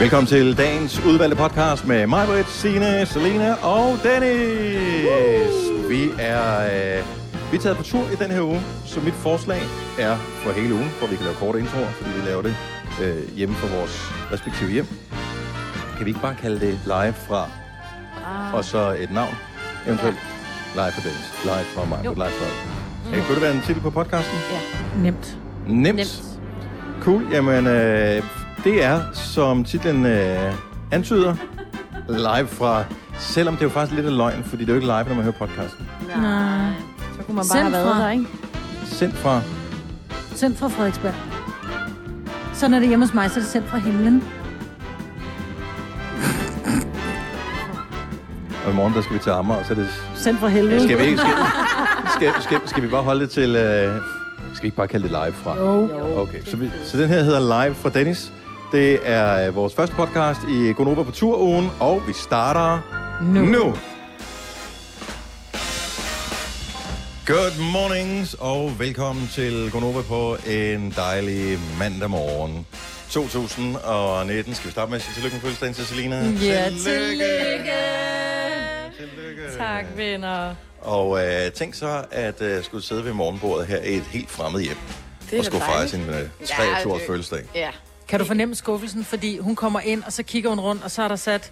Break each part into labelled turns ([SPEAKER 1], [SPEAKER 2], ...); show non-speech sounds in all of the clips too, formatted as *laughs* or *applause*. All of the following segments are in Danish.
[SPEAKER 1] Velkommen til dagens udvalgte podcast med mig, Britt, Signe, Selena og Dennis. Vi er, øh, vi er taget på tur i den her uge, så mit forslag er for hele ugen, hvor vi kan lave korte introer, fordi vi laver det øh, hjemme fra vores respektive hjem. Kan vi ikke bare kalde det live fra, ah. og så et navn, eventuelt live fra Dennis, live fra mig,
[SPEAKER 2] Jo.
[SPEAKER 1] live fra... Mm. Kunne det være en titel på podcasten?
[SPEAKER 2] Ja.
[SPEAKER 3] Nemt.
[SPEAKER 1] Nemt.
[SPEAKER 2] Nemt.
[SPEAKER 1] Cool, jamen øh, det er, som titlen øh, antyder, live fra, selvom det er jo faktisk lidt af løgn, fordi det er jo ikke live, når man hører podcasten.
[SPEAKER 3] Nej.
[SPEAKER 2] Så kunne man bare
[SPEAKER 3] Sendt
[SPEAKER 2] have været
[SPEAKER 3] fra.
[SPEAKER 2] der, ikke?
[SPEAKER 1] Sendt fra,
[SPEAKER 3] Sendt fra Frederiksberg. Så når det er hjemme hos mig, så er det sendt fra himlen.
[SPEAKER 1] og i morgen der skal vi til Amager, så er det...
[SPEAKER 3] Sendt fra helvede.
[SPEAKER 1] Skal vi, ikke, skal,
[SPEAKER 2] *laughs*
[SPEAKER 1] skal, skal, skal vi bare holde det til... Øh, skal vi ikke bare kalde det live fra?
[SPEAKER 3] Jo.
[SPEAKER 1] Okay, så, vi, så den her hedder Live fra Dennis. Det er øh, vores første podcast i Gonova på tur-ugen, og vi starter nu. nu. Good mornings, og velkommen til Gonova på en dejlig mandag morgen. 2019. Skal vi starte med at sige tillykke med fødselsdagen til Selina?
[SPEAKER 2] Ja, tillykke!
[SPEAKER 1] Tillykke.
[SPEAKER 2] Tak, venner.
[SPEAKER 1] Og øh, tænk så at øh, skulle sidde ved morgenbordet her i et helt fremmed hjem.
[SPEAKER 2] da
[SPEAKER 1] og skulle fejre
[SPEAKER 2] dejligt.
[SPEAKER 1] sin øh, 23 års fødselsdag.
[SPEAKER 2] Ja.
[SPEAKER 4] Kan du fornemme skuffelsen, fordi hun kommer ind, og så kigger hun rundt, og så er der sat,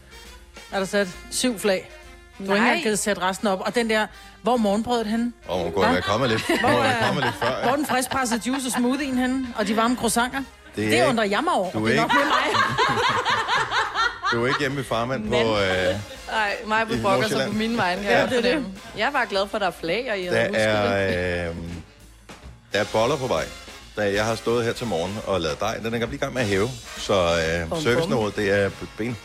[SPEAKER 4] er der sat syv flag. Du har ikke engang givet sætte resten op. Og den der, hvor er morgenbrødet henne?
[SPEAKER 1] Og hun kunne være kommet lidt, hun kunne være kommet lidt før.
[SPEAKER 4] Hvor
[SPEAKER 1] ja.
[SPEAKER 4] er den friskpressede juice og smoothien henne? Og de varme croissanter?
[SPEAKER 1] Det er
[SPEAKER 4] Det,
[SPEAKER 1] ikke-
[SPEAKER 4] det undrer jeg mig over.
[SPEAKER 1] du er
[SPEAKER 4] det er nok
[SPEAKER 1] ikke-
[SPEAKER 4] med mig.
[SPEAKER 1] Du er ikke hjemme ved farmand på... Øh,
[SPEAKER 2] Ej, mig
[SPEAKER 1] I
[SPEAKER 2] vil brokker sig
[SPEAKER 1] Nordsjælland.
[SPEAKER 2] på mine vegne.
[SPEAKER 1] Ja.
[SPEAKER 2] Ja, det er det. Jeg er bare glad for, at der er flag, og I
[SPEAKER 1] der,
[SPEAKER 2] havde husket det.
[SPEAKER 1] er, øh, der er boller på vej. Da jeg har stået her til morgen og lavet dej, den er jeg lige i gang med at hæve. Så øh,
[SPEAKER 2] bum.
[SPEAKER 1] serviceniveauet, det er ben,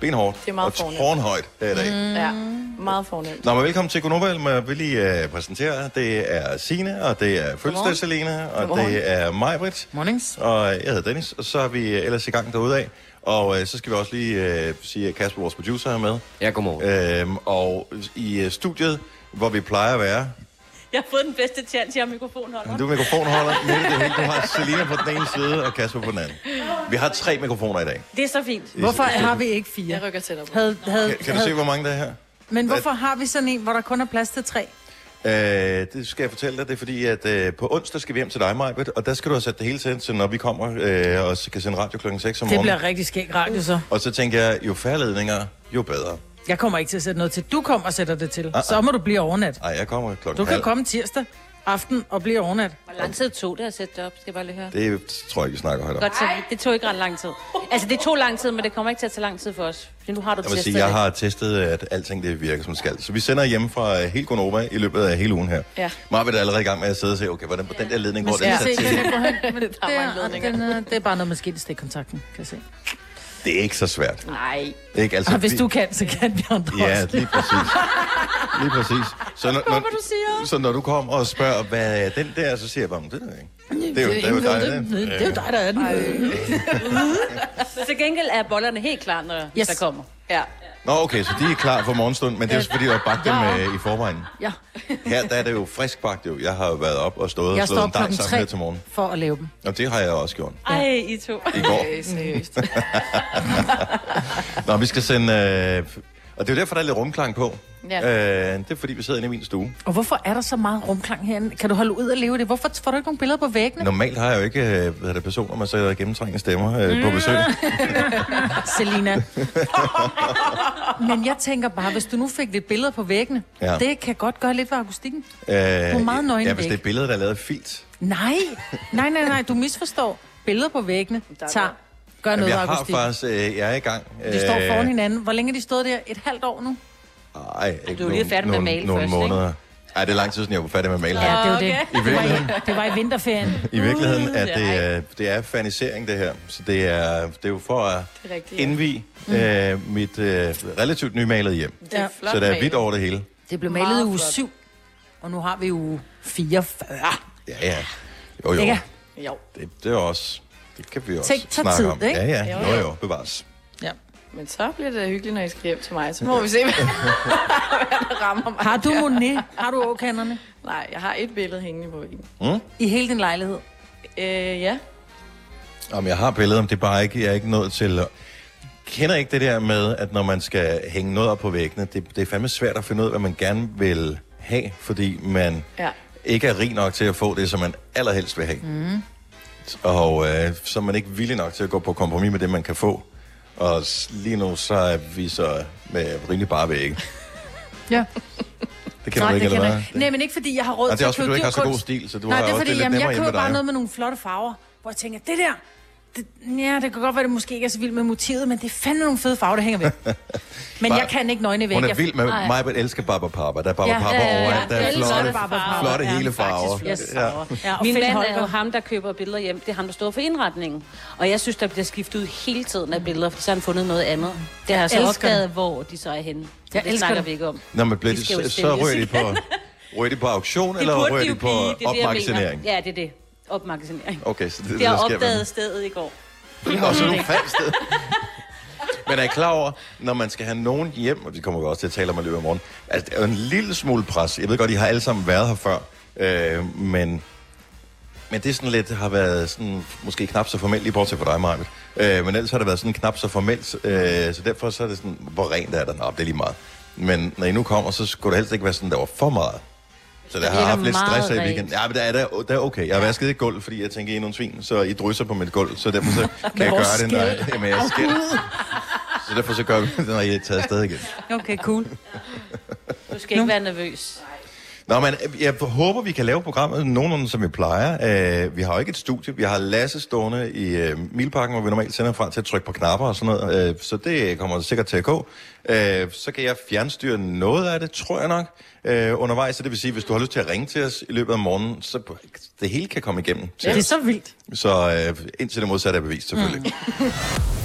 [SPEAKER 1] benhårdt
[SPEAKER 2] Det er meget
[SPEAKER 1] og
[SPEAKER 2] fornemt.
[SPEAKER 1] tårnhøjt øh, her i dag.
[SPEAKER 2] Mm. Ja, meget fornemt.
[SPEAKER 1] Nå, men velkommen til Gunova. Må jeg vil lige uh, præsentere. Det er Sine og det er Fødselsdag Selena, og
[SPEAKER 2] Godmorgen.
[SPEAKER 1] det er Majbrit,
[SPEAKER 4] Mornings.
[SPEAKER 1] og jeg hedder Dennis, og så er vi øh, ellers i gang derude af. Og uh, så skal vi også lige uh, sige, at Kasper, vores producer, er med.
[SPEAKER 5] Ja, godmorgen. Øh.
[SPEAKER 1] Øhm, og i uh, studiet, hvor vi plejer at være,
[SPEAKER 6] Jeg har fået den bedste chance, jeg har mikrofonholder.
[SPEAKER 1] du er mikrofonholder, Mette, det er helt, du har Selena på den ene side og Kasper på den anden. Vi har tre mikrofoner i dag.
[SPEAKER 6] Det er så fint.
[SPEAKER 4] Hvorfor har vi ikke fire?
[SPEAKER 2] Jeg rykker tættere på.
[SPEAKER 4] Havde, havde,
[SPEAKER 1] Kan, kan du se, hvor mange der er her?
[SPEAKER 4] men hvorfor har vi sådan en, hvor der kun er plads til tre?
[SPEAKER 1] Øh, det skal jeg fortælle dig, det er fordi, at øh, på onsdag skal vi hjem til dig, Majbet, og der skal du have sat det hele til, så når vi kommer øh, og så kan sende radio klokken 6 om
[SPEAKER 4] Det
[SPEAKER 1] morgenen.
[SPEAKER 4] bliver rigtig skæg radio, så.
[SPEAKER 1] Og så tænker jeg, jo færre ledninger, jo bedre.
[SPEAKER 4] Jeg kommer ikke til at sætte noget til. Du kommer og sætter det
[SPEAKER 1] Ah,
[SPEAKER 4] til. Så må du blive overnat.
[SPEAKER 1] Ej, jeg kommer klokken
[SPEAKER 4] Du kan
[SPEAKER 1] halv.
[SPEAKER 4] komme tirsdag aften og blive overnat.
[SPEAKER 6] Hvor lang tid tog det at sætte det op, skal jeg bare lige høre.
[SPEAKER 1] Det tror jeg ikke, vi snakker højt om.
[SPEAKER 6] Godt, så det tog ikke ret lang tid. Altså, det tog lang tid, men det kommer ikke til at tage lang tid for os. Fordi nu har du
[SPEAKER 1] Jeg vil
[SPEAKER 6] testet
[SPEAKER 1] sige, jeg har testet, at alting det virker som det skal. Så vi sender hjemme fra øh, hele Gonova i løbet af hele ugen her.
[SPEAKER 2] Ja.
[SPEAKER 1] Majbet er allerede i gang med at sidde og se, okay, hvordan på den der ledning går, den
[SPEAKER 4] Ja.
[SPEAKER 1] er
[SPEAKER 4] Se,
[SPEAKER 1] sat
[SPEAKER 4] den
[SPEAKER 1] til.
[SPEAKER 4] er på højden,
[SPEAKER 2] er
[SPEAKER 4] men
[SPEAKER 2] mange
[SPEAKER 4] der, og
[SPEAKER 2] ledninger.
[SPEAKER 4] den, øh, det er bare noget med stikkontakten, kan jeg se.
[SPEAKER 1] Det er ikke så svært.
[SPEAKER 6] det. Nej.
[SPEAKER 1] Det er Ikke? Altså,
[SPEAKER 4] Og hvis
[SPEAKER 1] vi-
[SPEAKER 4] du kan, så kan vi andre
[SPEAKER 1] Ja,
[SPEAKER 4] også.
[SPEAKER 1] lige præcis. Lige præcis. Så når, når, så når du kommer og spørger, hvad er den der, så siger jeg bare, "Men det er der ikke. Det er jo, det er jo dig,
[SPEAKER 4] det,
[SPEAKER 1] det.
[SPEAKER 4] det er jo dig, der er den.
[SPEAKER 6] Men til gengæld er bollerne helt klar, når yes.
[SPEAKER 4] Yes.
[SPEAKER 6] der kommer.
[SPEAKER 2] Ja.
[SPEAKER 1] Nå, okay, så de er klar for morgenstund, men det er jo fordi, du har bagt dem
[SPEAKER 4] Ja.
[SPEAKER 1] øh, i forvejen.
[SPEAKER 4] *laughs* Ja.
[SPEAKER 1] Her der er det jo frisk bagt, jo. Jeg har jo været op og stået
[SPEAKER 4] Jeg
[SPEAKER 1] og slået
[SPEAKER 4] står
[SPEAKER 1] en dej
[SPEAKER 4] klokken
[SPEAKER 1] sammen her til
[SPEAKER 4] tre
[SPEAKER 1] morgen.
[SPEAKER 4] for at lave dem.
[SPEAKER 1] Og det har jeg også gjort
[SPEAKER 6] Ej, I to.
[SPEAKER 1] i går.
[SPEAKER 2] Øh, seriøst.
[SPEAKER 1] Nå, vi skal sende... Øh, og det er jo derfor, der er lidt rumklang på.
[SPEAKER 2] Ja.
[SPEAKER 1] Øh, det er fordi, vi sidder inde i min stue.
[SPEAKER 4] Og hvorfor er der så meget rumklang herinde? Kan du holde ud og leve det? Hvorfor får du ikke nogle billeder på væggene?
[SPEAKER 1] Normalt har jeg jo ikke øh, hvad er det, personer med så gennemtrængende stemmer øh,
[SPEAKER 4] Mm.
[SPEAKER 1] på besøg.
[SPEAKER 2] Mm.
[SPEAKER 4] *laughs*
[SPEAKER 2] *laughs*
[SPEAKER 4] Selina. Men jeg tænker bare, hvis du nu fik lidt billeder på væggene,
[SPEAKER 1] Ja.
[SPEAKER 4] det kan godt gøre lidt ved akustikken.
[SPEAKER 1] Øh,
[SPEAKER 4] er meget nøgen
[SPEAKER 1] Ja, hvis det er
[SPEAKER 4] væk.
[SPEAKER 1] billeder, der er lavet af filt.
[SPEAKER 4] Nej, nej, nej, nej, du misforstår. Billeder på væggene
[SPEAKER 2] Der er
[SPEAKER 4] tager, gør
[SPEAKER 1] Jamen,
[SPEAKER 4] noget ved
[SPEAKER 1] jeg har
[SPEAKER 4] akustikken.
[SPEAKER 1] faktisk... Øh, jeg er i gang. Øh,
[SPEAKER 4] De står foran hinanden. Hvor længe har de stået der? Et halvt år nu?
[SPEAKER 1] Nej, ikke
[SPEAKER 6] Du er lige færdig med at male
[SPEAKER 1] nogle
[SPEAKER 6] først, ikke?
[SPEAKER 1] måneder. Ikke? Ej, det er lang tid siden, jeg var færdig med at male her.
[SPEAKER 4] det er jo det.
[SPEAKER 1] I virkeligheden,
[SPEAKER 4] Det var i vinterferien.
[SPEAKER 1] i virkeligheden
[SPEAKER 6] Uh,
[SPEAKER 1] er
[SPEAKER 6] nej.
[SPEAKER 1] det, øh, det er fanisering, det her. Så det er, det er jo for at
[SPEAKER 2] Det er rigtigt. Ja.
[SPEAKER 1] indvige øh, mit øh, relativt nymalede hjem.
[SPEAKER 2] Det er
[SPEAKER 4] Ja.
[SPEAKER 2] flot
[SPEAKER 1] så der er
[SPEAKER 2] malet.
[SPEAKER 1] hvidt over det hele.
[SPEAKER 4] Det blev malet i
[SPEAKER 2] Meget
[SPEAKER 4] uge
[SPEAKER 2] flot.
[SPEAKER 4] 7, og nu har vi uge 44.
[SPEAKER 1] Ja, ja. Jo, jo.
[SPEAKER 4] Ikke?
[SPEAKER 2] Jo,
[SPEAKER 1] Det, det er også... Det kan vi også
[SPEAKER 4] Tænk, tag
[SPEAKER 1] snakke
[SPEAKER 4] tid,
[SPEAKER 1] om.
[SPEAKER 4] ikke?
[SPEAKER 1] Ja, ja.
[SPEAKER 2] Jo,
[SPEAKER 1] Jo,
[SPEAKER 2] jo.
[SPEAKER 1] jo. Bevares.
[SPEAKER 4] Ja.
[SPEAKER 2] men så bliver det hyggeligt, når I skal hjem til mig. Så må vi se, *laughs* hvad hvad der rammer mig.
[SPEAKER 4] Har du Monet? Har du åkanderne?
[SPEAKER 2] Nej, jeg har et billede hængende på væggen.
[SPEAKER 1] Mm?
[SPEAKER 4] I hele din lejlighed?
[SPEAKER 2] Øh, ja.
[SPEAKER 1] Om jeg har billeder, om det er bare ikke... Jeg er ikke nået til... at- kender ikke det der med, at når man skal hænge noget op på væggene, det, det er fandme svært at finde ud af, hvad man gerne vil have, fordi man
[SPEAKER 2] Ja.
[SPEAKER 1] ikke er rig nok til at få det, som man allerhelst vil have. Mm. Og øh, så er man ikke villig nok til at gå på kompromis med det, man kan få. Og s- lige nu, så er vi så med rimelig bare vække.
[SPEAKER 3] Ja.
[SPEAKER 1] Det kender du ikke, eller hvad?
[SPEAKER 3] jeg ikke. Nej, men ikke fordi jeg har råd
[SPEAKER 1] Nej, det
[SPEAKER 3] til
[SPEAKER 1] er
[SPEAKER 3] at
[SPEAKER 1] også, fordi
[SPEAKER 3] købe
[SPEAKER 1] du ikke har så god
[SPEAKER 3] kunst.
[SPEAKER 1] stil, så du
[SPEAKER 3] Nej,
[SPEAKER 1] har
[SPEAKER 3] det er
[SPEAKER 1] også
[SPEAKER 3] fordi,
[SPEAKER 1] det lidt
[SPEAKER 3] jamen,
[SPEAKER 1] nemmere
[SPEAKER 3] jeg
[SPEAKER 1] hjemme
[SPEAKER 3] køber
[SPEAKER 1] med
[SPEAKER 3] bare
[SPEAKER 1] dig.
[SPEAKER 3] noget
[SPEAKER 1] jo.
[SPEAKER 3] med nogle flotte farver, hvor jeg tænker, det der, det, ja, det kan godt være, det måske ikke er så vildt med motivet, men det er fandme nogle fede farver, der hænger
[SPEAKER 1] *laughs*
[SPEAKER 3] ved. Men
[SPEAKER 1] Bare-
[SPEAKER 3] jeg kan ikke nøgne væk.
[SPEAKER 1] Hun er
[SPEAKER 3] Jeg-
[SPEAKER 1] vild med
[SPEAKER 3] *laughs*
[SPEAKER 6] Ej.
[SPEAKER 1] mig, men elsker Barbara Papa. Der er Barbara
[SPEAKER 3] Ja,
[SPEAKER 1] Papa
[SPEAKER 3] ja, ja, ja.
[SPEAKER 1] overalt. Der
[SPEAKER 3] Jeg
[SPEAKER 1] er
[SPEAKER 3] elsker
[SPEAKER 1] flotte,
[SPEAKER 3] Barbara Papa.
[SPEAKER 1] flotte
[SPEAKER 6] Ja,
[SPEAKER 1] hele
[SPEAKER 6] faktisk
[SPEAKER 1] farver.
[SPEAKER 6] flotte
[SPEAKER 1] Ja.
[SPEAKER 6] farver. Ja, og
[SPEAKER 3] Min
[SPEAKER 6] Min
[SPEAKER 3] mand
[SPEAKER 6] mand
[SPEAKER 3] holder-
[SPEAKER 6] er jo ham, der køber billeder hjem. Det er ham, der står for indretningen. Og jeg synes, der bliver skiftet ud hele tiden af billeder, fordi så har han fundet noget andet. Det har jeg så
[SPEAKER 3] elsker
[SPEAKER 6] opdaget, hvor de så er henne. Så
[SPEAKER 3] Jeg
[SPEAKER 6] det
[SPEAKER 3] elsker
[SPEAKER 6] snakker
[SPEAKER 3] det.
[SPEAKER 6] vi ikke om.
[SPEAKER 1] Nå, men bliver
[SPEAKER 6] De
[SPEAKER 1] de,
[SPEAKER 6] skal jo
[SPEAKER 1] så, så
[SPEAKER 6] sælges
[SPEAKER 1] rører de
[SPEAKER 6] igen.
[SPEAKER 1] på,
[SPEAKER 6] *laughs*
[SPEAKER 1] rører de på auktion,
[SPEAKER 6] Det
[SPEAKER 1] eller
[SPEAKER 6] burde
[SPEAKER 1] rører
[SPEAKER 6] de
[SPEAKER 1] de
[SPEAKER 6] jo
[SPEAKER 1] på
[SPEAKER 6] blive, det er det, jeg
[SPEAKER 1] opmagasinering?
[SPEAKER 6] mener. Ja, det er det. Opmagasinering.
[SPEAKER 1] Okay, så det, er det
[SPEAKER 6] Det har
[SPEAKER 1] der sker
[SPEAKER 6] opdaget stedet i går.
[SPEAKER 1] med. Det er også nogle
[SPEAKER 6] *laughs*
[SPEAKER 1] falsted. Men er I klar over, når man skal have nogen hjem, og det kommer vi også til at tale om i løbet af morgen, altså, det er jo en lille smule pres. Jeg ved godt, I har alle sammen været her før, øh, men, men det er sådan lidt, har været sådan, måske knap så formelt, lige bortset fra dig, Marvitt. Øh, men ellers har det været sådan knap så formelt, øh, så derfor så er det sådan, hvor rent er der? Nå, det er lige meget. Men når I nu kommer, så skulle det helst ikke være sådan, der var for meget. Så der har jeg
[SPEAKER 6] virker
[SPEAKER 1] haft lidt
[SPEAKER 6] meget
[SPEAKER 1] stress her i
[SPEAKER 6] rent.
[SPEAKER 1] weekenden. Ja, men der er, der, der er okay. Jeg har vasket et gulv, fordi jeg tænker, I er nogle svin, så I drysser på mit gulv, så
[SPEAKER 6] *laughs*
[SPEAKER 1] derfor så kan jeg
[SPEAKER 3] vores
[SPEAKER 1] gøre det, når jeg, med jeres skæld. Så derfor så gør vi *laughs* det, når I er taget afsted igen.
[SPEAKER 3] Okay, cool.
[SPEAKER 6] Du skal ikke være nervøs.
[SPEAKER 1] Nå, men øh, jeg håber, vi kan lave programmet nogenlunde, som vi plejer. Øh, vi har jo ikke et studie. Vi har Lasse stående i øh, Milparken, hvor vi normalt sender fra til at trykke på knapper og sådan noget. Øh, så det kommer sikkert til at gå. Øh, så kan jeg fjernstyre noget af det, tror jeg nok, øh, undervejs. Så det vil sige, hvis du har lyst til at ringe til os i løbet af morgenen, så det hele kan komme igennem. Til
[SPEAKER 3] Det er
[SPEAKER 1] os.
[SPEAKER 3] så vildt.
[SPEAKER 1] Så øh, indtil det modsatte er bevist, selvfølgelig. Mm.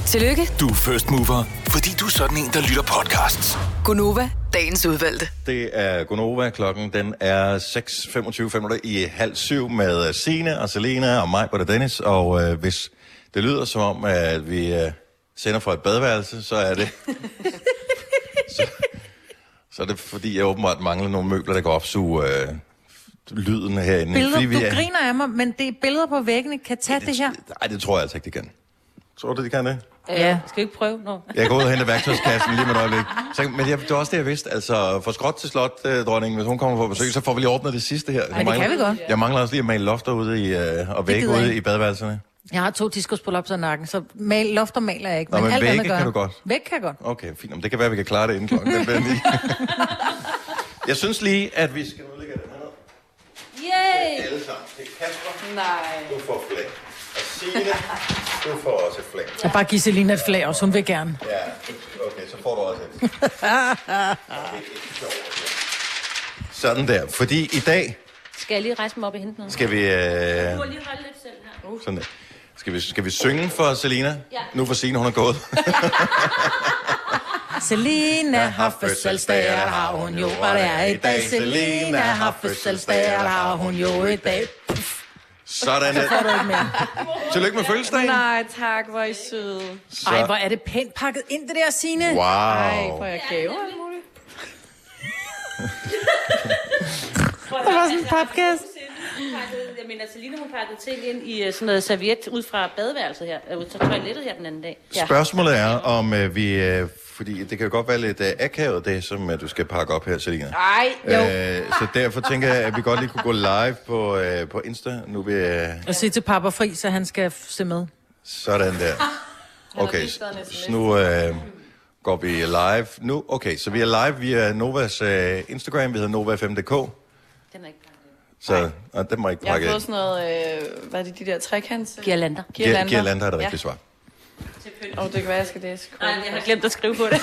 [SPEAKER 5] Tillykke,
[SPEAKER 7] Mm. Du er first mover, fordi du er sådan en, der lytter podcasts.
[SPEAKER 5] Gunova, dagens udvalgte.
[SPEAKER 1] Det er Gonova. Klokken den er 6.25 fem minutter i halv syv med Sine og Selena og mig, og Dennis. Og øh, hvis det lyder som om, at vi øh, sender fra et badeværelse, så er det... så, Mm, så er det, fordi jeg åbenbart mangler nogle møbler, der kan opsuge øh, lyden herinde.
[SPEAKER 4] Billeder,
[SPEAKER 1] fordi vi
[SPEAKER 4] du
[SPEAKER 1] er-
[SPEAKER 4] griner af mig, men det er billeder på væggene, kan tage det her.
[SPEAKER 1] Nej, det tror jeg altså ikke, det kan. Tror du, det kan det?
[SPEAKER 6] Ja. Øh, Skal vi ikke prøve? Nå.
[SPEAKER 1] Jeg går ud og henter værktøjskassen lige med et øjeblik. Så, men jeg, det var også det, jeg vidste. Altså, fra skråt til slot, øh, dronningen, hvis hun kommer på besøg, så får vi lige ordnet det sidste her. Men
[SPEAKER 4] det kan vi godt.
[SPEAKER 1] Jeg mangler også lige at male lofter ude i, øh, og vægge
[SPEAKER 4] gider jeg
[SPEAKER 1] ude
[SPEAKER 4] ikke.
[SPEAKER 1] i badeværelserne.
[SPEAKER 4] Jeg har to diskospolaps og nakken, så mal, lofter maler jeg ikke,
[SPEAKER 1] Nå,
[SPEAKER 4] men,
[SPEAKER 1] men
[SPEAKER 4] alt andet
[SPEAKER 1] vægge
[SPEAKER 4] gør
[SPEAKER 1] kan
[SPEAKER 4] jeg.
[SPEAKER 1] du godt.
[SPEAKER 4] Væg kan jeg godt.
[SPEAKER 1] Okay, fint. Jamen, det kan være, at vi kan klare det inden klokken. den bliver
[SPEAKER 4] *laughs*
[SPEAKER 1] ni. jeg synes lige, at vi skal udlægge den her ned.
[SPEAKER 6] Yay!
[SPEAKER 1] alle sammen. Det er Kasper,
[SPEAKER 2] Nej.
[SPEAKER 1] du får flag. Og Signe, du får også et flag.
[SPEAKER 4] Og bare give Selina et flag også, hun vil
[SPEAKER 1] *laughs*
[SPEAKER 4] gerne.
[SPEAKER 1] Ja, okay, så får du også et.
[SPEAKER 4] Ah.
[SPEAKER 1] Sådan der. Fordi i dag
[SPEAKER 6] Skal jeg lige rejse mig op og hente noget?
[SPEAKER 1] skal vi... Øh,
[SPEAKER 6] lige holde lidt selv her.
[SPEAKER 1] Sådan der. Skal vi, skal vi synge for Selina?
[SPEAKER 6] Ja.
[SPEAKER 1] Nu for Signe, hun er gået.
[SPEAKER 4] Selina har fødselsdag, og der har hun jo, og det er i dag. Selina har fødselsdag, og der har hun jo i dag.
[SPEAKER 1] Sådan.
[SPEAKER 4] Får du ikke mere?
[SPEAKER 1] Tillykke med fødselsdagen.
[SPEAKER 2] *laughs* Nej, tak, hvor er I søde.
[SPEAKER 1] Så-
[SPEAKER 4] Ej, hvor er det pænt pakket ind, det der, Signe.
[SPEAKER 2] Ej,
[SPEAKER 1] Wow.
[SPEAKER 2] får jeg gaver?
[SPEAKER 6] Der var sådan en podcast. Jeg mener, Celine, hun pakkede ting ind i øh, sådan noget serviet ud fra badeværelset her, øh, ud fra toilettet her den anden dag.
[SPEAKER 1] Spørgsmålet er, om øh, vi... Øh, fordi det kan jo godt være lidt øh, akavet, det som øh, du skal pakke op her, Selina.
[SPEAKER 2] Nej, jo.
[SPEAKER 1] Øh, så derfor tænker jeg, at vi godt lige kunne gå live på, øh, på Insta. Nu vi... Øh,
[SPEAKER 4] Og sige til pappa fri, så han skal f- se med.
[SPEAKER 1] Sådan
[SPEAKER 6] *laughs*
[SPEAKER 1] der. Okay, så så nu øh, går vi live. Nu, okay, så vi er live via Novas øh, Instagram. Vi hedder Nova5.dk.
[SPEAKER 6] Den er ikke pakket.
[SPEAKER 1] Så og den må ikke
[SPEAKER 2] Jeg har
[SPEAKER 1] pakke
[SPEAKER 2] fået sådan noget, øh, hvad er det, de der trekants?
[SPEAKER 6] Girlander.
[SPEAKER 1] Girlander. Girlander er det rigtige svar.
[SPEAKER 2] Ja. Og det kan være, jeg skal læse.
[SPEAKER 6] Nej, jeg har glemt at skrive på det.
[SPEAKER 4] Ej,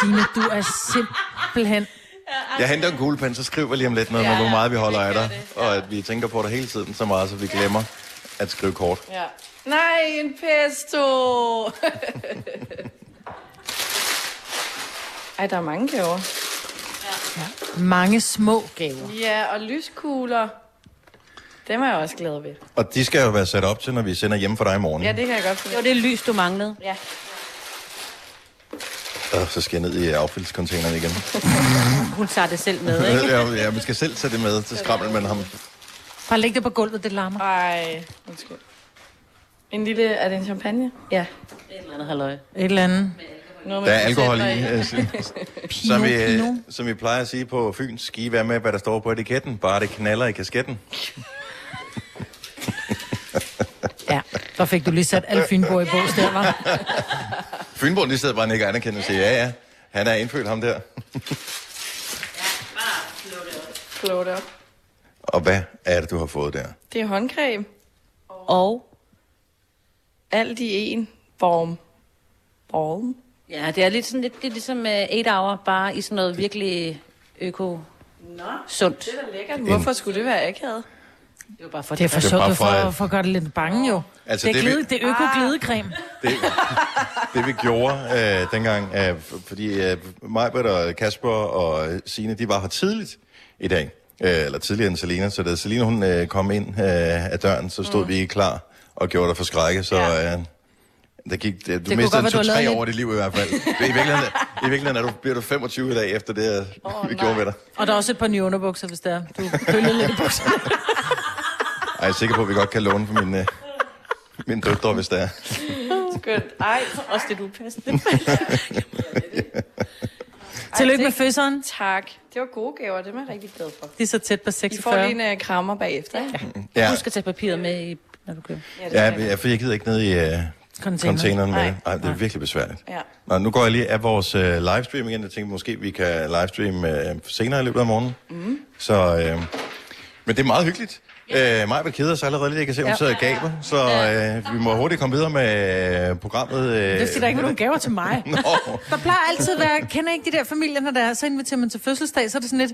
[SPEAKER 4] Signe, du er simpelthen...
[SPEAKER 1] Jeg henter en kuglepen, så skriver lige om lidt noget ja, om, hvor meget vi holder af dig. Og at vi tænker på dig hele tiden så meget, så vi glemmer at skrive kort.
[SPEAKER 2] *laughs* Ja. Nej, en pesto! *laughs* Ej, der er mange gaver.
[SPEAKER 4] Mange små gaver.
[SPEAKER 2] Ja, og lyskugler. Dem er jeg også glad ved.
[SPEAKER 1] Og de skal jo være sat op til, når vi sender hjem for dig i morgen.
[SPEAKER 2] Ja, det kan jeg godt
[SPEAKER 6] Det
[SPEAKER 2] finde.
[SPEAKER 6] var det lys, du manglede.
[SPEAKER 2] Ja.
[SPEAKER 1] Øh, så skal jeg ned i affaldscontaineren igen.
[SPEAKER 6] Hun tager det selv med, ikke?
[SPEAKER 4] *laughs*
[SPEAKER 1] *laughs* ja, ja, man skal selv tage det med til skrammel, men ham.
[SPEAKER 4] Bare læg det på gulvet, det larmer.
[SPEAKER 2] Ej, undskyld. En lille... Er det en champagne? Ja.
[SPEAKER 6] Et eller andet halløj.
[SPEAKER 4] Et eller andet.
[SPEAKER 2] Noget med
[SPEAKER 1] Der er alkohol
[SPEAKER 2] procenter
[SPEAKER 1] i. altså.
[SPEAKER 2] *laughs*
[SPEAKER 1] som, vi, øh, som vi plejer at sige på Fyn, ski være med, hvad der står på etiketten. Bare det knaller i kasketten.
[SPEAKER 4] Ja, der fik du lige sat alle fynboer i bås der, var.
[SPEAKER 1] Fynborg, de sidder bare og nikker anerkendende og siger, ja, ja, han er indfødt ham der.
[SPEAKER 2] Blow it up.
[SPEAKER 1] Og hvad er det, du har fået der?
[SPEAKER 2] Det er håndcreme.
[SPEAKER 6] Og?
[SPEAKER 2] Alt i en. Vorm. Vorm.
[SPEAKER 6] Ja, det er lidt sådan lidt, det er ligesom 8 hour, bare i sådan noget virkelig øko... Sundt. Det er
[SPEAKER 2] Lækkert. Hvorfor skulle det være akavet?
[SPEAKER 6] jo bare for
[SPEAKER 4] Det er for
[SPEAKER 1] Det er
[SPEAKER 4] sjovt,
[SPEAKER 1] bare
[SPEAKER 4] du
[SPEAKER 1] for,
[SPEAKER 4] får
[SPEAKER 1] at-
[SPEAKER 4] for at gøre det lidt bange jo.
[SPEAKER 1] Altså,
[SPEAKER 4] Altså, det er,
[SPEAKER 1] det vi-
[SPEAKER 4] glide, det er øko-glidecreme.
[SPEAKER 1] Det, det vi gjorde øh, dengang, øh, f- fordi øh, Majbert og Kasper og øh, Signe, de var her tidligt i dag. Øh, eller tidligere end Selina, så da Selina hun, øh, kom ind øh, af døren, så stod mm. vi klar og gjorde dig for skrække, så... Øh, der gik, det, du
[SPEAKER 4] kunne
[SPEAKER 1] det mistede
[SPEAKER 4] godt være,
[SPEAKER 1] en
[SPEAKER 4] du har
[SPEAKER 1] 2-3
[SPEAKER 4] lavet lidt-
[SPEAKER 1] år af dit liv i hvert
[SPEAKER 4] *laughs*
[SPEAKER 1] fald. I virkeligheden, i virkeligheden er du, bliver du 25 i dag efter det, oh, vi gjorde ved dig.
[SPEAKER 4] Og der er også et par nye underbukser, hvis der Du køller lidt i bukserne.
[SPEAKER 1] Ej, jeg er sikker på, at vi godt kan låne for min, øh, min døtre, hvis det er.
[SPEAKER 2] *laughs* Skønt. Ej, også det du er passende.
[SPEAKER 1] *laughs*
[SPEAKER 4] *laughs* Tillykke med fødseren.
[SPEAKER 2] Tak. Det var gode gaver, dem er jeg rigtig glad for.
[SPEAKER 4] De er så tæt på
[SPEAKER 2] I får
[SPEAKER 4] 46.
[SPEAKER 2] lige en uh, krammer bagefter. Ja.
[SPEAKER 1] Ja,
[SPEAKER 6] Husk at tage papiret med, i, når du kører.
[SPEAKER 1] ja, ja, for jeg gider ikke ned i øh,
[SPEAKER 4] Container.
[SPEAKER 1] containeren med.
[SPEAKER 2] Nej.
[SPEAKER 1] Ej, det er virkelig besværligt.
[SPEAKER 2] Ja.
[SPEAKER 1] Nå, nu går jeg lige af vores øh, livestream igen. Jeg tænkte, måske vi kan livestream øh, senere i løbet af morgenen.
[SPEAKER 6] Mm-hmm.
[SPEAKER 1] Mm. Så, øh, men det er meget hyggeligt. Øh, Maja vil kede sig allerede lidt. Jeg kan se, hun sidder og gaber. Så øh, vi må hurtigt komme videre med øh, programmet. Øh,
[SPEAKER 4] Det siger der ikke var nogen gaver til mig.
[SPEAKER 1] *laughs* Nå.
[SPEAKER 4] Der plejer altid at være, kender ikke de der familier, når der er, så inviterer man til fødselsdag, så er det sådan lidt,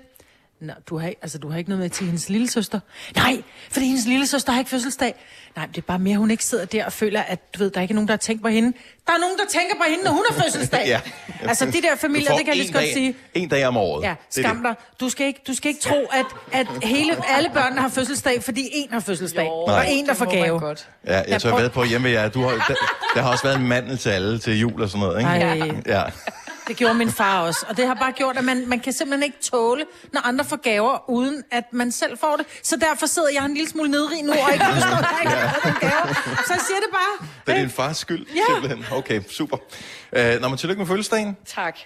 [SPEAKER 4] Nå, du har, ikke- altså, du har ikke noget med til hendes lille søster. Nej, fordi hendes lille søster har ikke fødselsdag. Nej, men det er bare mere, hun ikke sidder der og føler, at du ved, der er ikke nogen, der tænker på hende. Der er nogen, der tænker på hende, når hun har fødselsdag.
[SPEAKER 1] *laughs* Ja.
[SPEAKER 4] *laughs* Altså, de der familier,
[SPEAKER 1] Du får
[SPEAKER 4] det kan jeg lige
[SPEAKER 1] en
[SPEAKER 4] så godt
[SPEAKER 1] dag-
[SPEAKER 4] sige.
[SPEAKER 1] En dag om året.
[SPEAKER 4] Ja,
[SPEAKER 1] Det er
[SPEAKER 4] skam dig. Du skal ikke, du skal ikke tro, at, at hele, alle børnene har fødselsdag, fordi en har fødselsdag.
[SPEAKER 1] Nej.
[SPEAKER 4] og en, der får gave.
[SPEAKER 2] Godt.
[SPEAKER 1] det. Ja, jeg tør
[SPEAKER 4] prøv-
[SPEAKER 1] ved på at hjemme ved jer. Du har, der, der har også været en mandel til alle til jul og sådan noget, ikke?
[SPEAKER 4] Ej.
[SPEAKER 1] Ja.
[SPEAKER 4] Det gjorde min far også, og det har bare gjort, at man, man kan simpelthen ikke tåle, når andre får gaver, uden at man selv får det. Så derfor sidder jeg en lille smule nedrig nu, og ikke forstår, at jeg ikke har fået den gave. Så jeg siger det bare.
[SPEAKER 1] Det er din fars skyld,
[SPEAKER 4] Ja.
[SPEAKER 1] simpelthen. Okay, super. Øh, nå, men tillykke med fødselsdagen.
[SPEAKER 2] Tak.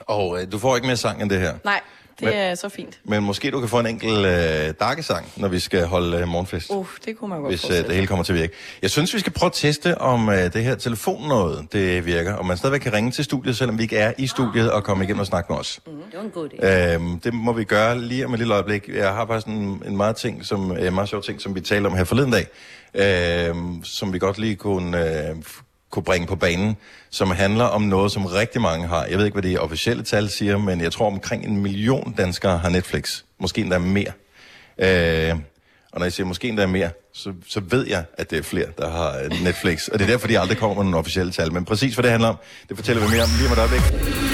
[SPEAKER 1] Og øh, du får ikke mere sang end det her.
[SPEAKER 2] Nej, det
[SPEAKER 1] Men-
[SPEAKER 2] er så fint.
[SPEAKER 1] Men måske du kan få en enkelt øh, darkesang, når vi skal holde øh, morgenfest, uh,
[SPEAKER 2] Uh, det kunne man godt
[SPEAKER 1] hvis øh,
[SPEAKER 2] forestille
[SPEAKER 1] det hele kommer til at virke. Jeg synes, vi skal prøve at teste, om øh, det her telefonnåde det virker. Om man stadigvæk kan ringe til studiet, selvom vi ikke er i studiet, og komme igennem og snakke med os.
[SPEAKER 6] Det var en god idé.
[SPEAKER 1] Øhm, det må vi gøre lige om et lille øjeblik. Jeg har faktisk en, en meget, ting, som, øh, meget sjov ting, som vi talte om her forleden dag, øhm, som vi godt lige kunne, øh, f- kunne bringe på banen, som handler om noget, som rigtig mange har. Jeg ved ikke, hvad det officielle tal siger, men jeg tror omkring en million danskere har Netflix. Måske endda mere. Øh, og når jeg siger måske endda mere, så, så ved jeg, at det er flere, der har øh, Netflix. Og det er derfor, de aldrig kommer med nogle officielle tal. Men præcis, hvad det handler om, det fortæller vi mere om lige om et øjeblik.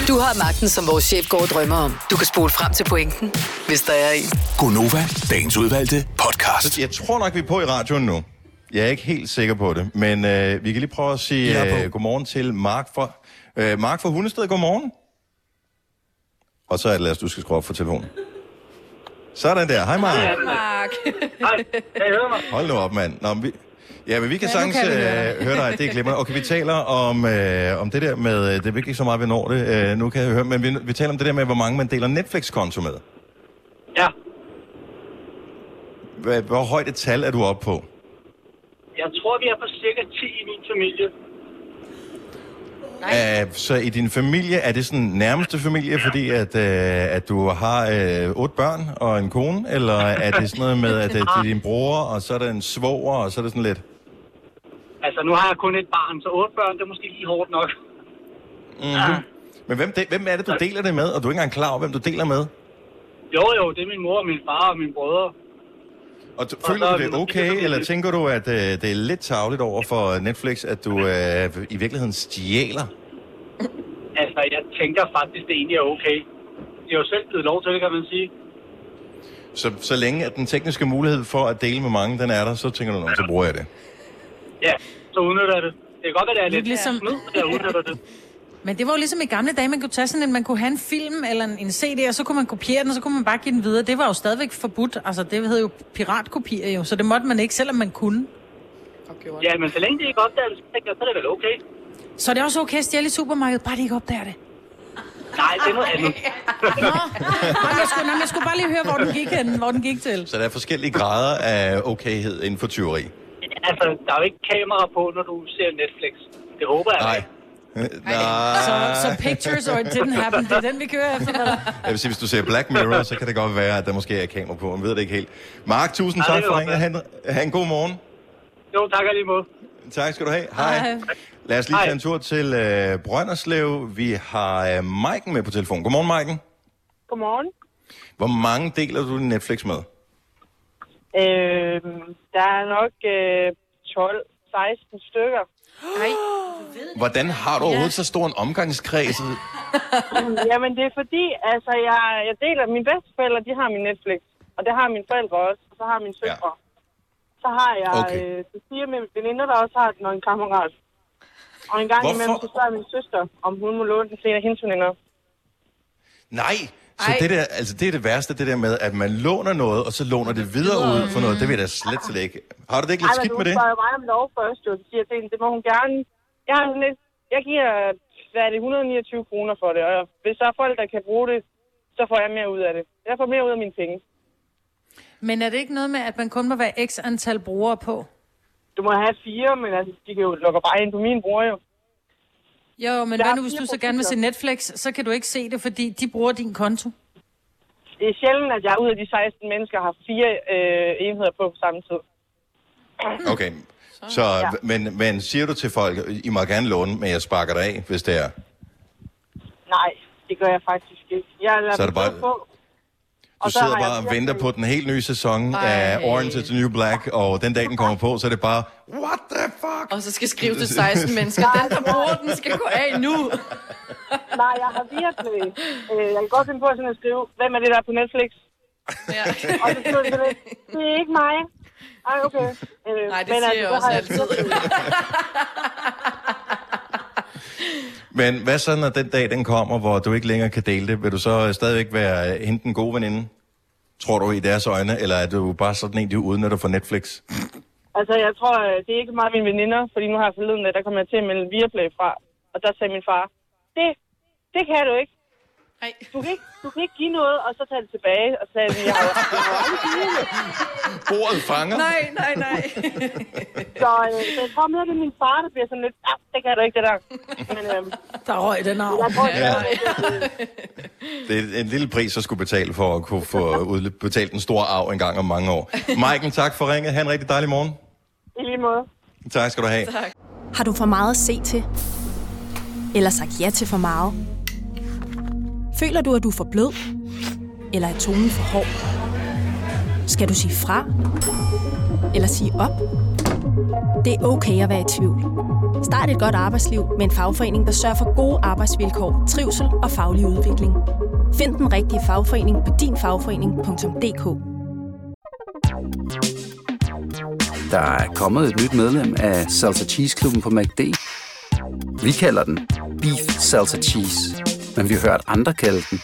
[SPEAKER 5] Du har magten, som vores chef går og drømmer om. Du kan spole frem til pointen, hvis der er en.
[SPEAKER 7] Gonova, dagens udvalgte podcast.
[SPEAKER 1] Jeg tror nok, vi er på i radioen nu. Jeg er ikke helt sikker på det, men øh, vi kan lige prøve at sige
[SPEAKER 7] Jeg er på.
[SPEAKER 1] øh, godmorgen til Mark fra, øh, Mark fra Hundested. Godmorgen. Og så er det, lad os, du skal skrue op for telefonen. Sådan der. Hej Mark.
[SPEAKER 2] Mark.
[SPEAKER 1] Hold nu op, mand. Nå, men vi... Ja, men vi kan
[SPEAKER 4] Ja, nu
[SPEAKER 1] sagtens
[SPEAKER 4] kan vi
[SPEAKER 1] øh,
[SPEAKER 4] høre dig.
[SPEAKER 1] høre dig. Det er glimrende. Okay, vi taler om, øh, om det der med... øh, Det er virkelig ikke så meget, vi når det. Øh, nu kan jeg høre, men vi, vi taler om det der med, hvor mange man deler Netflix-konto med.
[SPEAKER 8] Ja,
[SPEAKER 1] Hvor, hvor højt et tal er du oppe på?
[SPEAKER 8] jeg tror, vi er på cirka 10 i min familie.
[SPEAKER 1] Æh, så i din familie, er det sådan nærmeste familie, fordi at, øh, at du har øh, otte børn og en kone, eller er det sådan noget med, at øh, det er din bror, og så er der en svoger, og så er det sådan lidt...
[SPEAKER 8] Altså, nu har jeg kun et barn, så otte børn, det er måske lige hårdt nok.
[SPEAKER 1] mm-hmm. Men hvem, de, hvem er det, du deler det med, og du er ikke engang klar over, hvem du deler med?
[SPEAKER 8] Jo, jo, det er min mor og min far og mine brødre.
[SPEAKER 1] Og t-
[SPEAKER 8] så
[SPEAKER 1] føler
[SPEAKER 8] er
[SPEAKER 1] du det
[SPEAKER 8] vi-
[SPEAKER 1] okay, eller tænker du, at øh, det er lidt tavligt over for Netflix, at du øh, i virkeligheden stjæler?
[SPEAKER 8] Altså, jeg tænker faktisk, det egentlig er okay. Det er jo selv givet lov til det, kan man sige.
[SPEAKER 1] Så, så længe at den tekniske mulighed for at dele med mange, den er der, så tænker du, "Nå, så bruger jeg det.
[SPEAKER 8] Ja, så udnytter jeg det. Det kan godt være, det er
[SPEAKER 4] Lidt
[SPEAKER 8] lidt
[SPEAKER 4] ligesom-
[SPEAKER 8] snyd, at jeg udnytter
[SPEAKER 9] *laughs*
[SPEAKER 8] det.
[SPEAKER 4] Men det var jo ligesom i gamle dage, man kunne tage sådan en, man kunne have en film eller en, en CD, og så kunne man kopiere den, og så kunne man bare give den videre. Det var jo stadigvæk forbudt. Altså, det hed jo piratkopier jo, så det måtte man ikke, selvom man kunne.
[SPEAKER 2] og gjorde det.
[SPEAKER 8] Ja, men så længe de ikke opdager det, så tænker jeg, så er det vel okay.
[SPEAKER 4] Så er det også okay at stjæle i supermarkedet, bare de ikke opdager det.
[SPEAKER 8] Nej, det er noget
[SPEAKER 9] *laughs*
[SPEAKER 8] andet.
[SPEAKER 4] Nå, jeg skulle, nå, men jeg skulle bare lige høre, hvor den gik hen, hvor den gik til.
[SPEAKER 1] Så der er forskellige grader af okayhed inden for tyveri.
[SPEAKER 8] Altså, der er jo ikke kamera på, når du ser Netflix. Det håber jeg.
[SPEAKER 1] Nej.
[SPEAKER 8] ikke.
[SPEAKER 1] Øh, Nej.
[SPEAKER 4] Så, så pictures or it didn't happen, det er den, vi kører efter. eller?
[SPEAKER 1] Jeg vil sige, hvis du ser Black Mirror, så kan det godt være, at der måske er kamera på. Man ved det ikke helt. Mark, tusind
[SPEAKER 8] Nej,
[SPEAKER 1] tak
[SPEAKER 8] det er
[SPEAKER 1] for
[SPEAKER 8] jo
[SPEAKER 1] ringen. Han, han god morgen.
[SPEAKER 8] Jo, tak alligevel.
[SPEAKER 1] Tak skal du have. Hej.
[SPEAKER 4] Hej.
[SPEAKER 1] Lad os lige
[SPEAKER 8] Hej.
[SPEAKER 1] tage en tur til øh, Brønderslev. Vi har øh, Maiken med på telefon. Godmorgen, Maiken.
[SPEAKER 9] Godmorgen.
[SPEAKER 1] Hvor mange deler du din Netflix med?
[SPEAKER 9] Øh, der er nok øh, 12-16 stykker.
[SPEAKER 1] Hvordan har du overhovedet så stor en omgangskreds?
[SPEAKER 9] *gasps* Jamen, det er fordi, altså, jeg, jeg deler... Mine bedsteforældre, de har min Netflix. Og det har mine forældre også. Og så har mine søstre. Ja. Så har jeg
[SPEAKER 1] Okay.
[SPEAKER 9] okay. øh, Sofia med mine veninder, der også har den, og en kammerat. Og en gang
[SPEAKER 1] Hvorfor?
[SPEAKER 9] imellem, så spørger min søster, om hun må låne den til en af hendes veninder.
[SPEAKER 1] Nej, så det, der, altså det er det værste, det der med, at man låner noget, og så låner det videre ud for noget. Det vil jeg da slet slet ikke. Har du det ikke lidt
[SPEAKER 9] men
[SPEAKER 1] skidt
[SPEAKER 9] hun
[SPEAKER 1] med det?
[SPEAKER 9] spørger mig om lov først, jo. Så siger jeg til hende, det må hun gerne... Jeg har sådan lidt... Jeg giver, hvad er det, 129 kroner for det. Og hvis der er folk, der kan bruge det, så får jeg mere ud af det. Jeg får mere ud af mine penge.
[SPEAKER 4] Men er det ikke noget med, at man kun må være x antal brugere på?
[SPEAKER 9] Du må have fire, men altså, de kan jo lukke bare ind på min bror, jo.
[SPEAKER 4] Jo, men
[SPEAKER 9] Der
[SPEAKER 4] hvad
[SPEAKER 9] er
[SPEAKER 4] nu, hvis
[SPEAKER 9] fire
[SPEAKER 4] du så gerne vil se
[SPEAKER 9] profiler.
[SPEAKER 4] Netflix, så kan du ikke se det, fordi de bruger din konto.
[SPEAKER 9] Det er sjældent, at jeg ud af de 16 mennesker har fire øh, enheder på på samme tid.
[SPEAKER 1] Okay, så, men, men siger du til folk, I må gerne låne, men jeg sparker dig af, hvis det er.
[SPEAKER 9] Nej, det gør jeg faktisk ikke. Jeg lader
[SPEAKER 1] Så er det
[SPEAKER 9] dem
[SPEAKER 1] bare-
[SPEAKER 9] stå på.
[SPEAKER 1] Du
[SPEAKER 9] Og så
[SPEAKER 1] sidder
[SPEAKER 9] har jeg
[SPEAKER 1] bare og
[SPEAKER 9] flere
[SPEAKER 1] venter
[SPEAKER 9] penge.
[SPEAKER 1] på den helt nye sæson af Orange is the New Black, og den dag, den kommer på, så er det bare, what the fuck?
[SPEAKER 2] Og så skal skrive til 16 mennesker. Den, der bruger den, skal gå af nu.
[SPEAKER 9] Nej, jeg har virkelig... Øh, jeg kan godt finde på sådan at skrive, hvem er det, der er på Netflix?
[SPEAKER 2] Ja.
[SPEAKER 9] *laughs* Og så skriver de lidt, det er ikke mig. Ej, okay. Øh,
[SPEAKER 2] Nej, det
[SPEAKER 9] men
[SPEAKER 2] siger
[SPEAKER 9] altså,
[SPEAKER 2] jeg
[SPEAKER 9] så
[SPEAKER 2] også
[SPEAKER 9] har
[SPEAKER 2] altid.
[SPEAKER 1] Men hvad så, når den dag, den kommer, hvor du ikke længere kan dele det? Vil du så stadigvæk være øh, hende den gode veninde? Tror du i deres øjne, eller er du bare sådan en, de udnytter for Netflix?
[SPEAKER 9] Altså, jeg tror, øh, det er ikke meget mine veninder, fordi nu har jeg forleden, dag, der kom jeg til at melde Viaplay fra. Og der sagde min far, det, det kan du ikke.
[SPEAKER 2] Nej.
[SPEAKER 9] Du kan ikke, du kan ikke give noget, og så tage det tilbage, og så sagde vi, jeg har
[SPEAKER 1] Bordet fanger.
[SPEAKER 2] Nej, nej, nej.
[SPEAKER 9] *laughs* Så, øh, så jeg tror mere, det er min far, der bliver sådan lidt, ah, det kan du ikke, det der. Men øh,
[SPEAKER 4] Der røg den arv.
[SPEAKER 9] jeg tror,
[SPEAKER 1] Ja.
[SPEAKER 9] ja.
[SPEAKER 1] Det er en lille pris at skulle betale for at kunne få udbetalt den store arv en gang om mange
[SPEAKER 9] *laughs*
[SPEAKER 1] år. Maiken, tak for ringet. Ha' en rigtig dejlig morgen.
[SPEAKER 9] i lige måde.
[SPEAKER 1] Tak skal du have. Tak.
[SPEAKER 10] Har du for meget at se til? Eller sagt ja til for meget? Føler du, at du er for blød? Eller er tonen for hård? Skal du sige fra? Eller sige op? Det er okay at være i tvivl. Start et godt arbejdsliv med en fagforening, der sørger for gode arbejdsvilkår, trivsel og faglig udvikling. Find den rigtige fagforening på dinfagforening.dk.
[SPEAKER 11] Der er kommet et nyt medlem af Salsa Cheese Klubben på MACD. Vi kalder den Beef Salsa Cheese, men vi har hørt andre kalde den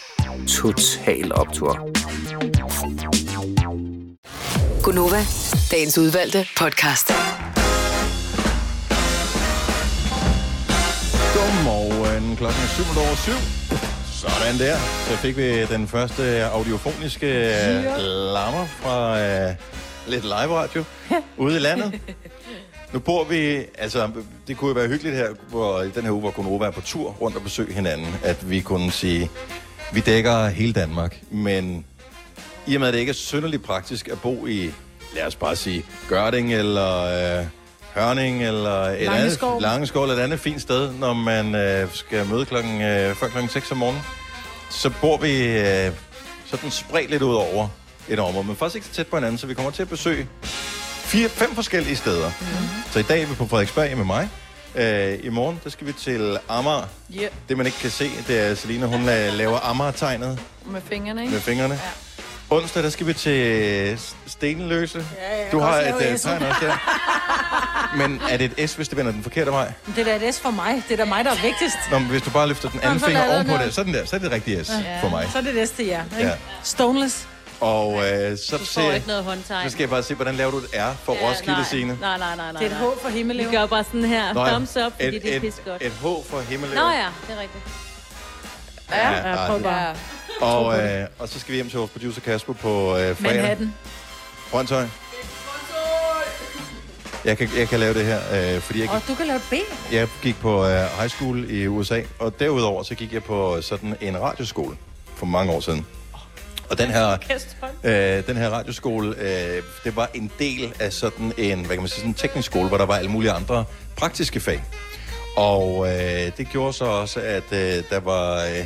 [SPEAKER 11] Total Optor.
[SPEAKER 5] Gunova, dagens udvalgte podcast.
[SPEAKER 1] Godmorgen. Klokken er 7 over 7. Sådan der. Så fik vi den første audiofoniske øh, lammer fra øh, lidt live radio ude i landet.
[SPEAKER 5] Mm.
[SPEAKER 1] Nu bor vi, altså det kunne jo være hyggeligt her, hvor i den her uge, hvor Gunova er på tur rundt og besøge hinanden, at vi kunne sige, vi dækker hele Danmark, men i og med, at det ikke er synderligt praktisk at bo i, lad os bare sige, Gørding eller øh, Hørning eller et
[SPEAKER 4] Langeskov.
[SPEAKER 1] andet, Langeskov eller et andet fint sted, når man øh, skal møde klokken, øh, før klokken 6 om morgenen, så bor vi øh, sådan spredt lidt ud over et område, men faktisk ikke så tæt på hinanden, så vi kommer til at besøge fire, fem forskellige steder. Mm-hmm. Så i dag er vi på Frederiksberg med mig. Øh, I morgen, der skal vi til Amager.
[SPEAKER 2] Ja,
[SPEAKER 1] Det, man ikke kan se, det er, at Selina, hun la- laver Amager-tegnet
[SPEAKER 2] med fingrene, ikke?
[SPEAKER 1] med fingrene. Ja. Onsdag, der skal vi til øh, S- Stenløse. Ja, ja, du har et øh, tegn også
[SPEAKER 6] *laughs*
[SPEAKER 1] der. Men er det et S, hvis det vender den forkerte vej?
[SPEAKER 4] Det er da et S for mig. Det er da mig, der er vigtigst.
[SPEAKER 1] Nå, men hvis du bare løfter den anden
[SPEAKER 4] så
[SPEAKER 1] finger
[SPEAKER 4] lader
[SPEAKER 1] ovenpå
[SPEAKER 4] den
[SPEAKER 1] det, sådan der, så er det det rigtige S ja. for mig.
[SPEAKER 4] Så er det et S til jer. Ikke?
[SPEAKER 1] Ja.
[SPEAKER 4] Stoneless.
[SPEAKER 1] Og øh, så,
[SPEAKER 6] Du får
[SPEAKER 1] ser,
[SPEAKER 6] ikke noget håndtegn.
[SPEAKER 1] så skal jeg bare se, hvordan laver du et R for ja,
[SPEAKER 6] Ja,
[SPEAKER 1] Roskilde
[SPEAKER 6] nej.
[SPEAKER 1] Scene.
[SPEAKER 6] Nej, nej, nej, nej.
[SPEAKER 4] Det er et
[SPEAKER 6] nej.
[SPEAKER 4] H for himmelen.
[SPEAKER 6] Vi gør bare sådan her.
[SPEAKER 1] Nå ja,
[SPEAKER 6] Thumbs up, fordi
[SPEAKER 1] et,
[SPEAKER 6] det er
[SPEAKER 1] et,
[SPEAKER 6] pisse godt.
[SPEAKER 1] Et H for himmelen.
[SPEAKER 6] Nå ja, det er rigtigt.
[SPEAKER 1] Ja, Ja, ja, prøv det- bare.
[SPEAKER 6] Tro på
[SPEAKER 1] Og,
[SPEAKER 6] det.
[SPEAKER 1] øh, og så skal vi hjem til vores producer Kasper på øh, fredag.
[SPEAKER 4] Manhattan.
[SPEAKER 1] Brøndshøj. Jeg kan, jeg kan lave det her, øh, fordi jeg
[SPEAKER 4] Og
[SPEAKER 1] gik,
[SPEAKER 4] du kan lave et B.
[SPEAKER 1] jeg gik på øh, high school i USA, og derudover så gik jeg på sådan en radioskole for mange år siden. Og den her, øh, den her radioskole, øh, det var en del af sådan en, hvad kan man sige, sådan en teknisk skole, hvor der var alle mulige andre praktiske fag. Og øh, det gjorde så også, at øh, der var... Øh,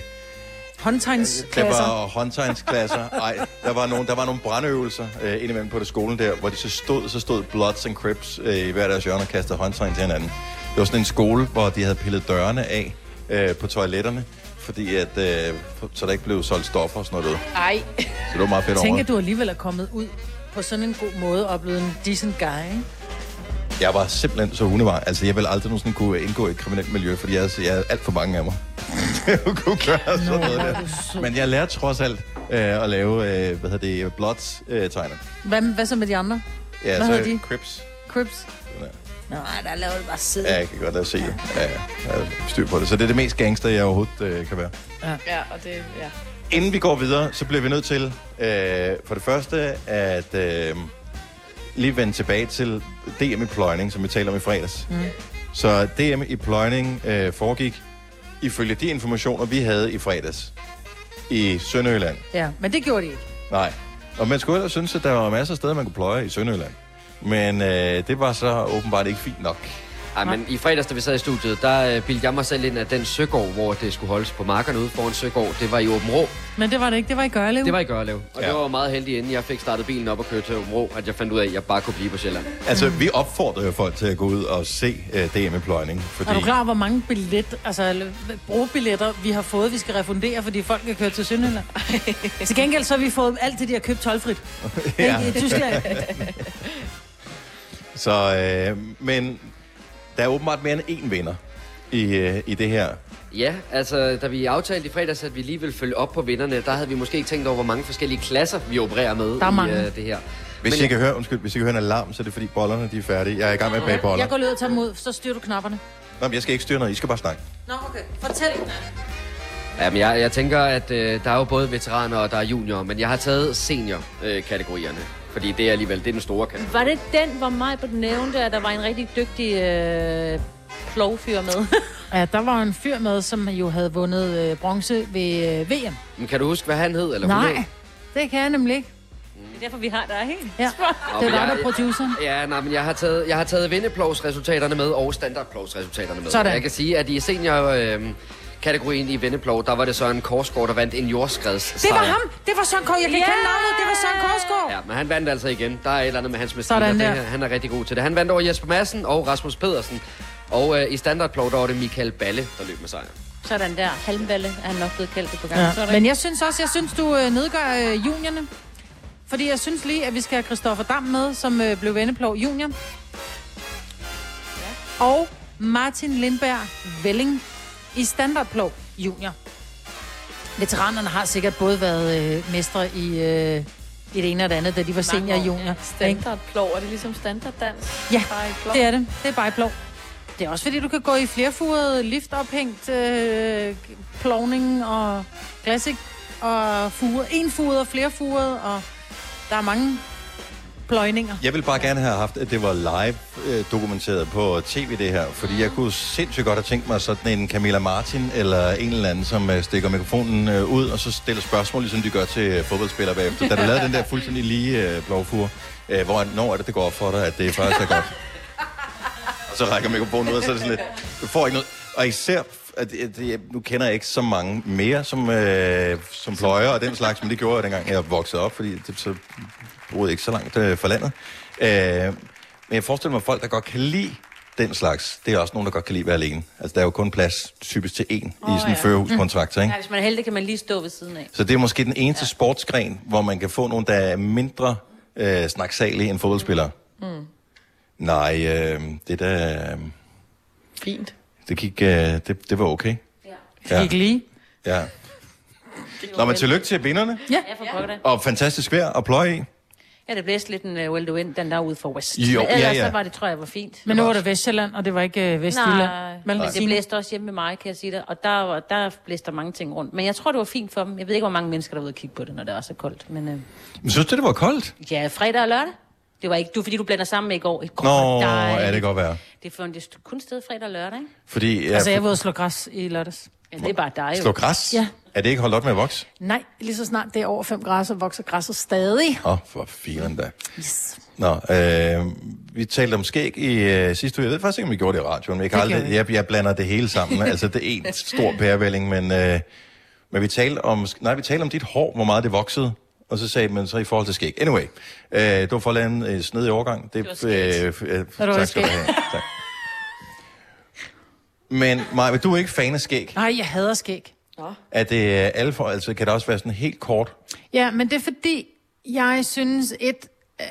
[SPEAKER 4] Håndtegnsklasser.
[SPEAKER 1] der var håndtegnsklasser. Ej, der var nogle, der var nogle brandøvelser øh, indimellem på det skolen der, hvor de så stod, så stod Bloods and Crips øh, i hver deres hjørne og kastede håndtegn til hinanden. Det var sådan en skole, hvor de havde pillet dørene af øh, på toiletterne, fordi at, øh, så der ikke blev solgt stoffer og sådan noget.
[SPEAKER 4] Ej.
[SPEAKER 1] Så det var meget fedt
[SPEAKER 4] Tænk,
[SPEAKER 1] over.
[SPEAKER 4] at du alligevel er kommet ud på sådan en god måde og blevet en decent guy, ikke?
[SPEAKER 1] Jeg var simpelthen så hundevar. Altså, jeg ville aldrig nogensinde kunne indgå i et kriminelt miljø, fordi jeg, jeg havde alt for mange af mig. *laughs* jeg kunne gøre sådan
[SPEAKER 4] Nå,
[SPEAKER 1] noget
[SPEAKER 4] hvor er
[SPEAKER 1] der.
[SPEAKER 4] du sød.
[SPEAKER 1] Men jeg lærte trods alt øh, at lave, øh, hvad hedder det, blots øh, tegner.
[SPEAKER 4] Hvad, hvad så med de andre?
[SPEAKER 1] Ja,
[SPEAKER 4] hvad
[SPEAKER 1] så
[SPEAKER 4] hedder de?
[SPEAKER 1] Crips.
[SPEAKER 4] Crips?
[SPEAKER 1] Ja.
[SPEAKER 4] Nej, der lavede bare sid.
[SPEAKER 1] Ja, jeg kan godt lade se. Ja, ja, jeg har styr på det. Så det er det mest gangster, jeg overhovedet øh, kan være.
[SPEAKER 4] Ja.
[SPEAKER 2] ja, og det... Ja.
[SPEAKER 1] Inden vi går videre, så bliver vi nødt til øh, for det første at øh, lige vende tilbage til DM i pløjning, som vi taler om i fredags. Mm. Så DM i pløjning øh, foregik ifølge de informationer, vi havde i fredags i Sønderjylland.
[SPEAKER 4] Ja, men det gjorde de ikke.
[SPEAKER 1] Nej. Og man skulle ellers synes, at der var masser af steder, man kunne pløje i Sønderjylland. Men øh, det var så åbenbart ikke fint nok.
[SPEAKER 12] Ej, men i fredags, da vi sad i studiet, der øh, bildte jeg mig selv ind, at den søgård, hvor det skulle holdes på markerne ude foran søgård, det var i Åben Rå.
[SPEAKER 4] Men det var det ikke. Det var i Gørlev.
[SPEAKER 12] Det var i Gørlev. Og ja. det var jo meget heldigt, inden jeg fik startet bilen op og kørte til Åben Rå, at jeg fandt ud af, at jeg bare kunne blive på Sjælland.
[SPEAKER 1] Altså, vi opfordrer jo folk til at gå ud og se øh, DM i pløjning. Fordi...
[SPEAKER 4] Er du klar over, hvor mange billet, altså, eller, brugbilletter, vi har fået, vi skal refundere, fordi folk kan køre
[SPEAKER 1] *laughs*
[SPEAKER 4] til Sønderjylland? til gengæld så har vi fået alt det, de har købt tolvfrit.
[SPEAKER 1] Ja.
[SPEAKER 4] ja. I Tyskland.
[SPEAKER 1] Så, øh, men der er åbenbart mere end én vinder i, øh, i det her.
[SPEAKER 12] Ja, altså, da vi aftalte i fredags, at vi lige ville følge op på vinderne, der havde vi måske ikke tænkt over, hvor mange forskellige klasser vi opererer med
[SPEAKER 4] Der er
[SPEAKER 12] i
[SPEAKER 4] mange.
[SPEAKER 12] øh, det her.
[SPEAKER 1] Hvis
[SPEAKER 12] Men
[SPEAKER 1] men, I
[SPEAKER 12] jeg-
[SPEAKER 1] kan høre, undskyld, hvis I kan høre en alarm, så er det fordi bollerne de er færdige. Jeg er i gang med at bage boller.
[SPEAKER 4] Jeg går lige ud og tager dem ud, så styrer du knapperne.
[SPEAKER 1] Nå, men jeg skal ikke styre noget, I skal bare snakke.
[SPEAKER 4] Nå, okay. Fortæl.
[SPEAKER 12] Jamen, jeg, jeg tænker, at øh, der er jo både veteraner og der er junior, men jeg har taget senior-kategorierne. fordi det er alligevel det er den store kategori.
[SPEAKER 6] Var det den, hvor mig på nævnte, at der var en rigtig dygtig øh, klovfyr
[SPEAKER 4] *laughs*
[SPEAKER 6] med?
[SPEAKER 4] Ja, der var en fyr med, som jo havde vundet øh, bronze ved øh, VM.
[SPEAKER 12] Men kan du huske, hvad han hed? Eller hun
[SPEAKER 4] Nej,
[SPEAKER 12] hed?
[SPEAKER 4] det kan jeg nemlig ikke.
[SPEAKER 6] det er derfor, vi har dig, ikke?
[SPEAKER 4] Ja.
[SPEAKER 12] Nå,
[SPEAKER 4] Det
[SPEAKER 12] men
[SPEAKER 4] var
[SPEAKER 12] jeg-
[SPEAKER 4] der produceren.
[SPEAKER 12] Ja, nej, men jeg har taget, jeg har taget vindeplovsresultaterne med og standardplovsresultaterne med.
[SPEAKER 4] Sådan.
[SPEAKER 12] Jeg kan sige, at i senior... Øh, kategorien i Vendeplov, der var det Søren Korsgaard, der vandt en jordskreds.
[SPEAKER 4] Det var ham! Det var Søren Kors. Jeg kan ikke kende
[SPEAKER 6] Ja!
[SPEAKER 4] navnet. Det var Søren Korsgaard.
[SPEAKER 12] Ja, men han vandt altså igen. Der er et eller andet med hans mestiner.
[SPEAKER 4] Sådan
[SPEAKER 12] Det,
[SPEAKER 4] der.
[SPEAKER 12] han er rigtig god til det. Han vandt over Jesper Madsen og Rasmus Pedersen. Og øh, i standardplov, der var det Michael Balle, der løb med sejren.
[SPEAKER 6] Sådan der. Halmballe er han nok blevet kaldt det på gang. Så er
[SPEAKER 4] Ja.
[SPEAKER 6] der
[SPEAKER 4] Men
[SPEAKER 6] ikke-
[SPEAKER 4] jeg synes også, jeg synes, du øh, nedgør øh, juniorne. Fordi jeg synes lige, at vi skal have Christoffer Dam med, som øh, blev vendeplov junior. Og Martin Lindberg Velling i standardplov junior. Veteranerne har sikkert både været øh, mestre i, øh, i det ene og det andet, da de var senior og junior. ikke?
[SPEAKER 2] Standardplov, er det ligesom standarddans?
[SPEAKER 4] Ja,
[SPEAKER 2] Bare i plov.
[SPEAKER 4] det er det. Det er bare i plov. Det er også fordi, du kan gå i flerfuret, liftophængt, øh, plovning og classic og furet. En furet og flerfuret, og der er mange pløjninger.
[SPEAKER 1] Jeg ville bare gerne have haft, at det var live øh, dokumenteret på tv det her, fordi jeg kunne sindssygt godt have tænkt mig sådan en Camilla Martin eller en eller anden, som øh, stikker mikrofonen øh, ud og så stiller spørgsmål, ligesom de gør til øh, fodboldspillere bagefter. Da du lavede den der fuldstændig lige øh, blåfur, øh, hvor når er det, det går op for dig, at det faktisk er godt? og så rækker mikrofonen ud, og så er det sådan lidt, du får ikke noget. Og især, at, at, at nu kender jeg ikke så mange mere, som, øh, som pløjer og den slags, men det gjorde jeg dengang, jeg voksede op, fordi det, så boede ikke så langt øh, fra landet. Øh, men jeg forestiller mig, at folk, der godt kan lide den slags, det er også nogen, der godt kan lide at være alene. Altså, der er jo kun plads typisk til én oh, i sådan en ja. førehuskontrakt, ikke?
[SPEAKER 6] Ja, Mm. hvis man er heldig, kan man lige stå ved siden af.
[SPEAKER 1] Så det er måske den eneste ja. sportsgren, hvor man kan få nogle, der er mindre øh, snaksalige end fodboldspillere.
[SPEAKER 2] Mm.
[SPEAKER 1] Nej, øh, det der... Øh,
[SPEAKER 2] Fint.
[SPEAKER 1] det gik... Øh, det, det var okay. Ja.
[SPEAKER 4] Gik lige.
[SPEAKER 1] Ja. Nå, men tillykke til vinderne.
[SPEAKER 6] Ja. ja, for pokker da.
[SPEAKER 1] Og fantastisk vejr at pløje i.
[SPEAKER 6] Ja, det blæste lidt en uh, well wind, den der ude for West.
[SPEAKER 1] Jo,
[SPEAKER 6] Men ellers
[SPEAKER 1] ja, ja.
[SPEAKER 6] så var det, tror jeg, var fint.
[SPEAKER 4] Men nu var det Vestjylland, og det var ikke øh,
[SPEAKER 6] Nej,
[SPEAKER 4] Vestjylland. Vel,
[SPEAKER 6] Nej, det
[SPEAKER 4] Signe?
[SPEAKER 6] blæste også hjemme med mig, kan jeg sige det. Og der, var, der blæste der mange ting rundt. Men jeg tror, det var fint for dem. Jeg ved ikke, hvor mange mennesker, der var ude og kigge på det, når det var så koldt. Men øh,
[SPEAKER 1] Men synes du, det var koldt?
[SPEAKER 6] ja, fredag og lørdag. Det var ikke du, fordi du blander sammen med i går. I går
[SPEAKER 1] Nå,
[SPEAKER 6] var
[SPEAKER 1] ja,
[SPEAKER 6] dejligt.
[SPEAKER 1] det kan godt være.
[SPEAKER 6] Det er for- det er kun sted fredag og lørdag, ikke?
[SPEAKER 1] Fordi, ja,
[SPEAKER 4] Altså, jeg var ude og slå græs i lørdags.
[SPEAKER 6] Ja, det er bare dig
[SPEAKER 1] slå græs?
[SPEAKER 4] Ja.
[SPEAKER 1] Er det ikke holdt op med at vokse?
[SPEAKER 4] Nej, lige så snart det er over 5 grader, så vokser græsset stadig.
[SPEAKER 1] Åh, oh, for filen da.
[SPEAKER 4] Yes.
[SPEAKER 1] Nå, øh, vi talte om skæg i øh, sidste uge. Jeg ved faktisk ikke, om vi gjorde det i radioen. Men jeg, kan
[SPEAKER 4] Det gjorde
[SPEAKER 1] aldrig, jeg,
[SPEAKER 4] vi.
[SPEAKER 1] jeg blander det hele sammen. altså, det er en stor pærevælling, men, øh, men vi talte om, nej, vi talte om dit hår, hvor meget det voksede. Og så sagde man så i forhold til skæg. Anyway, øh, det var for at lave en øh, snedig overgang. Det,
[SPEAKER 13] Det var skægt.
[SPEAKER 1] øh,
[SPEAKER 13] var
[SPEAKER 1] tak skal
[SPEAKER 13] skægt.
[SPEAKER 1] du have. Tak. Men Maja, du er ikke fan af skæg.
[SPEAKER 4] Nej, jeg hader skæg.
[SPEAKER 1] Er det øh, alle for, altså, kan det også være sådan helt kort?
[SPEAKER 4] Ja, men det er fordi, jeg synes et... Øh,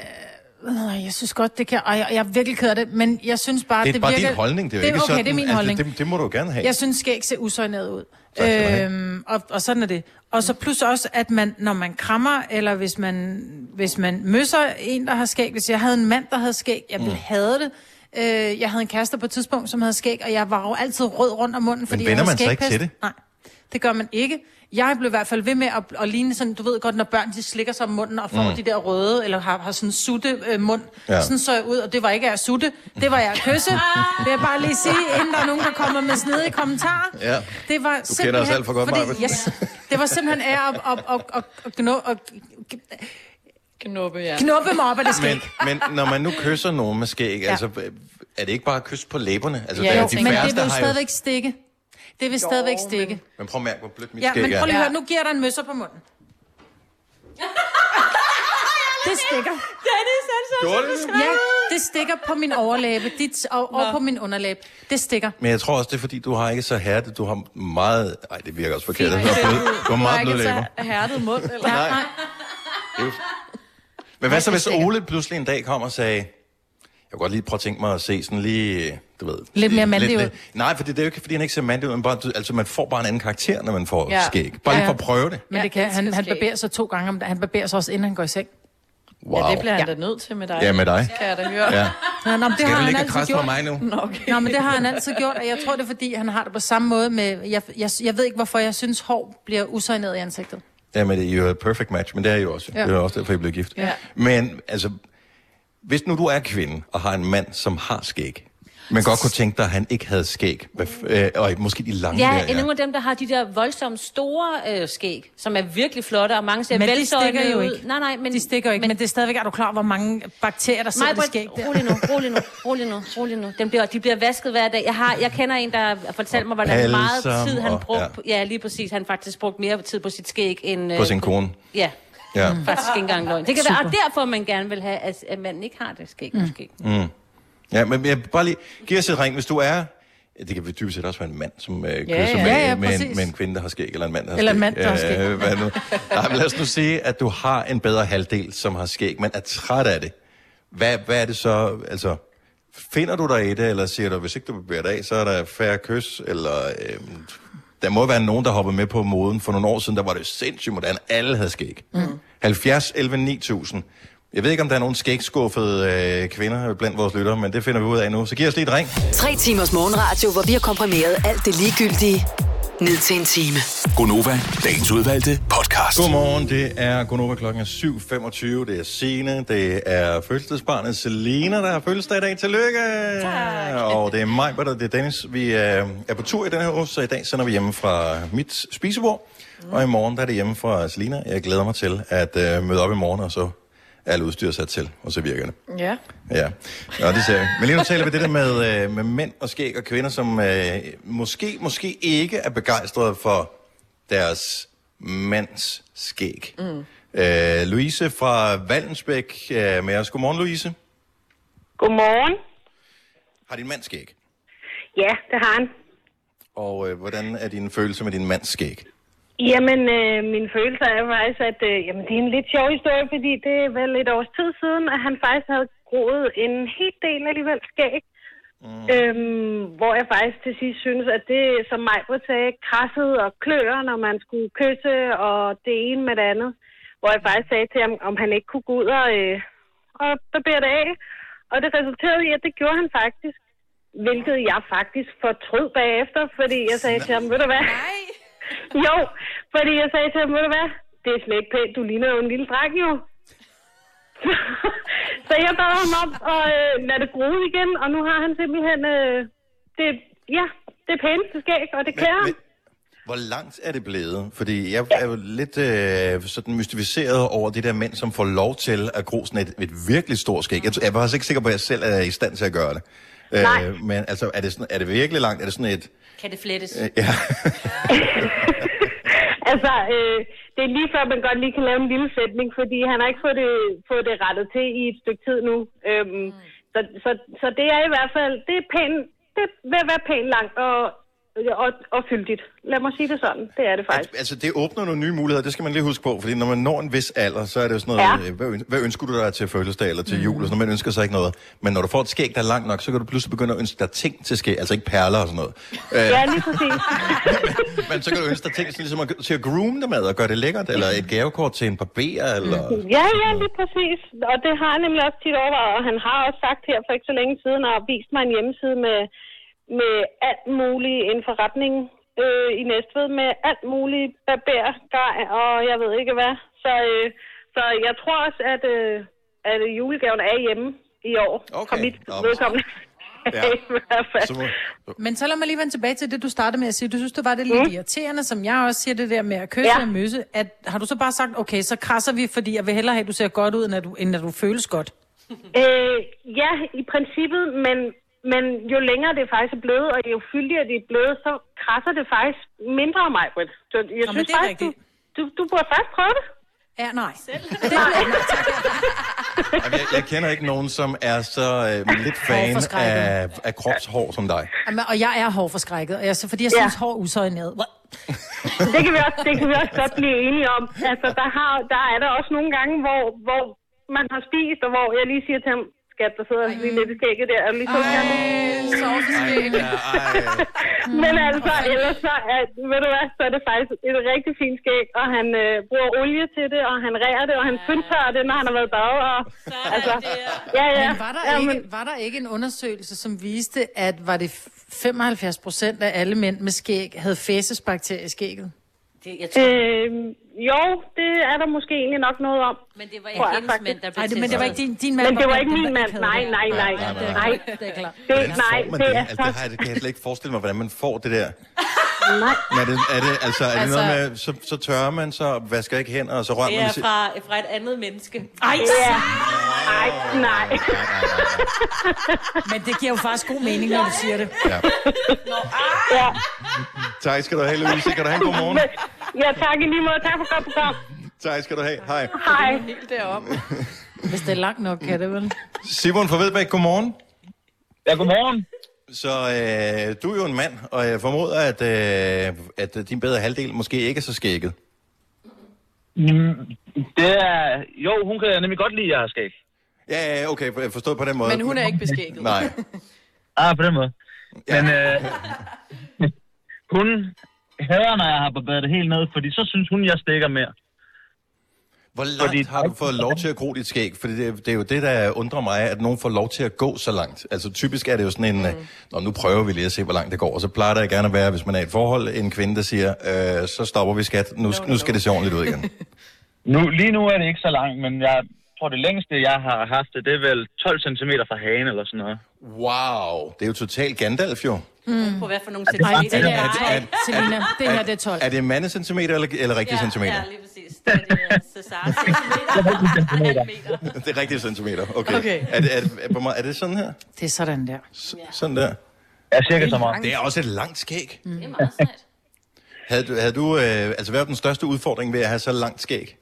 [SPEAKER 4] øh, jeg synes godt, det kan... Og jeg, jeg er virkelig ked af det, men jeg synes bare,
[SPEAKER 1] det er
[SPEAKER 4] det
[SPEAKER 1] bare
[SPEAKER 4] virker...
[SPEAKER 1] din holdning. Det er jo ikke
[SPEAKER 4] okay,
[SPEAKER 1] sådan,
[SPEAKER 4] det er min
[SPEAKER 1] altså,
[SPEAKER 4] holdning.
[SPEAKER 1] Det, det, må du jo gerne have.
[SPEAKER 4] Jeg synes, skæg ser usøgnet ud.
[SPEAKER 1] Tak skal du have.
[SPEAKER 4] Øhm, og, og sådan er det. Og så plus også, at man, når man krammer, eller hvis man, hvis man møsser en, der har skæg. Hvis jeg havde en mand, der havde skæg, jeg ville
[SPEAKER 1] Mm.
[SPEAKER 4] have det. Øh, jeg havde en kæreste på et tidspunkt, som havde skæg, og jeg var jo altid rød rundt om munden, fordi
[SPEAKER 1] vender
[SPEAKER 4] jeg havde
[SPEAKER 1] man sig ikke
[SPEAKER 4] skægpest.
[SPEAKER 1] til det?
[SPEAKER 4] Nej, det gør man ikke. Jeg blev i hvert fald ved med at, at ligne sådan, du ved godt, når børn de slikker sig om munden og får
[SPEAKER 1] Mm.
[SPEAKER 4] mm. de der røde, eller har, har sådan en sutte øh, mund.
[SPEAKER 1] Ja.
[SPEAKER 4] Ja. Sådan så jeg ud, og det var ikke at sutte, det var jeg at
[SPEAKER 1] *laughs*
[SPEAKER 4] kysse. Vil jeg bare lige sige, inden der er nogen, der kommer med snedige kommentarer.
[SPEAKER 1] Ja.
[SPEAKER 4] Det var
[SPEAKER 1] Du kender
[SPEAKER 4] simpelthen,
[SPEAKER 1] os alt for godt, Maja.
[SPEAKER 4] fordi, yes, Det var simpelthen af at, at, at, at, at, gno, at
[SPEAKER 2] Knuppe, ja.
[SPEAKER 4] knuppe mig op af det skæg.
[SPEAKER 1] Men, men når man nu kysser nogen med skæg, ja.
[SPEAKER 4] Ja.
[SPEAKER 1] altså, er det ikke bare at kysse på læbberne? Altså,
[SPEAKER 4] Ja,
[SPEAKER 1] der,
[SPEAKER 4] jo,
[SPEAKER 1] de
[SPEAKER 4] men det
[SPEAKER 1] færreste
[SPEAKER 4] vil jo
[SPEAKER 1] har
[SPEAKER 4] stadigvæk stikke. Det vil stadigvæk stikke.
[SPEAKER 1] Men prøv at mærke, hvor blødt mit
[SPEAKER 4] Ja,
[SPEAKER 1] skæg
[SPEAKER 4] men
[SPEAKER 1] er.
[SPEAKER 4] prøv lige at høre, nu giver der en møsser på munden. *laughs* Det stikker.
[SPEAKER 6] Dennis, han så
[SPEAKER 1] Gjorde det? beskrevet.
[SPEAKER 4] Ja, det stikker på min overlæbe dit, og, og på min underlæbe. Det stikker.
[SPEAKER 1] Men jeg tror også, det er fordi, du har ikke så hærdet. Du har meget... Nej, det virker også forkert. Du
[SPEAKER 2] Fint.
[SPEAKER 1] har, blød, du har meget
[SPEAKER 2] ikke
[SPEAKER 1] bløde læber.
[SPEAKER 2] så hærdet mund, eller?
[SPEAKER 1] Nej. Nej. Det er jo- Men hvad så, hvis Ole pludselig en dag kom og sagde... Jeg kunne godt lige prøve at tænke mig at se sådan lige... Du ved,
[SPEAKER 4] Lidt mere mandlig ud."
[SPEAKER 1] Nej, for det er jo ikke, fordi han ikke ser mandlig ud. Men bare, du- altså, man får bare en anden karakter, når man får
[SPEAKER 4] Ja.
[SPEAKER 1] skæg. Bare lige
[SPEAKER 4] Ja.
[SPEAKER 1] for at prøve det.
[SPEAKER 4] Men det kan, han, han barberer sig to gange om dagen. Han barberer sig også, inden han går i seng.
[SPEAKER 1] Wow.
[SPEAKER 2] Ja, det bliver han da nødt til med dig.
[SPEAKER 1] Ja, med dig.
[SPEAKER 2] Kan jeg da høre.
[SPEAKER 1] Ja.
[SPEAKER 4] Nå, nå, men det
[SPEAKER 1] Skal
[SPEAKER 4] har
[SPEAKER 1] du
[SPEAKER 4] han
[SPEAKER 1] ligge og
[SPEAKER 4] altid
[SPEAKER 1] krasse på
[SPEAKER 4] gjort.
[SPEAKER 1] mig nu?
[SPEAKER 2] Nå, okay.
[SPEAKER 4] Nå, men det har han altid gjort, og jeg tror, det er, fordi han har det på samme måde med... Jeg, jeg, jeg ved ikke, hvorfor jeg synes, hår bliver usøgnet i ansigtet.
[SPEAKER 1] Ja, men det er jo et perfect match, men det er jo også. Ja.
[SPEAKER 4] Ja.
[SPEAKER 1] Det er også derfor, jeg blev gift.
[SPEAKER 4] Ja.
[SPEAKER 1] Men altså, hvis nu du er kvinde og har en mand, som har skæg, men godt kunne tænke dig, at han ikke havde skæg, hvad f- øh, og måske de lange
[SPEAKER 6] Ja,
[SPEAKER 1] der,
[SPEAKER 6] ja, nogle af dem, der har de der voldsomt store øh, skæg, som er virkelig flotte, og mange ser
[SPEAKER 4] Men de
[SPEAKER 6] velsøjnede
[SPEAKER 4] stikker jo
[SPEAKER 6] ud.
[SPEAKER 4] ikke.
[SPEAKER 6] Nej, nej, men... De
[SPEAKER 4] stikker jo ikke, men, men det er stadigvæk... Er du klar over, hvor mange bakterier, der sidder i det
[SPEAKER 6] Majbrit,
[SPEAKER 4] skæg?
[SPEAKER 6] rolig nu, rolig nu, rolig nu, rolig nu. Den bliver, de bliver vasket hver dag. Jeg, har, jeg kender en, der fortalte mig, hvordan
[SPEAKER 1] Balsam
[SPEAKER 6] meget tid han
[SPEAKER 1] og-
[SPEAKER 6] brugte. Og, ja. ja. lige præcis. Han faktisk brugte mere tid på sit skæg end... øh,
[SPEAKER 1] På sin kone.
[SPEAKER 6] Ja, Mm.
[SPEAKER 1] Ja.
[SPEAKER 6] faktisk ikke engang løgn. Det kan
[SPEAKER 1] Super.
[SPEAKER 6] være, og derfor man gerne vil have, at, at manden ikke har det skæg, mm. måske.
[SPEAKER 1] Mm. Ja, men jeg, bare lige, giv os et ring, hvis du er... ja, Det kan vi typisk set også være en mand, som øh, kysser
[SPEAKER 4] ja.
[SPEAKER 1] Med,
[SPEAKER 4] Ja, ja,
[SPEAKER 1] med, en,
[SPEAKER 4] præcis.
[SPEAKER 1] med en kvinde, der har skæg, eller en mand, der har
[SPEAKER 4] Eller en
[SPEAKER 1] skæg.
[SPEAKER 4] mand, der har skæg.
[SPEAKER 1] Øh, hvad nu? Nej, men lad os nu sige, at du har en bedre halvdel, som har skæg, men er træt af det. Hvad, hvad er det så, altså... Finder du dig i det, eller siger du, hvis ikke du bevæger dig af, så er der færre kys, eller... Øh, der må være nogen, der hoppede med på moden. For nogle år siden, der var det sindssygt moderne. Alle havde skæg. Mm. 70, 11, 9000. Jeg ved ikke, om der er nogen skægskuffede øh, kvinder blandt vores lyttere, men det finder vi ud af nu. Så giv os lige et ring.
[SPEAKER 5] Tre timers morgenradio, hvor vi har komprimeret alt det ligegyldige ned til en time.
[SPEAKER 7] Gonova, dagens udvalgte podcast.
[SPEAKER 1] Godmorgen, det er Gunova klokken er 7.25. Det er Signe, det er fødselsdagsbarnet Selina, der har fødselsdag i dag. Tillykke! Tak. Og det er mig, og det er Dennis. Vi er, er på tur i den her uge, så i dag sender vi hjemme fra mit spisebord. Mm. Og i morgen der er det hjemme fra Selina. Jeg glæder mig til at øh, møde op i morgen, og så er alt udstyret sat til, og så virker det.
[SPEAKER 2] Ja.
[SPEAKER 1] Ja, Nå, det ser vi. Men lige nu taler vi det der med, øh, med mænd og skæg og kvinder, som øh, måske, måske ikke er begejstrede for deres mands skæg. Mm. Øh, Louise fra Vallensbæk øh, med os. Godmorgen, Louise.
[SPEAKER 14] Godmorgen.
[SPEAKER 1] Har din mand skæg?
[SPEAKER 14] Ja, *laughs* det har han.
[SPEAKER 1] Og øh, hvordan er dine følelser med din mands skæg?
[SPEAKER 14] Jamen, øh, min følelse er faktisk, at øh, jamen, det er en lidt sjov historie, fordi det er vel et års tid siden, at han faktisk havde groet en hel del alligevel skæg. Mm. Øhm, hvor jeg faktisk til sidst synes, at det, som Majbrit sagde, krassede og klør, når man skulle kysse, og det ene med det andet. Hvor jeg faktisk sagde til ham, om han ikke kunne gå ud og, øh, og barbere det af. Og det resulterede i, at det gjorde han faktisk. Hvilket jeg faktisk fortrød bagefter, fordi jeg sagde til ham, ved du hvad? Nej. jo, fordi jeg sagde til ham, ved du hvad? Det er slet ikke pænt, du ligner jo en lille dreng jo. *laughs* Så jeg bad ham om at øh, lade det gro igen, og nu har han simpelthen øh, det, ja, det pæneste skæg, og det klæder ham.
[SPEAKER 1] Hvor langt er det blevet? Fordi jeg er jo lidt øh, sådan mystificeret over det der mænd, som får lov til at gro sådan et, et virkelig stort skæg. Jeg, tror- jeg var faktisk ikke sikker på, at jeg selv er i stand til at gøre det.
[SPEAKER 6] Nej.
[SPEAKER 1] men altså, er det, sådan, er det virkelig langt? Er det sådan et...
[SPEAKER 6] Kan det flettes?
[SPEAKER 1] Øh, ja. *laughs*
[SPEAKER 14] Altså, øh, det er lige før, man godt lige kan lave en lille sætning, fordi han har ikke fået det, fået det rettet til i et stykke tid nu. Øhm, mm. så, så, så det er i hvert fald, det er pænt, det vil være pænt langt og, og, og fyldigt. Lad mig sige det sådan, det er det faktisk.
[SPEAKER 1] Altså, det åbner nogle nye muligheder, det skal man lige huske på, fordi når man når en vis alder, så er det jo sådan noget, ja. hvad, øn- hvad ønsker du dig til fødselsdag eller til jul, og sådan noget, man ønsker sig ikke noget. Men når du får et skæg, der er langt nok, så kan du pludselig begynde at ønske dig ting til skæg, altså ikke perler og sådan noget. Øh,
[SPEAKER 14] Ja, lige præcis.
[SPEAKER 1] Men så kan du ønske dig ting sådan ligesom at, til at groome det med og gøre det lækkert, eller et gavekort til en barber, eller...
[SPEAKER 14] Ja, ja, lige præcis. Og det har jeg nemlig også tit overvejet, og han har også sagt her for ikke så længe siden, og vist mig en hjemmeside med, med alt muligt inden for retning øh, i Næstved, med alt muligt barbergrej, og jeg ved ikke hvad. Så, øh, så jeg tror også, at, øh, at julegaven er hjemme i år. Okay. For mit vedkommende.
[SPEAKER 15] *laughs*
[SPEAKER 1] Ja.
[SPEAKER 14] I hvert fald.
[SPEAKER 4] *laughs* Men så lad mig lige vende tilbage til det, du startede med at sige. Du synes, det var det lidt mm. irriterende, som jeg også siger det der med at kysse ja. og møsse. At, har du så bare sagt, okay, så krasser vi, fordi jeg vil hellere have, at du ser godt ud, end at du, end at du føles godt?
[SPEAKER 14] *laughs* Øh, ja, i princippet, men, men jo længere det faktisk er blevet, og jo fyldigere det er blevet, så krasser det faktisk mindre af mig, Britt. Så jeg
[SPEAKER 4] men
[SPEAKER 14] synes
[SPEAKER 4] det er
[SPEAKER 14] faktisk, du, du, du burde faktisk prøve det.
[SPEAKER 4] Ja, nej. Selv.
[SPEAKER 1] Jamen, jeg, jeg kender ikke nogen, som er så øh, lidt fan
[SPEAKER 4] Hårforskrækket.
[SPEAKER 1] af, af kropshår som dig.
[SPEAKER 4] Jamen, og jeg er hårdforskrækket, og jeg, fordi jeg synes, ja. hår er usøjnet.
[SPEAKER 14] *laughs* Det kan, vi også, det kan vi også godt blive enige om. Altså, der, har, der er der også nogle gange, hvor, hvor man har spist, og hvor jeg lige siger til ham, skat, der sidder lige lidt i skægget der. Og lige så Ej,
[SPEAKER 1] Ja, ej.
[SPEAKER 14] *laughs* Men altså, ellers så er, ved du hvad, så er det faktisk et rigtig fint skæg, og han øh, bruger olie til det, og han rærer det, og han fyndtørrer det, når han har været bag. Og, altså, ja, ja.
[SPEAKER 4] Men var der,
[SPEAKER 14] ja,
[SPEAKER 4] ja, ikke, var der ikke en undersøgelse, som viste, at var det 75 procent af alle mænd med skæg havde fæsesbakterier i skægget?
[SPEAKER 6] Det, jeg
[SPEAKER 14] øh, jo, det er der måske egentlig nok noget om.
[SPEAKER 6] Men det var
[SPEAKER 14] Tror jeg
[SPEAKER 6] hendes
[SPEAKER 14] faktisk.
[SPEAKER 6] mand, der blev
[SPEAKER 4] Ej, det- men det var ikke din- din mand,
[SPEAKER 14] Men det
[SPEAKER 4] var
[SPEAKER 14] var
[SPEAKER 4] den,
[SPEAKER 14] ikke
[SPEAKER 4] der
[SPEAKER 14] min
[SPEAKER 4] ikke
[SPEAKER 14] mand.
[SPEAKER 4] havde
[SPEAKER 14] Nej,
[SPEAKER 4] det.
[SPEAKER 14] nej, nej.
[SPEAKER 1] Nej, nej,
[SPEAKER 14] Nej,
[SPEAKER 4] Det er klart.
[SPEAKER 14] det,
[SPEAKER 1] Hvordan
[SPEAKER 14] nej,
[SPEAKER 1] får man
[SPEAKER 14] det
[SPEAKER 1] det?
[SPEAKER 14] er
[SPEAKER 1] Altså, det har jeg, det kan jeg slet ikke forestille mig, hvordan man får det der.
[SPEAKER 2] Øh,
[SPEAKER 14] Nej.
[SPEAKER 1] Men er det, er det, altså, er det
[SPEAKER 6] Altså-
[SPEAKER 1] altså, noget med, så, så tørrer man, så vasker ikke hænder, og så rører
[SPEAKER 6] Det
[SPEAKER 1] man...
[SPEAKER 6] er
[SPEAKER 1] sig-
[SPEAKER 6] fra, fra et andet menneske.
[SPEAKER 4] Ej,
[SPEAKER 6] ja.
[SPEAKER 14] Ej, nej.
[SPEAKER 4] *laughs* Men det giver jo faktisk god mening, når du siger det.
[SPEAKER 1] Ja.
[SPEAKER 14] Ja.
[SPEAKER 1] Tak skal du have, Louise. Kan du have en god
[SPEAKER 4] *laughs*
[SPEAKER 1] morgen?
[SPEAKER 14] Ja, tak i lige måde. Tak for godt program.
[SPEAKER 1] Tak skal du have. Hej.
[SPEAKER 14] Hej.
[SPEAKER 2] Helt derom.
[SPEAKER 4] Hvis det er langt nok, kan det vel?
[SPEAKER 1] Simon fra Vedbæk, godmorgen.
[SPEAKER 13] Ja, godmorgen.
[SPEAKER 1] Så øh, du er jo en mand, og jeg formoder, at, øh, at din bedre halvdel måske ikke er så skægget.
[SPEAKER 13] Mm. Det er... Jo, hun kan nemlig godt lide, at jeg har skæg.
[SPEAKER 1] Ja, ja, okay, for- forstået på den måde.
[SPEAKER 2] Men hun er ikke beskægget.
[SPEAKER 1] Nej.
[SPEAKER 13] Ah, på den måde. Men øh, *laughs* hun hader, når jeg har barberet det helt ned, fordi så synes hun, jeg stikker mere.
[SPEAKER 1] Hvor langt fordi... har du fået lov til at gro dit skæg? Fordi det, det er jo det, der undrer mig, at nogen får lov til at gå så langt. Altså typisk er det jo sådan en, mm. Nå, nu prøver vi lige at se, hvor langt det går. Og så plejer det gerne at være, hvis man er i et forhold, en kvinde, der siger, øh, så stopper vi skat, nu, no, nu skal det se ordentligt ud igen.
[SPEAKER 13] Nu, lige nu er det ikke så langt, men jeg tror, det længste, jeg har haft det, det er vel 12 cm fra hagen eller sådan noget.
[SPEAKER 1] Wow, det er jo totalt Gandalf jo.
[SPEAKER 6] Mm. På hvad for nogle
[SPEAKER 4] Ej, det
[SPEAKER 6] centimeter?
[SPEAKER 4] der er
[SPEAKER 6] Ej,
[SPEAKER 4] 12. Selina, det her det er 12.
[SPEAKER 1] Er det mandecentimeter eller, eller rigtige
[SPEAKER 6] ja,
[SPEAKER 1] centimeter?
[SPEAKER 6] Ja, lige præcis. Det er det, øh, Cæsar centimeter. Halvmeter.
[SPEAKER 1] Det er rigtige centimeter, okay.
[SPEAKER 4] Okay.
[SPEAKER 1] Er, det, er, det, er, på mig- er det sådan her?
[SPEAKER 4] *laughs* Det er sådan der.
[SPEAKER 1] Sådan der?
[SPEAKER 13] Ja, cirka så meget.
[SPEAKER 1] Det er også et langt skæg.
[SPEAKER 4] Mm. Det
[SPEAKER 6] er meget sejt.
[SPEAKER 1] Havde du, havde du øh, altså hvad var den største udfordring ved at have så langt skæg?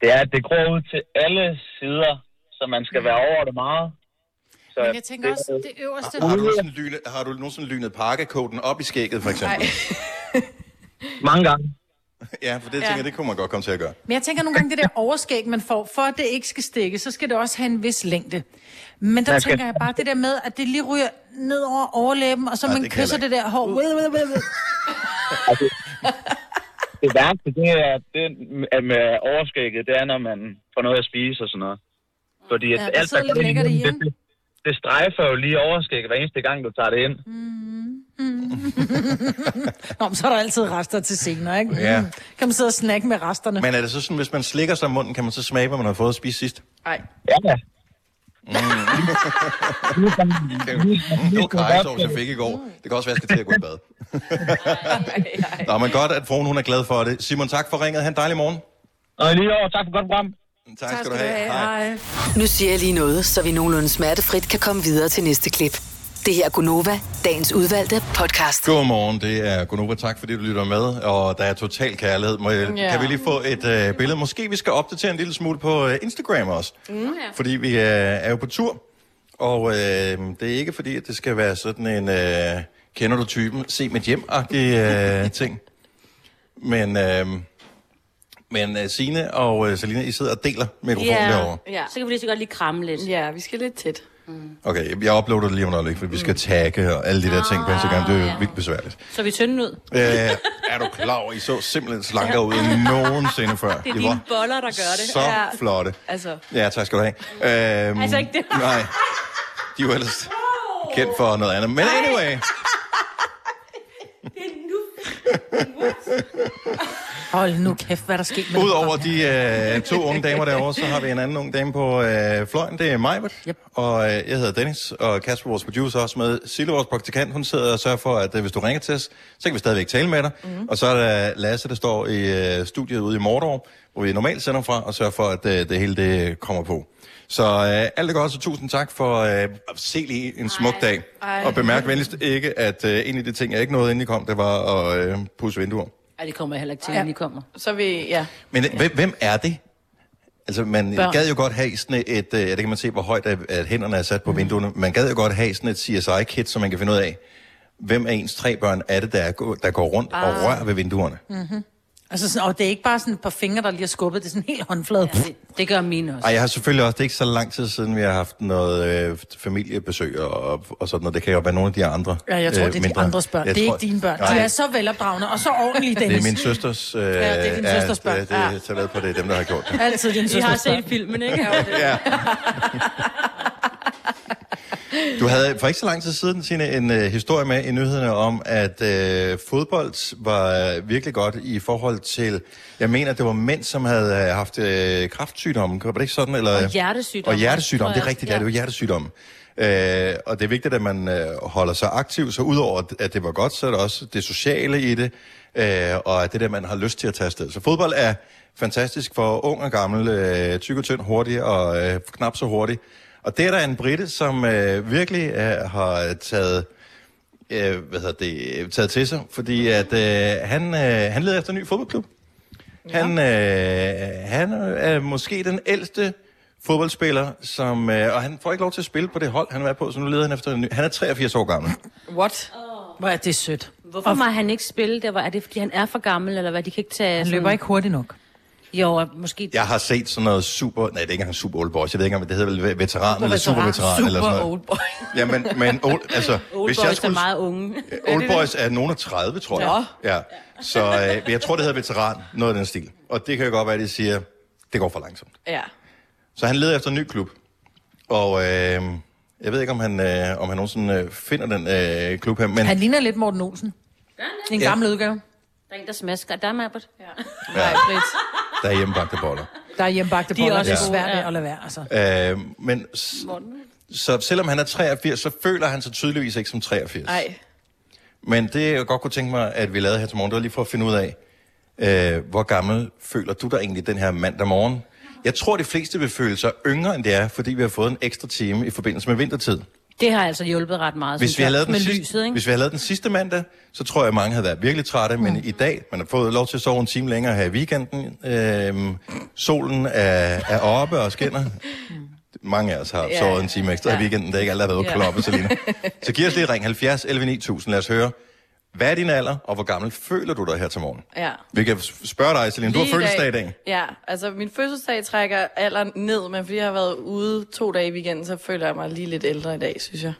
[SPEAKER 13] Det er, at det gror ud til alle sider, så man skal være over det meget. Så
[SPEAKER 4] Men jeg tænker også, det øverste...
[SPEAKER 1] Har, har, du nogensinde lynet, har du nogensinde lynet parkekoden op i skægget, for eksempel?
[SPEAKER 4] Nej.
[SPEAKER 13] Mange gange.
[SPEAKER 1] *laughs* Ja, for det tænker jeg, det kunne man godt komme til at gøre.
[SPEAKER 4] Men jeg tænker nogle gange, det der overskæg, man får, for at det ikke skal stikke, så skal det også have en vis længde. Men der
[SPEAKER 1] Jeg skal-
[SPEAKER 4] tænker jeg bare det der med, at det lige ryger ned over overlæben, og så
[SPEAKER 13] Nej,
[SPEAKER 4] man
[SPEAKER 13] det kan
[SPEAKER 4] kysser
[SPEAKER 13] jeg
[SPEAKER 4] det der hår.
[SPEAKER 13] Altså, det værste, det er det er med overskægget, det er, når man får noget at spise og sådan noget. Fordi
[SPEAKER 4] Ja,
[SPEAKER 13] at
[SPEAKER 4] der
[SPEAKER 13] alt,
[SPEAKER 4] sidder lidt
[SPEAKER 13] går ind i
[SPEAKER 4] lækkert i,
[SPEAKER 13] munden, det, det strejfer jo lige overskægget hver eneste gang, du tager det ind.
[SPEAKER 4] Mm. *laughs* Nå, men så er der altid rester til senere, ikke?
[SPEAKER 1] Ja.
[SPEAKER 4] Mm. Kan man sidde og snakke med resterne?
[SPEAKER 1] *laughs* Men er det så sådan, hvis man slikker sig i munden, kan man så smage, hvad man har fået at spise sidst?
[SPEAKER 4] Nej.
[SPEAKER 13] Ja, ja.
[SPEAKER 1] Mm. *laughs* Det var kajsovs, jeg fik i går. Det kan også være, at jeg skal til at gå i *laughs* bad. Nå, men godt, at fruen hun er glad for det. Simon, tak for ringet. Han dejlig morgen.
[SPEAKER 13] Og lige over. Tak for godt program.
[SPEAKER 1] Tak, tak skal du have. Hej.
[SPEAKER 5] Nu siger jeg lige noget, så vi nogenlunde smertefrit kan komme videre til næste klip. Det her er Gunova, dagens udvalgte podcast.
[SPEAKER 1] Godmorgen, det er Gunova. Tak fordi du lytter med, og der er total kærlighed. Må, jeg-
[SPEAKER 5] Ja.
[SPEAKER 1] Kan vi lige få et øh, billede? Måske vi skal opdatere en lille smule på øh, Instagram også.
[SPEAKER 16] Mm.
[SPEAKER 1] Fordi vi øh, er jo på tur, og øh, det er ikke fordi, at det skal være sådan en, øh, kender du typen, se mit hjem-agtig øh, ting. Men, øh, men øh, Signe og øh, Selina, I sidder og deler mikrofonen yeah. derovre.
[SPEAKER 6] ja. Så kan vi lige så godt lige kramme lidt.
[SPEAKER 2] Ja, vi skal lidt tæt.
[SPEAKER 1] Okay, jeg, jeg uploader det lige om et øjeblik, for vi
[SPEAKER 6] Mm.
[SPEAKER 1] skal tagge og alle de der ting på Instagram.
[SPEAKER 6] Ah,
[SPEAKER 1] Det er jo vildt besværligt.
[SPEAKER 6] Så vi tynde ud.
[SPEAKER 1] Øh, er du klar over, I så simpelthen slankere ud end nogensinde før?
[SPEAKER 6] Det er
[SPEAKER 1] I
[SPEAKER 6] dine
[SPEAKER 1] var
[SPEAKER 6] boller, der gør det.
[SPEAKER 1] Så
[SPEAKER 6] Ja.
[SPEAKER 1] flotte.
[SPEAKER 6] Altså.
[SPEAKER 1] Ja, tak skal du have. Øhm,
[SPEAKER 6] Altså ikke det.
[SPEAKER 1] Nej, de er jo ellers kendt for noget andet. Men anyway,
[SPEAKER 6] Det er nu.
[SPEAKER 4] Hold nu kæft, hvad der skete med
[SPEAKER 1] udover de øh, to unge damer derovre, så har vi en anden ung dame på øh, fløjen. Det er Majbert, yep. og øh, jeg hedder Dennis, og Kasper, vores producer, er også med. Sille, vores praktikant, hun sidder og sørger for, at øh, hvis du ringer til os, så kan vi stadigvæk tale med dig.
[SPEAKER 6] Mhm.
[SPEAKER 1] Mm. Og så er der Lasse, der står i øh, studiet ude i Mordor, hvor vi normalt sender fra, og sørger for, at øh, det hele det kommer på. Så øh, alt er godt, så tusind tak for øh, se lige en smuk dag.
[SPEAKER 6] Ej.
[SPEAKER 1] Og bemærk venligst ikke, at øh, en af de ting, jeg ikke nåede, inden I kom, det var at øh, pusse vinduer.
[SPEAKER 6] Ej, det kommer jeg heller ikke til, ja. I kommer.
[SPEAKER 2] Så vi, ja.
[SPEAKER 1] Men hvem, hvem er det? Altså, man Børn.
[SPEAKER 2] Børn.
[SPEAKER 1] gad jo godt have sådan et, øh, ja, det kan man se, hvor højt at, at hænderne er
[SPEAKER 4] Mm.
[SPEAKER 1] sat på vinduerne, man gad jo godt have sådan et CSI-kit, som man kan finde ud af, hvem af ens tre børn er det, der, er, gå- der går rundt ah. og
[SPEAKER 4] Ah.
[SPEAKER 1] rører ved vinduerne.
[SPEAKER 4] Mm-hmm. Altså sådan, og det er ikke bare sådan et par fingre, der lige er skubbet. Det er sådan helt håndflade. Ja, det,
[SPEAKER 6] det gør mine også.
[SPEAKER 1] Ej, jeg har selvfølgelig også, det er ikke så lang tid siden, vi har haft noget øh, familiebesøg og, og sådan noget. Det kan jo være nogle af de andre. øh,
[SPEAKER 4] Ja, jeg tror, det er de
[SPEAKER 1] mindre.
[SPEAKER 4] andres børn.
[SPEAKER 1] Jeg
[SPEAKER 4] det er
[SPEAKER 1] tror-
[SPEAKER 4] ikke dine børn.
[SPEAKER 1] Nej,
[SPEAKER 4] De er så velopdragende og så
[SPEAKER 1] *laughs*
[SPEAKER 4] ordentlige,
[SPEAKER 1] det er
[SPEAKER 4] Dennis.
[SPEAKER 1] min søsters. Øh, ja,
[SPEAKER 4] det er din søsters børn. Ah.
[SPEAKER 1] Det, det,
[SPEAKER 4] Ja.
[SPEAKER 1] det, det, på, det er dem, der har gjort det.
[SPEAKER 4] Altid din
[SPEAKER 6] I har
[SPEAKER 4] søsters
[SPEAKER 6] set
[SPEAKER 4] børn.
[SPEAKER 6] filmen, ikke? Ja.
[SPEAKER 1] ja. Du havde for ikke så lang tid siden, Signe, en øh, historie med i nyhederne om, at øh, fodbold var øh, virkelig godt i forhold til, jeg mener, det var mænd, som havde øh, haft øh, kraftsygdomme, var det ikke sådan? Eller,
[SPEAKER 6] Og hjertesygdomme.
[SPEAKER 1] øh, Og hjertesygdomme,
[SPEAKER 6] Tror
[SPEAKER 1] det
[SPEAKER 6] jeg
[SPEAKER 1] er rigtigt,
[SPEAKER 6] også,
[SPEAKER 1] ja. det var hjertesygdomme. Øh, og det er vigtigt, at man øh, holder sig aktiv, så udover at- at det var godt, så er der også det sociale i det, øh, og at det der, man har lyst til at tage afsted. Så fodbold er fantastisk for ung og gammel, øh, tyk og tynd, hurtig og øh, knap så hurtig. Og det er der en brite, som øh, virkelig øh, har taget, øh, hvad hedder det, øh, taget til sig, fordi at, øh, han, øh, han leder efter en ny fodboldklub. Ja. Han, øh, han er måske den ældste fodboldspiller, som, øh, og han får ikke lov til at spille på det hold, han er på, så nu leder han efter en ny. Han er 83 år gammel.
[SPEAKER 4] What? Hvor er det sødt.
[SPEAKER 6] Hvorfor må han ikke spille der? Hvor- Er det, fordi han er for gammel, eller hvad? De kan ikke tage...
[SPEAKER 4] Han løber ikke hurtigt nok.
[SPEAKER 6] Jo, og måske...
[SPEAKER 1] Jeg har set sådan noget super... Nej, det er ikke engang super old boys. Jeg ved ikke engang, hvad det hedder vel veteran eller super veteran. eller sådan noget.
[SPEAKER 6] old boy.
[SPEAKER 1] Ja, men, men old,
[SPEAKER 6] *laughs*
[SPEAKER 1] altså,
[SPEAKER 6] Old
[SPEAKER 1] hvis
[SPEAKER 6] boys
[SPEAKER 1] jeg
[SPEAKER 6] er
[SPEAKER 1] skulle...
[SPEAKER 6] meget *laughs* unge.
[SPEAKER 1] Old boys er nogen af 30, tror jeg. Ja. Så øh, men jeg tror, det hedder veteran. Noget af den stil. Og det kan jo godt være, at de siger, det går for langsomt.
[SPEAKER 2] Ja.
[SPEAKER 1] Så han leder efter en ny klub. Og øh, jeg ved ikke, om han, øh, om han nogensinde øh, finder den øh, klub her. Men
[SPEAKER 4] Han ligner lidt Morten Olsen. I en
[SPEAKER 1] Ja.
[SPEAKER 4] gammel udgave.
[SPEAKER 6] Der er en, der smasker. Der er Mabert. Ja.
[SPEAKER 1] ja,
[SPEAKER 4] Lidt.
[SPEAKER 1] der er hjemmebagte boller.
[SPEAKER 4] Der er hjemmebagte
[SPEAKER 6] De er
[SPEAKER 4] boller,
[SPEAKER 1] også
[SPEAKER 4] det er
[SPEAKER 1] gode,
[SPEAKER 4] svært at lade være. Altså.
[SPEAKER 1] Øh, men s- så selvom han er 83, så føler han sig tydeligvis ikke som 83.
[SPEAKER 2] Ej.
[SPEAKER 1] Men det jeg godt kunne tænke mig, at vi lavede her til morgen, det var lige for at finde ud af, øh, hvor gammel føler du dig egentlig den her mandag morgen? Jeg tror, de fleste vil føle sig yngre, end det er, fordi vi har fået en ekstra time i forbindelse med vintertid.
[SPEAKER 6] Det har altså hjulpet ret meget,
[SPEAKER 1] Hvis
[SPEAKER 6] synes
[SPEAKER 1] vi, havde lavet
[SPEAKER 6] jeg.
[SPEAKER 1] den
[SPEAKER 6] med
[SPEAKER 1] sidste,
[SPEAKER 6] lyset, ikke?
[SPEAKER 1] hvis vi havde lavet den sidste mandag, så tror jeg, at mange havde været virkelig trætte, men i dag, man har fået lov til at sove en time længere her i weekenden, øhm, solen er, er oppe og skinner. Mange af os har
[SPEAKER 16] Ja,
[SPEAKER 1] ja, sovet en time ekstra ja. i weekenden, der ikke alle har været ude
[SPEAKER 16] Ja.
[SPEAKER 1] ja. kloppe, Selina. Så giv os lige et ring 70 11 9000, lad os høre, Hvad er din alder, og hvor gammel føler du dig her til morgen?
[SPEAKER 2] Ja.
[SPEAKER 1] Vi kan s- spørge dig, Celine. Du har
[SPEAKER 2] Lige
[SPEAKER 1] fødselsdag i dag.
[SPEAKER 2] Ja, altså min fødselsdag trækker alderen ned, men fordi jeg har været ude to dage i weekenden, så føler jeg mig lige lidt ældre i dag, synes jeg.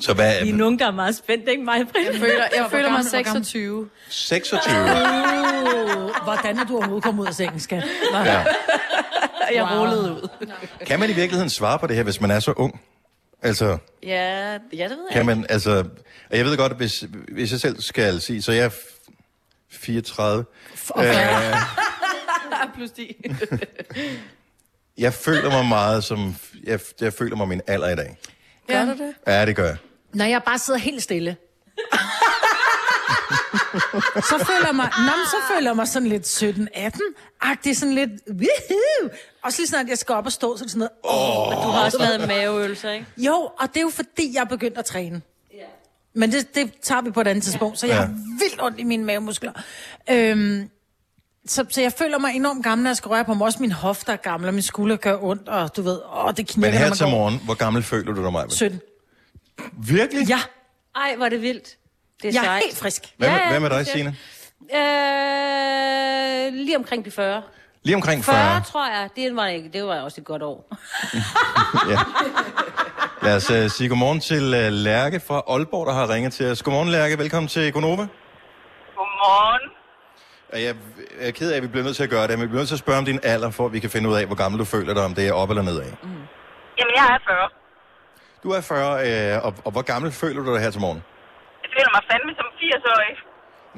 [SPEAKER 1] Så hvad
[SPEAKER 16] Vi er nogen, der er meget spændt, ikke mig, Britt?
[SPEAKER 2] Jeg føler, jeg føler mig
[SPEAKER 4] gammel- hvor gammel-
[SPEAKER 2] 26.
[SPEAKER 1] 26?
[SPEAKER 4] Uh, hvordan er du overhovedet kommet ud af sengen, skat? Hva?
[SPEAKER 1] Ja.
[SPEAKER 2] Jeg rullede ud.
[SPEAKER 1] Kan man i virkeligheden svare på det her, hvis man er så ung? Altså,
[SPEAKER 2] Ja, ja, det ved jeg.
[SPEAKER 1] kan man, altså... Og jeg ved godt, hvis, hvis jeg selv skal sige, så jeg er f- 34. Øh,
[SPEAKER 4] *laughs*
[SPEAKER 2] Plus
[SPEAKER 1] *laughs*
[SPEAKER 2] de.
[SPEAKER 1] jeg føler mig meget som... Jeg, jeg føler mig min alder i dag.
[SPEAKER 4] Gør du det?
[SPEAKER 1] Ja, det gør jeg.
[SPEAKER 4] Når jeg bare sidder helt stille. så føler jeg mig, nå, men så føler jeg mig sådan lidt 17-18-agtig, sådan lidt, woohoo! Også lige snart jeg skal op og stå, så er det sådan noget, åh,
[SPEAKER 6] Du har også været maveøvelser, ikke?
[SPEAKER 4] Jo, og det er jo fordi, jeg er begyndt at træne. Men det, det tager vi på et andet tidspunkt, så jeg
[SPEAKER 1] Ja.
[SPEAKER 4] har vildt ondt i mine mavemuskler. Øhm, så, så jeg føler mig enormt gammel, når jeg skal røre på mig. Også mine hofter er gamle, og mine skuldre gør ondt, og du ved, åh, det knirker,
[SPEAKER 1] Men her
[SPEAKER 4] når
[SPEAKER 1] til
[SPEAKER 4] man går.
[SPEAKER 1] morgen, hvor gammel føler du dig, Maja?
[SPEAKER 4] 17.
[SPEAKER 1] Virkelig?
[SPEAKER 4] Ja.
[SPEAKER 6] Ej, hvor er det vildt. Det er
[SPEAKER 4] Jeg er
[SPEAKER 6] sejt.
[SPEAKER 4] helt frisk.
[SPEAKER 1] Hvad med,
[SPEAKER 6] Ja, ja,
[SPEAKER 1] hvad med dig,
[SPEAKER 6] det er
[SPEAKER 1] Signe?
[SPEAKER 6] fedt. Øh, lige omkring de 40.
[SPEAKER 1] Lige omkring
[SPEAKER 6] 40,
[SPEAKER 1] 40.
[SPEAKER 6] tror jeg. Det var, ikke, det var også et godt år.
[SPEAKER 1] ja. Lad os uh, sige godmorgen til uh, Lærke fra Aalborg, der har ringet til os. Godmorgen, Lærke. Velkommen til Gonova.
[SPEAKER 15] Godmorgen.
[SPEAKER 1] Og Jeg jeg er ked af, at vi bliver nødt til at gøre det, men vi bliver nødt til at spørge om din alder, for at vi kan finde ud af, hvor gammel du føler dig, om det er op eller nedad.
[SPEAKER 15] Jamen, jeg er 40.
[SPEAKER 1] Du er 40, øh, og, og hvor gammel føler du dig her til morgen?
[SPEAKER 15] Jeg føler mig fandme som 80-årig.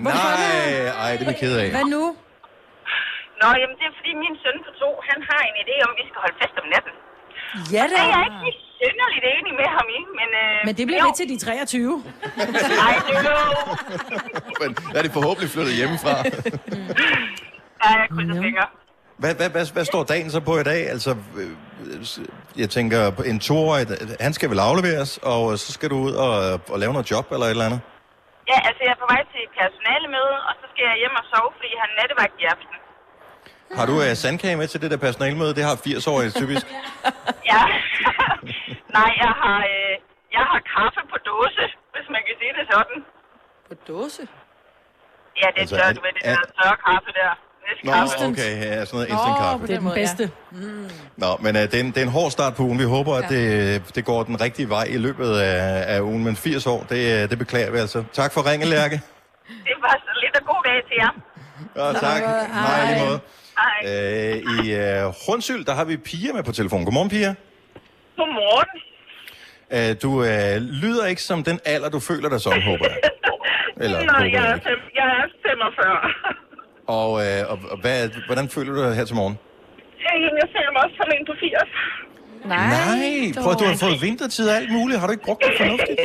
[SPEAKER 1] Nej, ej, det er vi ked af.
[SPEAKER 4] nu?
[SPEAKER 15] Nå, jamen det er fordi min søn på to, han har en idé om, at vi skal holde fest om natten.
[SPEAKER 4] Ja,
[SPEAKER 15] Og
[SPEAKER 4] det
[SPEAKER 15] er jeg
[SPEAKER 4] er.
[SPEAKER 15] ikke lige synderligt enig med ham i, men... Øh,
[SPEAKER 4] Men det bliver
[SPEAKER 15] jo.
[SPEAKER 4] ved til de 23.
[SPEAKER 15] Ej, det er jo...
[SPEAKER 1] Men er det forhåbentlig flyttet hjemmefra?
[SPEAKER 15] *laughs* Ja, jeg krydser fingre.
[SPEAKER 1] Hvad, hvad, hvad, hvad står dagen så på i dag? Altså, øh, s- jeg tænker, på en toårig, han skal vel afleveres, og øh, så skal du ud og, og lave noget job eller et eller andet?
[SPEAKER 15] *laughs* Ja, altså jeg er på vej til personalemøde, og så skal jeg hjem og sove, fordi han er nattevagt i aften.
[SPEAKER 1] Har du øh, sandkage med til det der personalmøde? Det har 80-årige typisk.
[SPEAKER 15] Ja.
[SPEAKER 4] *laughs*
[SPEAKER 15] Nej, jeg har, øh, jeg har kaffe på dåse, hvis man kan sige det sådan.
[SPEAKER 2] På dåse?
[SPEAKER 15] Ja, det er
[SPEAKER 1] Altså,
[SPEAKER 15] altså, tør,
[SPEAKER 1] er-
[SPEAKER 15] du ved, det
[SPEAKER 1] er-
[SPEAKER 15] der tørre kaffe der.
[SPEAKER 1] Nå,
[SPEAKER 15] Næstkaffe.
[SPEAKER 1] okay, ja, sådan noget instant kaffe.
[SPEAKER 4] Det er den bedste.
[SPEAKER 1] Nå, men uh, det, er en, det er en hård start på ugen. Vi håber, at
[SPEAKER 4] Ja.
[SPEAKER 1] det, øh, det går den rigtige vej i løbet af, af ugen. Men 80 år, det, øh, det beklager vi altså. Tak for ringen, Lærke.
[SPEAKER 15] Det var så lidt og god dag til jer.
[SPEAKER 1] Ja, tak.
[SPEAKER 15] Hej.
[SPEAKER 1] Hej, lige måde.
[SPEAKER 15] Hej.
[SPEAKER 1] Øh, I øh, Rundsøl, der har vi Pia med på telefon. Godmorgen, Pia.
[SPEAKER 15] Godmorgen.
[SPEAKER 1] Øh, du øh, lyder ikke som den alder, du føler dig som, håber
[SPEAKER 15] *laughs*
[SPEAKER 1] jeg. Eller,
[SPEAKER 15] Nå,
[SPEAKER 1] håber
[SPEAKER 15] jeg
[SPEAKER 1] jeg
[SPEAKER 15] er,
[SPEAKER 1] ikke.
[SPEAKER 15] fem, jeg er 45.
[SPEAKER 1] Og, øh, og, og hvad, hvordan føler du dig her til morgen?
[SPEAKER 15] Jamen, jeg føler mig også som en på 80.
[SPEAKER 2] Nej,
[SPEAKER 1] Nej, prøv at du har fået vintertid og alt muligt. Har du ikke brugt det fornuftigt?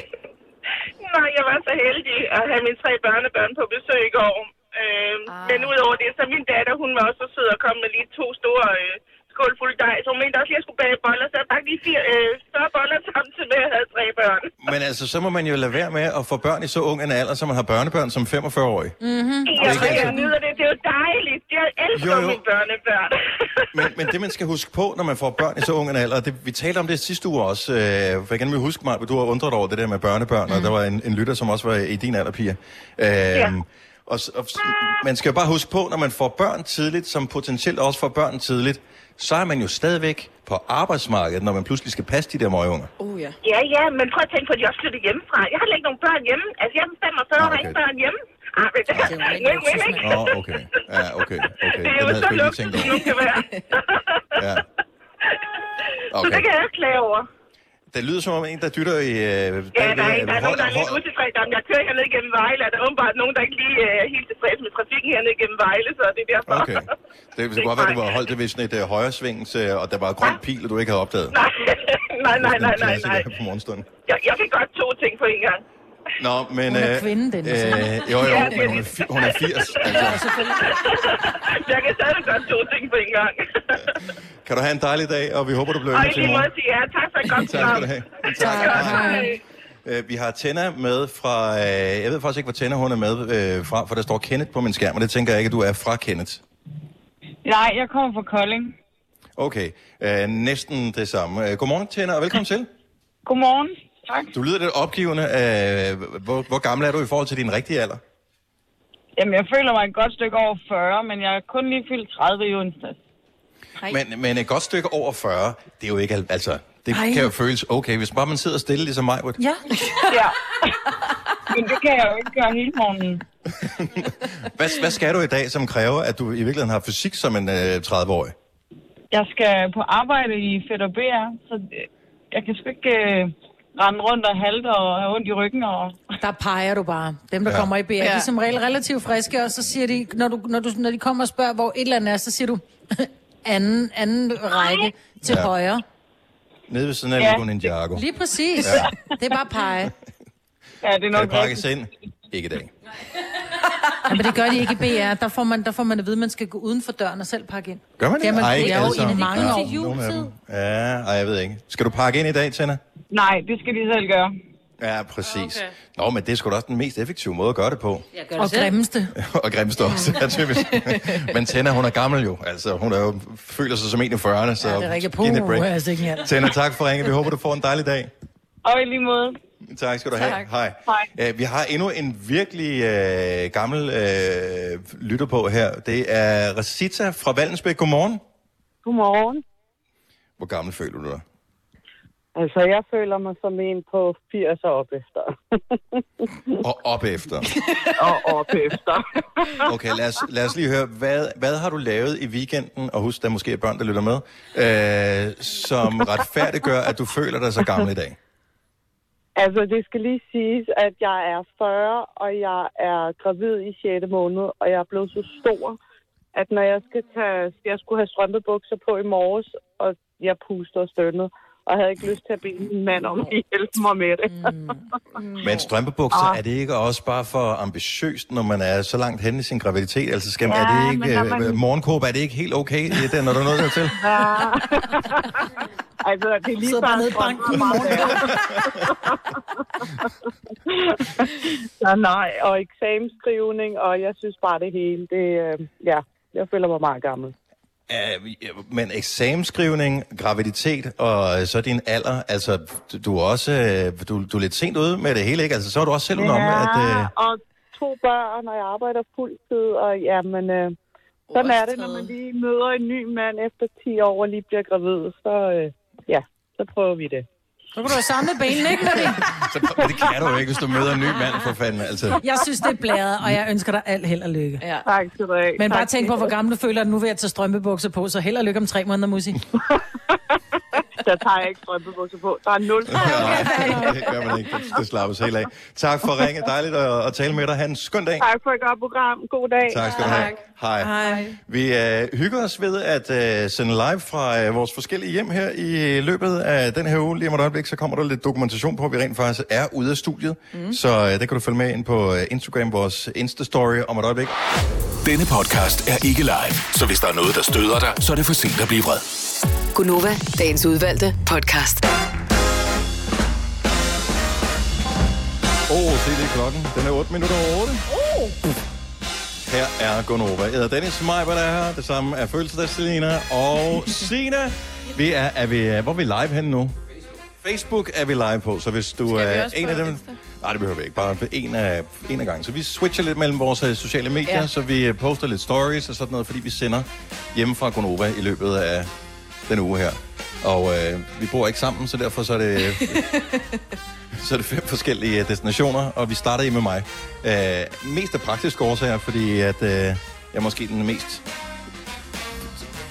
[SPEAKER 15] Nej, jeg var så heldig at have mine tre børnebørn på besøg i går. Øh, men udover det, så min datter, hun var også så sød og kom med lige to store øh, skålfulde dej. Så hun mente også, at jeg skulle bage boller, så jeg bagte lige fire øh, større boller samtidig med, at jeg havde tre børn.
[SPEAKER 1] Men altså, så må man jo lade være med at få børn i så ung en alder, som man har børnebørn som 45-årig.
[SPEAKER 15] Mm-hmm.
[SPEAKER 1] Og
[SPEAKER 15] Jeg,
[SPEAKER 1] det kan-
[SPEAKER 15] jeg nyder det. Det er jo dejligt. Jeg elsker
[SPEAKER 1] Jo,
[SPEAKER 15] jo,
[SPEAKER 1] jo.
[SPEAKER 15] jo. mine børnebørn.
[SPEAKER 1] Men, men det, man skal huske på, når man får børn i så ung en alder, og det, vi talte om det sidste uge også, øh, for jeg kan nemlig huske mig, du har undret over det der med børnebørn, mm. og der var en, en lytter, som også var i din alder, Pia. Øh, ja. og, s- og, s- man skal jo bare huske på, når man får børn tidligt, som potentielt også får børn tidligt, så er man jo stadigvæk på arbejdsmarkedet, når man pludselig skal passe de der møgeunger.
[SPEAKER 2] Uh, ja.
[SPEAKER 15] Ja, ja, men prøv at tænke på, at de også flyttede hjemmefra. Jeg har heller ikke nogen børn hjemme. Altså, jeg er 45 og har ikke børn hjemme. Ah, men det, det er jo ikke.
[SPEAKER 1] Åh, oh, okay. Ja, okay. okay.
[SPEAKER 15] Det er jo
[SPEAKER 1] Den havde jeg
[SPEAKER 15] så
[SPEAKER 1] sgu ikke lige tænkt
[SPEAKER 15] luksus, nu
[SPEAKER 1] over.
[SPEAKER 15] kan være.
[SPEAKER 1] Ja.
[SPEAKER 15] Så det
[SPEAKER 1] Okay.
[SPEAKER 15] kan jeg ikke klage over.
[SPEAKER 1] Det lyder som om en, der dytter i... Øh,
[SPEAKER 15] Ja,
[SPEAKER 1] bagved-
[SPEAKER 15] der er, en- der er nogen, der er lidt
[SPEAKER 1] Hold-
[SPEAKER 15] utilfredse. Jamen, jeg kører hernede gennem Vejle, og der er åbenbart nogen, der ikke lige øh, er helt tilfredse med trafikken hernede gennem Vejle, så det er derfor.
[SPEAKER 1] Okay. Det kunne godt være, at du var holdt det ved sådan et øh, højresving, øh, og der var grøn pil, og du ikke havde opdaget.
[SPEAKER 15] nej, *laughs* nej, nej, nej, nej,
[SPEAKER 1] Det er
[SPEAKER 15] nej.
[SPEAKER 1] en klassiker på morgenstunden.
[SPEAKER 15] Jeg, jeg kan godt to ting på en gang.
[SPEAKER 1] Nå, men...
[SPEAKER 15] Hun er
[SPEAKER 1] øh,
[SPEAKER 15] kvinde, den, altså.
[SPEAKER 1] øh, Jo, jo,
[SPEAKER 15] Ja, det er
[SPEAKER 1] men hun er, fi- hun er
[SPEAKER 15] *laughs*
[SPEAKER 1] 80. Altså,
[SPEAKER 15] jeg kan stadig godt to ting på en gang.
[SPEAKER 1] kan du have en dejlig dag, og vi håber, du bliver
[SPEAKER 15] Og i
[SPEAKER 1] med til i
[SPEAKER 15] lige måde
[SPEAKER 1] morgen.
[SPEAKER 15] til jer. Tak for et godt
[SPEAKER 1] *laughs* Tak skal du have. Tak.
[SPEAKER 15] Hej.
[SPEAKER 1] Øh, Vi har Tenna med fra... øh, Jeg ved faktisk ikke, hvor Tenna hun er med øh, fra, for der står Kenneth på min skærm, og det tænker jeg ikke, at du er fra Kenneth.
[SPEAKER 17] Nej, jeg kommer fra Kolding.
[SPEAKER 1] Okay, øh, næsten det samme. Øh, Godmorgen, Tenna, og velkommen til.
[SPEAKER 17] Godmorgen.
[SPEAKER 15] tak.
[SPEAKER 1] Du lyder lidt opgivende. Øh, hvor, hvor gammel er du i forhold til din rigtige alder?
[SPEAKER 15] Jamen, jeg føler mig et godt stykke over 40, men jeg er kun lige fyldt 30 i onsdag.
[SPEAKER 1] Men, men et godt stykke over 40, det er jo ikke... al- Altså, det
[SPEAKER 15] Ej.
[SPEAKER 1] Ej. kan jo føles okay, hvis bare man sidder stille ligesom mig. Ja.
[SPEAKER 15] Ja. ja. Men det kan jeg jo ikke gøre hele morgenen.
[SPEAKER 1] Hvad, hvad skal du i dag, som kræver, at du i virkeligheden har fysik som en øh, 30-årig?
[SPEAKER 15] Jeg skal på arbejde i Fedt og BR, så øh, jeg kan sgu ikke øh, rende rundt og halte og have ondt i ryggen. Og...
[SPEAKER 4] Der peger du bare. Dem, der
[SPEAKER 15] Ja.
[SPEAKER 4] ja. kommer i BR, ja. de
[SPEAKER 15] Ja.
[SPEAKER 4] er som regel relativt friske, og så siger de, når, du, når, du, når de kommer og spørger, hvor et eller andet er, så siger du, *laughs* anden, anden række til
[SPEAKER 1] Ja.
[SPEAKER 4] ja. højre.
[SPEAKER 1] Nede ved siden af
[SPEAKER 4] Ja.
[SPEAKER 1] ja. Ninjago.
[SPEAKER 4] Lige præcis.
[SPEAKER 1] Ja.
[SPEAKER 4] *laughs* Ja. Det er bare pege.
[SPEAKER 15] Ja, det
[SPEAKER 1] Kan det pakkes ind? Ikke i dag.
[SPEAKER 4] Ja, men det gør de ikke i BR. Der får, man, der får man at vide, at man skal gå uden for døren og selv pakke ind.
[SPEAKER 1] Gør man det?
[SPEAKER 4] det? Ja, man
[SPEAKER 1] Ej, altså.
[SPEAKER 4] Ej,
[SPEAKER 1] ikke
[SPEAKER 4] er
[SPEAKER 1] alle sammen. Ja,
[SPEAKER 4] jo i mange år.
[SPEAKER 1] nogle af dem. Ja, ej, jeg ved ikke. Skal du pakke ind i dag, Tænder?
[SPEAKER 15] Nej, det skal de selv gøre.
[SPEAKER 1] Ja, præcis. Ah, Okay. Nå, men det er sgu da også den mest effektive måde at gøre det på.
[SPEAKER 15] Jeg
[SPEAKER 4] Og grimmeste.
[SPEAKER 1] *laughs* og grimmest også, ja,
[SPEAKER 4] *laughs*
[SPEAKER 1] typisk. Men Tænder, hun er gammel jo. Altså, hun er jo, føler sig som en i 40'erne, så
[SPEAKER 4] Ja, det er rigtig
[SPEAKER 1] giv den et
[SPEAKER 4] puh,
[SPEAKER 1] break.
[SPEAKER 4] jeg er altså ikke her.
[SPEAKER 1] Tænder, tak for ringen. Vi håber, du får en dejlig dag.
[SPEAKER 15] Og i lige måde.
[SPEAKER 1] Tak skal du have.
[SPEAKER 15] Tak.
[SPEAKER 1] Hej.
[SPEAKER 15] Hej.
[SPEAKER 1] Æ, vi har endnu en virkelig øh, gammel øh, lytter på her. Det er Rosita fra Valdensbæk. Godmorgen.
[SPEAKER 9] Godmorgen.
[SPEAKER 1] Hvor gammel føler du dig?
[SPEAKER 9] Altså, jeg føler mig som en på 80 og op efter.
[SPEAKER 1] Og op efter.
[SPEAKER 9] *laughs* og op efter.
[SPEAKER 1] *laughs* Okay, lad os, lad os lige høre, hvad, hvad har du lavet i weekenden, og husk, der er måske børn, der lytter med, øh, som retfærdiggør, at du føler dig så gammel i dag?
[SPEAKER 9] Altså, det skal lige siges, at jeg er 40, og jeg er gravid i 6. måned, og jeg er blevet så stor, at når jeg skal tage, jeg skulle have strømpebukser på i morges, og jeg puster og stønnede, og havde ikke lyst til at bede min mand om at hjælpe mig med det.
[SPEAKER 4] Mm.
[SPEAKER 1] Men strømpebukser,
[SPEAKER 9] Ah.
[SPEAKER 1] er det ikke også bare for ambitiøst, når man er så langt henne i sin graviditet? Altså, skal man,
[SPEAKER 9] Ja,
[SPEAKER 1] er det
[SPEAKER 9] men når
[SPEAKER 1] ikke,
[SPEAKER 9] man-
[SPEAKER 1] man... morgenkåb, er det ikke helt okay, i det, når du er nået dertil?
[SPEAKER 9] Ja. *laughs* altså, det er lige
[SPEAKER 4] Sidder bare nede i banken i morgen.
[SPEAKER 1] *laughs*
[SPEAKER 9] Så nej, og eksamensskrivning, og jeg synes bare det hele, det, øh, ja, jeg føler mig meget gammel.
[SPEAKER 1] Øh, Men eksamensskrivning, graviditet og øh, så din alder, altså du- du er også øh, du, du er lidt sent ude med det hele, ikke? Altså så er du også selv ja. om, at... Øh,
[SPEAKER 9] og to børn, og jeg arbejder fuldtid, og ja, men øh, sådan er det, når man lige møder en ny mand efter 10 år og lige bliver gravid, så øh, ja, så prøver vi det.
[SPEAKER 4] Så kan du have samlet benene, ikke, Marie?
[SPEAKER 1] så, men det kan du jo ikke, hvis du møder en ny mand, for fanden. Altså.
[SPEAKER 4] *laughs* Jeg synes, det er blæret, og jeg ønsker dig alt held og lykke.
[SPEAKER 18] Ja.
[SPEAKER 9] Tak skal du have.
[SPEAKER 4] Men bare
[SPEAKER 9] Tak.
[SPEAKER 4] tænk på, hvor gammel du føler, at nu ved at tage strømpebukser på, så held og lykke om tre måneder, Musi.
[SPEAKER 9] Der tager jeg ikke strømpebukser på. Der er nul.
[SPEAKER 1] Nej, *laughs* det gør man ikke. Det skal slappes helt af. Tak for ringet. Dejligt at, at tale med dig. Ha' en skøn dag.
[SPEAKER 9] Tak for et godt program. God dag.
[SPEAKER 1] Tak skal du have. Hej.
[SPEAKER 9] Hej.
[SPEAKER 1] Vi øh, hygger os ved at øh, sende live fra øh, vores forskellige hjem her i løbet af den her uge. Lige om et øjeblik, så kommer der lidt dokumentation på, at vi rent faktisk er ude af studiet. Mm. Så øh, det kan du følge med ind på øh, Instagram, vores Insta-story om et øjeblik.
[SPEAKER 7] Denne podcast er ikke live, så hvis der er noget, der støder dig, så er det for sent at blive vred.
[SPEAKER 5] Gunova, dagens udvalgte podcast.
[SPEAKER 1] Åh, oh, se det er klokken. Den er 8 minutter over 8. Her er Gonova. Jeg hedder Dennis Meiber, der er her. Det samme er fødselsdags Selina og Sina. Vi er, er vi, øh, hvor er vi live henne nu? Facebook er vi live på, så hvis du
[SPEAKER 13] vi
[SPEAKER 1] er
[SPEAKER 13] også
[SPEAKER 1] en
[SPEAKER 13] på
[SPEAKER 1] af dem...
[SPEAKER 13] Insta?
[SPEAKER 1] Nej, det behøver vi ikke. Bare en af, en af gangen. Så vi switcher lidt mellem vores øh, sociale medier,
[SPEAKER 13] Ja.
[SPEAKER 1] ja. så vi øh, poster lidt stories og sådan noget, fordi vi sender hjemme fra Gonova i løbet af den uge her. Og øh, vi bor ikke sammen, så derfor så er det så er det fem forskellige øh, destinationer, og vi starter i med mig. Øh, mest af praktiske årsager, fordi at, øh, jeg er måske den mest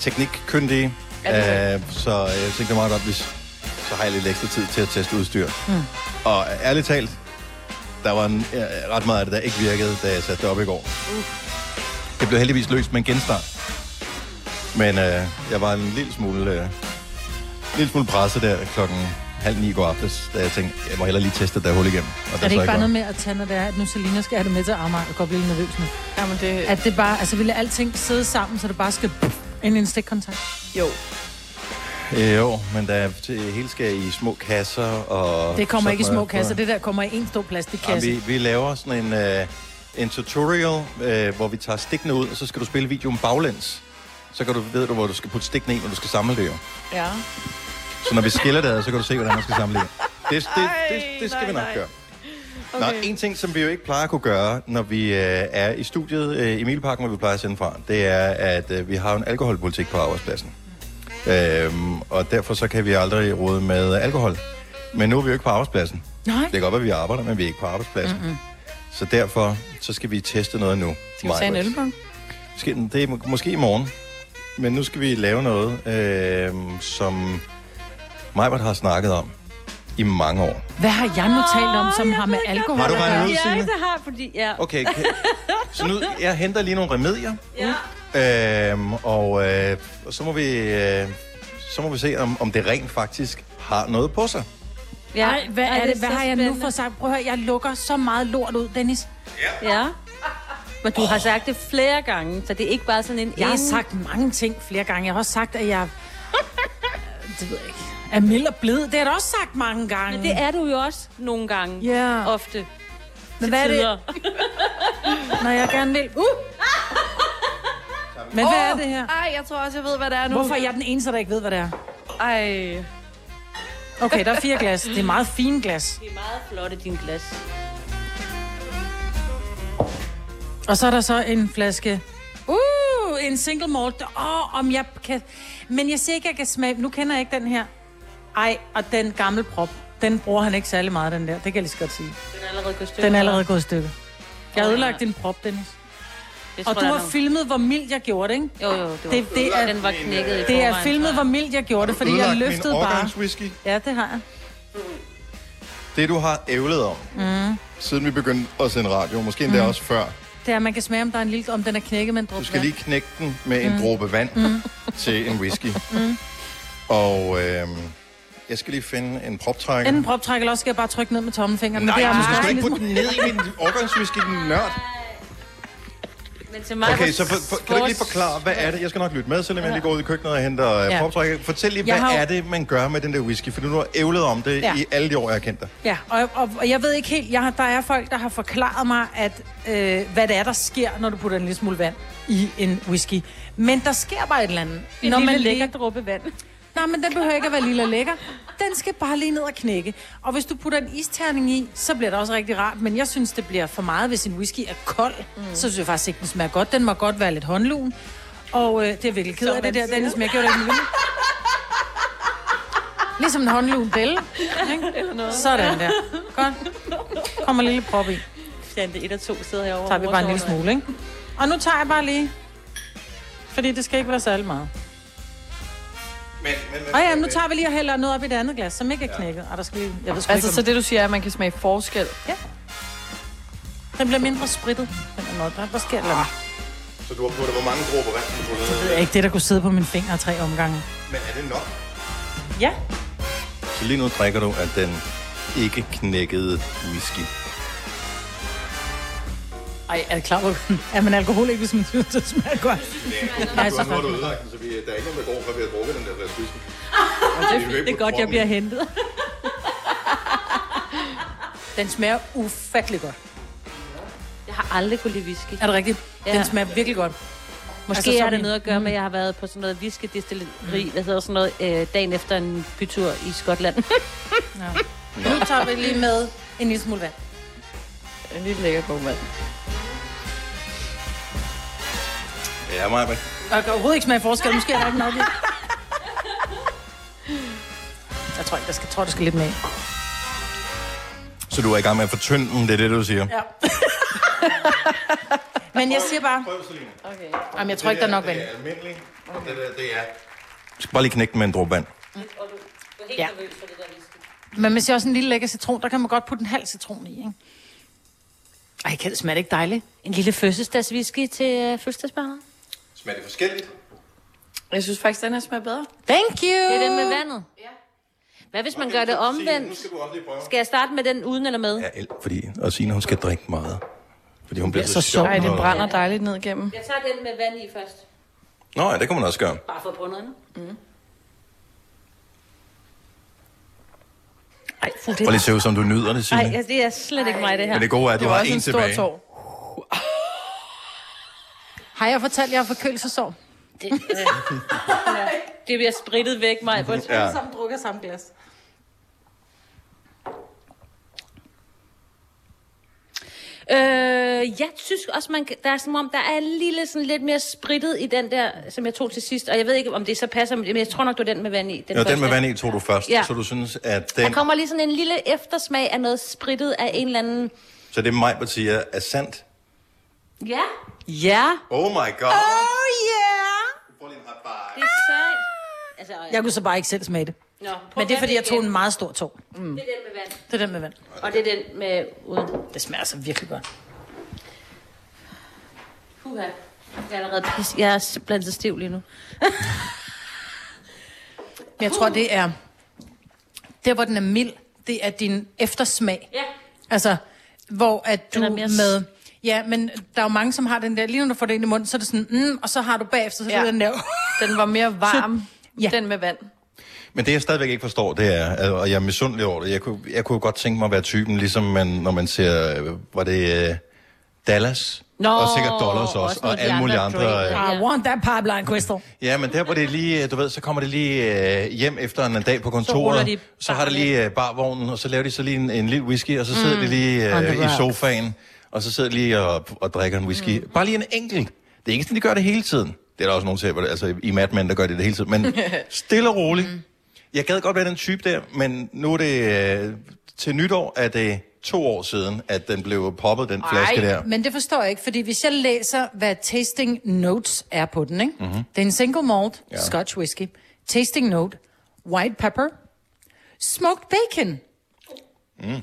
[SPEAKER 1] teknikkyndige, øh, så øh, jeg tænkte det er meget godt, hvis så har jeg lidt ekstra tid til at teste udstyr. Mm. Og øh, ærligt talt, der var en, øh, ret meget af det, der ikke virkede, da jeg satte det op i går. Det blev heldigvis løst med en genstart. Men øh, jeg var en lille smule, øh, lille smule presset der klokken halv ni i går aftes, da jeg tænkte, jeg må hellere lige teste det der hul igennem. Og
[SPEAKER 4] Er det ikke bare
[SPEAKER 1] var.
[SPEAKER 4] noget med at tage, når det er, at nu Selina skal have det med til Amager? Jeg går blive lidt nervøs nu.
[SPEAKER 18] Jamen, det...
[SPEAKER 4] At det bare, altså ville alting sidde sammen, så det bare skal ind i en stikkontakt?
[SPEAKER 18] Jo.
[SPEAKER 1] Øh, jo, men der er det hele skal i små kasser. Og
[SPEAKER 4] Det kommer
[SPEAKER 1] sådan
[SPEAKER 4] ikke i små
[SPEAKER 1] noget.
[SPEAKER 4] kasser, det der kommer i en stor plastikkasse.
[SPEAKER 1] Jamen, vi, vi laver sådan en, øh, en tutorial, øh, hvor vi tager stikkene ud, og så skal du spille videoen baglæns. Så kan du, ved du, hvor du skal putte stikkene ind, når du skal samle det jo.
[SPEAKER 18] Ja.
[SPEAKER 1] Så når vi skiller det, ad, så kan du se, hvordan man skal samle det. Det, det, det, det skal vi nok gøre. Okay. Nå, en ting, som vi jo ikke plejer at kunne gøre, når vi øh, er i studiet øh, i Mileparken, hvor vi plejer at sende fra, det er, at øh, vi har en alkoholpolitik på arbejdspladsen. Øhm, og derfor så kan vi aldrig rode med alkohol. Men nu er vi jo ikke på arbejdspladsen.
[SPEAKER 4] Nej.
[SPEAKER 1] Det kan godt være, at vi arbejder, men vi er ikke på arbejdspladsen. Mm-hmm. Så derfor så skal vi teste noget nu.
[SPEAKER 2] Skal vi tage en ølbong?
[SPEAKER 1] Måske, det er må- måske i morgen. Men nu skal vi lave noget, øh, som Majbert har snakket om i mange år.
[SPEAKER 4] Hvad har jeg nu talt om, som har med alkohol
[SPEAKER 1] Har du
[SPEAKER 4] at
[SPEAKER 1] regnet
[SPEAKER 4] gøre?
[SPEAKER 1] ud, Signe?
[SPEAKER 6] Ja, det har jeg, fordi... Ja.
[SPEAKER 1] Okay, kan- Så nu, jeg henter lige nogle remedier,
[SPEAKER 6] *laughs* ja.
[SPEAKER 1] øhm, og øh, og så, må vi, øh, så må vi se, om, om det rent faktisk har noget på sig.
[SPEAKER 6] Ja.
[SPEAKER 4] Ej, hvad,
[SPEAKER 6] Ej,
[SPEAKER 4] er
[SPEAKER 6] det
[SPEAKER 4] det,
[SPEAKER 6] er
[SPEAKER 4] hvad
[SPEAKER 6] så
[SPEAKER 4] har jeg nu
[SPEAKER 6] spændende.
[SPEAKER 4] for sagt? Prøv at høre, jeg lukker så meget lort ud, Dennis.
[SPEAKER 6] Ja. Men du har sagt det flere gange, så det er ikke bare sådan en...
[SPEAKER 4] Jeg har
[SPEAKER 6] en-
[SPEAKER 4] sagt mange ting flere gange. Jeg har også sagt, at jeg... Det ved jeg ikke. Er mild og blid. Det har jeg da også sagt mange gange.
[SPEAKER 6] Men det er du jo også nogle gange.
[SPEAKER 4] Ja.
[SPEAKER 6] Ofte.
[SPEAKER 4] Men hvad er det? Når jeg gerne vil... Uh! Men hvad er det her?
[SPEAKER 2] Ej, jeg tror også, jeg ved, hvad det er nu.
[SPEAKER 4] Hvorfor er jeg den eneste, der ikke ved, hvad det er?
[SPEAKER 2] Ej.
[SPEAKER 4] Okay, der er fire glas. Det er meget fine glas.
[SPEAKER 6] Det er meget flotte, din glas.
[SPEAKER 4] Og så er der så en flaske... Uh, en single malt. Åh, oh, om jeg kan... Men jeg siger ikke, jeg kan smage... Nu kender jeg ikke den her. Ej, og den gamle prop. Den bruger han ikke særlig meget, den der. Det kan jeg lige så godt sige.
[SPEAKER 6] Den er allerede gået i stykker.
[SPEAKER 4] Den er allerede gået i stykker. Jeg har ødelagt din prop, Dennis.
[SPEAKER 6] Det tror
[SPEAKER 4] Og du
[SPEAKER 6] jeg,
[SPEAKER 4] har
[SPEAKER 6] der er
[SPEAKER 4] filmet, hvor mild jeg gjorde det, ikke?
[SPEAKER 6] Jo, jo, det var- den var knækket i
[SPEAKER 4] Det er
[SPEAKER 6] forvejen,
[SPEAKER 4] filmet, hvor mild jeg gjorde det, fordi jeg
[SPEAKER 1] ødelagt min
[SPEAKER 4] løftede bare...
[SPEAKER 1] årgangswhisky?
[SPEAKER 4] Ja, det har jeg.
[SPEAKER 1] Det, du har ævlet om,
[SPEAKER 4] Mm.
[SPEAKER 1] siden vi begyndte at sende radio, måske endda mm. også før.
[SPEAKER 4] Det er, at man kan smage, om der er en lille, om den er knækket med en dråbe.
[SPEAKER 1] Du skal
[SPEAKER 4] vand.
[SPEAKER 1] lige knække den med en
[SPEAKER 4] Mm.
[SPEAKER 1] dråbe vand
[SPEAKER 4] Mm.
[SPEAKER 1] til en whisky.
[SPEAKER 4] Mm.
[SPEAKER 1] Og øh, jeg skal lige finde en proptrækker.
[SPEAKER 4] Enten proptræk, eller også skal jeg bare trykke ned med tommelfingeren.
[SPEAKER 1] Nej,
[SPEAKER 4] det er
[SPEAKER 1] du skal
[SPEAKER 4] måske
[SPEAKER 1] sgu ikke
[SPEAKER 4] lidt-
[SPEAKER 1] putte den ned i min årgangswhisky, din nørd.
[SPEAKER 6] Men til mig
[SPEAKER 1] Okay,
[SPEAKER 6] var
[SPEAKER 1] så for, for, kan du ikke lige forklare, hvad er det? Jeg skal nok lytte med, selvom jeg lige går ud i køkkenet og henter
[SPEAKER 4] Ja.
[SPEAKER 1] ja. poptrækker. Fortæl lige,
[SPEAKER 4] Jeg
[SPEAKER 1] hvad
[SPEAKER 4] har jo-
[SPEAKER 1] er det, man gør med den der whisky? For du har ævlet om det
[SPEAKER 4] Ja.
[SPEAKER 1] ja. i alle de år, jeg har kendt dig.
[SPEAKER 4] Ja, og, og, og jeg ved ikke helt, jeg har, der er folk, der har forklaret mig, at, øh, hvad det er, der sker, når du putter en lille smule vand i en whisky. Men der sker bare et eller andet.
[SPEAKER 6] En
[SPEAKER 4] når
[SPEAKER 6] lille
[SPEAKER 4] man
[SPEAKER 6] lækker dråbe vand.
[SPEAKER 4] Nej, men den behøver ikke at være lille og lækker. Den skal bare lige ned og knække. Og hvis du putter en isterning i, så bliver det også rigtig rart. Men jeg synes, det bliver for meget, hvis en whisky er kold. Mm. Så synes jeg faktisk ikke, den smager godt. Den må godt være lidt håndlun. Og øh, det er virkelig ked
[SPEAKER 6] Som
[SPEAKER 4] af
[SPEAKER 6] man
[SPEAKER 4] det der,
[SPEAKER 6] siger.
[SPEAKER 4] Dennis, men jeg gjorde det ikke med *laughs* vilje. Ligesom en håndlun bælle. ikke?
[SPEAKER 6] Eller noget.
[SPEAKER 4] Sådan der. Godt. Kommer en lille prop i.
[SPEAKER 6] Fjante 1 og 2 sidder herovre.
[SPEAKER 4] Tager vi bare en lille smule, ikke? Og nu tager jeg bare lige. Fordi det skal ikke være særlig meget.
[SPEAKER 1] Men, men,
[SPEAKER 4] Og ja, nu tager vi lige og hælder noget op i det andet glas, som ikke er knækket. Og der skal vi, jeg ved sgu
[SPEAKER 2] Altså,
[SPEAKER 4] ikke,
[SPEAKER 2] så
[SPEAKER 4] om-
[SPEAKER 2] det du siger er, at man kan smage forskel?
[SPEAKER 4] Ja. Den bliver mindre sprittet. Den er noget, der, der sker eller andet.
[SPEAKER 1] Så du har puttet hvor mange dråber vand? Du putter
[SPEAKER 4] Det er ikke det, der kunne sidde på min finger tre omgange.
[SPEAKER 1] Men er det nok?
[SPEAKER 4] Ja.
[SPEAKER 1] Så lige nu drikker du af den ikke knækkede whisky.
[SPEAKER 4] Ej, er det klar, hvor er man alkoholik, hvis man synes, det smager godt? Ja, så
[SPEAKER 1] nu har du
[SPEAKER 4] faktisk.
[SPEAKER 1] ødelagt den, så vi, der er ikke nogen, der går fra ved at drukke den der flaske whisky.
[SPEAKER 6] Det er godt, jeg bliver hentet.
[SPEAKER 4] Den smager ufattelig godt.
[SPEAKER 6] Jeg har aldrig kunne lide whisky.
[SPEAKER 4] Er det rigtigt? Ja. Den smager virkelig godt.
[SPEAKER 6] Måske
[SPEAKER 4] Altså, så
[SPEAKER 6] altså, har det
[SPEAKER 4] vi-
[SPEAKER 6] noget at gøre med, at jeg har været på sådan noget whisky-distilleri, mm. hvad hedder sådan noget, øh, dagen efter en bytur i Skotland.
[SPEAKER 4] Nu tager vi lige med en lille smule vand.
[SPEAKER 2] En lille lækker god mand.
[SPEAKER 1] Ja, Maja.
[SPEAKER 4] Jeg kan overhovedet ikke smage forskel. Måske er der ikke nok i. Jeg tror ikke, der skal, tror, der skal lidt mere.
[SPEAKER 1] Så du er i gang med at fortynde den, det er det, du siger.
[SPEAKER 4] Ja. Men jeg siger bare...
[SPEAKER 1] Prøv, Selina.
[SPEAKER 4] Okay. Jamen, jeg tror ikke, der er nok vand.
[SPEAKER 1] Det er almindeligt, og det der, det er... Du skal bare lige knække den med en dråbe vand.
[SPEAKER 4] Ja. Men man siger også en lille lækker citron. Der kan man godt putte en halv citron i, ikke? Ej, kan det smage ikke dejligt?
[SPEAKER 6] En lille fødselsdagswhisky til øh, fødselsdagsbarnet.
[SPEAKER 1] Smager det forskelligt?
[SPEAKER 2] Jeg synes faktisk, den her smager bedre.
[SPEAKER 4] Thank you!
[SPEAKER 6] Det er den med vandet. Ja. Hvad hvis man okay, gør det omvendt? Skal, skal jeg starte med den uden eller med? Ja,
[SPEAKER 1] el- Fordi, og Signe, hun skal drikke meget. Fordi hun bliver så, sjov.
[SPEAKER 2] Ej, den
[SPEAKER 1] når-
[SPEAKER 2] brænder dejligt ned gennem.
[SPEAKER 6] Jeg tager den med vand i først.
[SPEAKER 1] Nå, ja, det kan man også gøre.
[SPEAKER 6] Bare for brunderne. Mm. Ej, for
[SPEAKER 1] Prøv lige at se ud, som du nyder det, Signe.
[SPEAKER 6] Ej, altså, det er slet ikke mig, det her.
[SPEAKER 1] Men det gode er, at du har en tilbage.
[SPEAKER 4] Har jeg fortalt, at jeg har forkølelsesår?
[SPEAKER 6] Det, øh, ja. det bliver sprittet væk, mig.
[SPEAKER 4] Ja. Alle sammen drukker samme glas.
[SPEAKER 6] Øh, jeg synes også, man, kan- der er som om, der er lille sådan lidt mere sprittet i den der, som jeg tog til sidst. Og jeg ved ikke, om det så passer, men jeg tror nok, det var den med vand i.
[SPEAKER 1] Den jo, den med
[SPEAKER 6] første.
[SPEAKER 1] vand i tog du først, ja.
[SPEAKER 6] Ja.
[SPEAKER 1] så du synes, at
[SPEAKER 6] Den... Der
[SPEAKER 1] den...
[SPEAKER 6] kommer lige sådan en lille eftersmag af noget sprittet af en eller anden...
[SPEAKER 1] Så det mig, siger, er sandt.
[SPEAKER 6] Ja. Ja.
[SPEAKER 1] Oh my god.
[SPEAKER 6] Oh yeah! Det er sejt. Altså,
[SPEAKER 4] Jeg kunne så bare ikke selv smage det.
[SPEAKER 6] Nå,
[SPEAKER 4] Men det er, fordi jeg tog en meget stor tog.
[SPEAKER 6] Mm. Det er den med vand.
[SPEAKER 4] Det er den med vand.
[SPEAKER 6] Og det er den med uden.
[SPEAKER 4] Det smager altså virkelig godt.
[SPEAKER 6] Puha. Jeg er allerede pis. Jeg er simpelthen så stiv lige nu.
[SPEAKER 4] Men jeg tror, det er... Der, hvor den er mild, det er din eftersmag.
[SPEAKER 6] Ja.
[SPEAKER 4] Altså, hvor at du
[SPEAKER 6] Den er
[SPEAKER 4] er
[SPEAKER 6] mere
[SPEAKER 4] mere...
[SPEAKER 6] s-
[SPEAKER 4] med... Ja, men der er jo mange, som har den der... Lige når du får det ind i munden, så er det sådan... Mm, og så har du bagefter, så ja.
[SPEAKER 2] Ja.
[SPEAKER 4] den der...
[SPEAKER 2] Den var
[SPEAKER 4] *laughs*
[SPEAKER 2] mere varm, ja. den med vand.
[SPEAKER 1] Men det, jeg stadigvæk ikke forstår, det er, at- og jeg er misundelig over det, jeg kunne, jeg kunne godt tænke mig at være typen, ligesom man, når man ser, øh, var det øh, Dallas?
[SPEAKER 4] Nå,
[SPEAKER 1] og sikkert Dollars også, også og
[SPEAKER 4] nogle af de
[SPEAKER 1] alle mulige
[SPEAKER 4] andre
[SPEAKER 1] andre.
[SPEAKER 4] Drake,
[SPEAKER 1] øh,
[SPEAKER 4] I want that pipeline, Crystal.
[SPEAKER 1] Ja, men der hvor det lige, øh, du ved, så kommer det lige øh, hjem efter en dag på
[SPEAKER 4] ruller
[SPEAKER 1] kontoret,
[SPEAKER 4] de
[SPEAKER 1] så, så har det lige øh, barvognen, og så laver de så lige en, en lille whisky, og så sidder
[SPEAKER 4] Mm,
[SPEAKER 1] mm, de lige
[SPEAKER 4] on the
[SPEAKER 1] øh, i
[SPEAKER 4] rocks.
[SPEAKER 1] sofaen, og så sidder de lige og, og drikker en whisky. Mm. Bare lige en enkelt. Det er ikke sådan, de gør det hele tiden. Det er der også nogen til, hvor det- altså i Mad Men, der gør det det hele tiden,
[SPEAKER 4] *laughs*
[SPEAKER 1] men stille og roligt. Mm. Jeg gad godt være den type der, men nu er det øh, til nytår, er det to år siden, at den blev poppet, den flaske der.
[SPEAKER 4] men det forstår jeg ikke, fordi hvis jeg læser, hvad tasting notes er på den, ikke?
[SPEAKER 1] Mhm.
[SPEAKER 4] Det er en single malt,
[SPEAKER 1] Ja.
[SPEAKER 4] ja. scotch whisky. Tasting note, white pepper, smoked bacon,
[SPEAKER 1] Mm.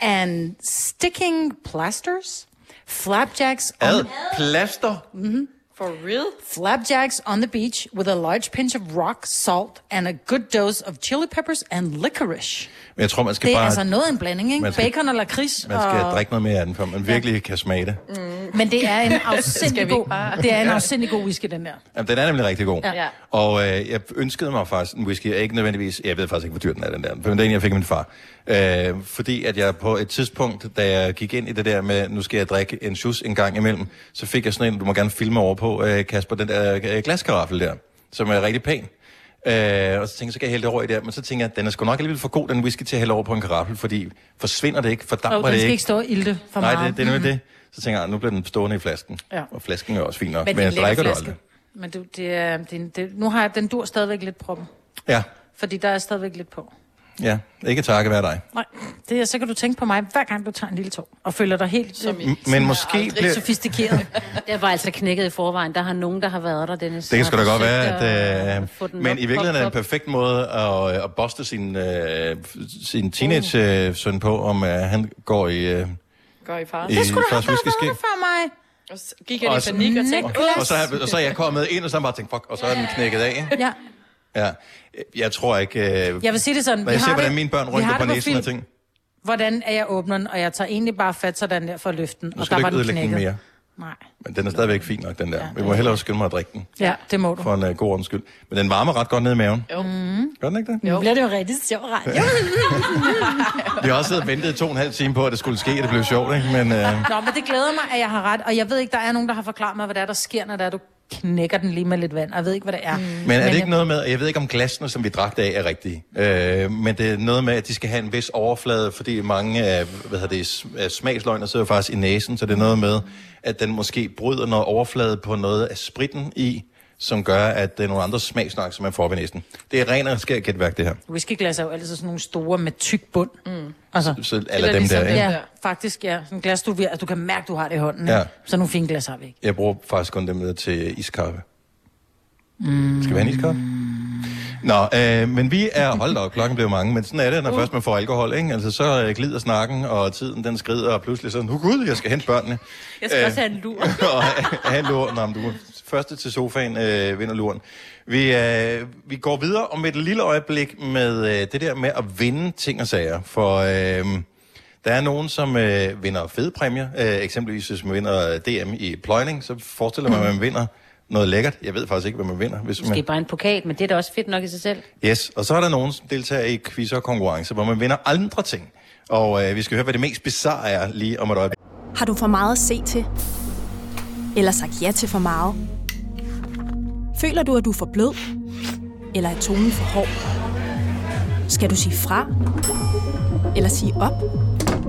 [SPEAKER 4] and sticking plasters, flapjacks
[SPEAKER 1] Ad,
[SPEAKER 4] on,
[SPEAKER 1] plaster.
[SPEAKER 4] mm-hmm.
[SPEAKER 2] For real?
[SPEAKER 4] Flapjacks on the beach with a large pinch of rock salt and a good dose of chili peppers and licorice.
[SPEAKER 1] Men jeg tror, man skal
[SPEAKER 4] det er
[SPEAKER 1] bare...
[SPEAKER 4] altså noget af en blanding, ikke?
[SPEAKER 1] Man skal-
[SPEAKER 4] Bacon og lakrids.
[SPEAKER 1] Man skal
[SPEAKER 4] og...
[SPEAKER 1] drikke noget mere af den, før man virkelig kan smage det.
[SPEAKER 4] Mm. Men det er *laughs* en
[SPEAKER 2] Skal
[SPEAKER 4] afsindig
[SPEAKER 2] vi ikke
[SPEAKER 4] god,
[SPEAKER 2] bare-
[SPEAKER 4] det er en
[SPEAKER 1] Ja.
[SPEAKER 4] afsindig god whisky, den der.
[SPEAKER 1] Jamen, den er nemlig rigtig god.
[SPEAKER 4] Ja. Ja.
[SPEAKER 1] Og øh, jeg ønskede mig faktisk en whisky. Ikke nødvendigvis, jeg ved faktisk ikke, hvor dyr den er, den der. Men den er en, jeg fik af min far. Øh, fordi at jeg på et tidspunkt, da jeg gik ind i det der med, nu skal jeg drikke en shoes en gang imellem, så fik jeg sådan en, du må gerne filme over på, øh, Kasper, den der øh, glaskaraffel der, som er rigtig pæn. Øh, og så tænkte jeg, så kan jeg hælde det over i der, men så tænkte jeg, den er sgu nok alligevel for god, den whisky, til at hælde over på en karaffel, fordi forsvinder det ikke, fordamper
[SPEAKER 4] Og den
[SPEAKER 1] det
[SPEAKER 4] skal
[SPEAKER 1] ikke.
[SPEAKER 4] ikke stå og ilte for
[SPEAKER 1] Nej,
[SPEAKER 4] meget.
[SPEAKER 1] det, det er
[SPEAKER 4] *laughs*
[SPEAKER 1] nemlig det. Så tænker jeg, "Ah, nu bliver den stående i flasken.
[SPEAKER 4] Ja.
[SPEAKER 1] Og flasken er også fin nok,
[SPEAKER 4] Men det er
[SPEAKER 1] men,
[SPEAKER 4] en
[SPEAKER 1] jeg
[SPEAKER 4] lækker
[SPEAKER 1] drikker det aldrig.
[SPEAKER 4] flaske. Men du, det er, det, er en- det, nu har jeg, den dur stadigvæk lidt proppen.
[SPEAKER 1] Ja,
[SPEAKER 4] Fordi der er stadigvæk lidt på.
[SPEAKER 1] ja. Ikke takke være dig.
[SPEAKER 4] Nej, det er, så kan du tænke på mig, hver gang du tager en lille tog. Og føler dig helt som,
[SPEAKER 1] i- Men som måske jeg aldrig bliver-
[SPEAKER 6] *laughs*
[SPEAKER 4] sofistikeret.
[SPEAKER 6] Jeg var altså knækket i forvejen. Der har nogen, der har været der, Dennis.
[SPEAKER 1] Det kan sgu da
[SPEAKER 6] Har
[SPEAKER 1] godt
[SPEAKER 6] forsøgt
[SPEAKER 1] være, at...
[SPEAKER 6] at få
[SPEAKER 1] Øh,
[SPEAKER 6] den
[SPEAKER 1] men
[SPEAKER 6] op,
[SPEAKER 1] i virkeligheden er det
[SPEAKER 6] op,
[SPEAKER 1] en
[SPEAKER 6] op.
[SPEAKER 1] perfekt måde at, øh, at boste sin, øh, f- sin teenage-søn på, om øh, han går i... Øh,
[SPEAKER 2] Går i far.
[SPEAKER 1] I Det skulle du først have været whiskyske.
[SPEAKER 4] for mig.
[SPEAKER 2] Og så gik jeg i panik og tænkte,
[SPEAKER 1] og, og, så, er- og så er jeg kommet ind, og så har jeg bare tænkt, fuck, og så er den knækket af. ikke?
[SPEAKER 4] Ja.
[SPEAKER 1] ja. Jeg tror ikke... Øh,
[SPEAKER 4] Jeg vil sige det sådan,
[SPEAKER 1] Når
[SPEAKER 4] vi
[SPEAKER 1] jeg ser,
[SPEAKER 4] har
[SPEAKER 1] hvordan
[SPEAKER 4] det-
[SPEAKER 1] mine børn
[SPEAKER 4] vi
[SPEAKER 1] rynker
[SPEAKER 4] har
[SPEAKER 1] på
[SPEAKER 4] det på
[SPEAKER 1] næsen og
[SPEAKER 4] film.
[SPEAKER 1] ting.
[SPEAKER 4] Hvordan er jeg åbner den, og jeg tager egentlig bare fat sådan der for at løfte den.
[SPEAKER 1] Nu
[SPEAKER 4] og
[SPEAKER 1] skal du
[SPEAKER 4] der var
[SPEAKER 1] ikke
[SPEAKER 4] den
[SPEAKER 1] ødelægge den
[SPEAKER 4] knækket.
[SPEAKER 1] mere.
[SPEAKER 4] Nej.
[SPEAKER 1] Men den er stadigvæk fin nok, den der. Vi må hellere skynde mig at drikke den.
[SPEAKER 4] Ja, det må du.
[SPEAKER 1] For en uh, god ordens skyld. Men den varmer ret godt ned i maven.
[SPEAKER 4] Jo. Mm.
[SPEAKER 1] Gør den ikke det?
[SPEAKER 4] Jo. Nu bliver det jo rigtig sjovt, radio.
[SPEAKER 1] *laughs*
[SPEAKER 4] *laughs*
[SPEAKER 1] Vi har også siddet og ventet to og en halv time på, at det skulle ske, og det blev sjovt, ikke? *laughs* Men øh,
[SPEAKER 4] Nå, men det glæder mig, at jeg har ret. Og jeg ved ikke, der er nogen, der har forklaret mig, hvad der, er, der sker, når der er, du knækker den lige med lidt vand. Og jeg ved ikke, hvad det er. Mm.
[SPEAKER 1] Men øh, er det ikke noget med, og jeg ved ikke om glasene, som vi drak af, er rigtige, øh, men det er noget med, at de skal have en vis overflade, fordi mange af hvad hedder det, sm- af smagsløgene sidder faktisk i næsen, så det er noget med, at den måske bryder noget overflade på noget af spritten i, som gør, at det er nogle andre smagsløg, som man får op i næsen. Det er ren og skær gætværk, det her.
[SPEAKER 4] Whiskyglas er jo altid sådan nogle store med tyk bund. Mm. Altså,
[SPEAKER 1] Så alle ligesom dem der, ikke?
[SPEAKER 4] Ja, faktisk, ja. Sådan glas, du, vir- altså, du kan mærke, du har det i hånden. Ja.
[SPEAKER 1] Ja.
[SPEAKER 4] Ikke? Så nogle fine glas har vi ikke.
[SPEAKER 1] Jeg bruger faktisk kun dem der til iskaffe. Mm. Skal vi have en iskaffe? Nå, øh, men vi
[SPEAKER 6] *laughs*
[SPEAKER 1] er holdt op, klokken blev mange, men sådan er det, når uh. først man får alkohol, ikke? Altså, så øh, glider snakken, og tiden den skrider, og pludselig sådan, oh, gud, jeg skal hente børnene. Øh,
[SPEAKER 6] Jeg skal også have en lur.
[SPEAKER 1] *laughs* og have en lur. Nå, men du er første til sofaen øh, vinder luren. Vi, øh, vi går videre om et lille øjeblik med øh, det der med at vinde ting og sager, for... Øh, der er nogen, som øh, vinder fede præmier. Øh, eksempelvis hvis man vinder DM i pløjning, så forestiller man, at man vinder noget lækkert. Jeg ved faktisk ikke, hvad man vinder. Hvis man...
[SPEAKER 6] Måske bare en pokal, men det er da også fedt nok i sig selv.
[SPEAKER 1] Yes, og så er der nogen, som deltager i quizzer og konkurrencer, hvor man vinder andre ting. Og øh, vi skal høre, hvad det mest bizarre er lige om et øjeblik.
[SPEAKER 10] Har du for meget at se til? Eller sagt ja til for meget? Føler du, at du er for blød? Eller er tonen for hård? Skal du sige fra? Eller sige op?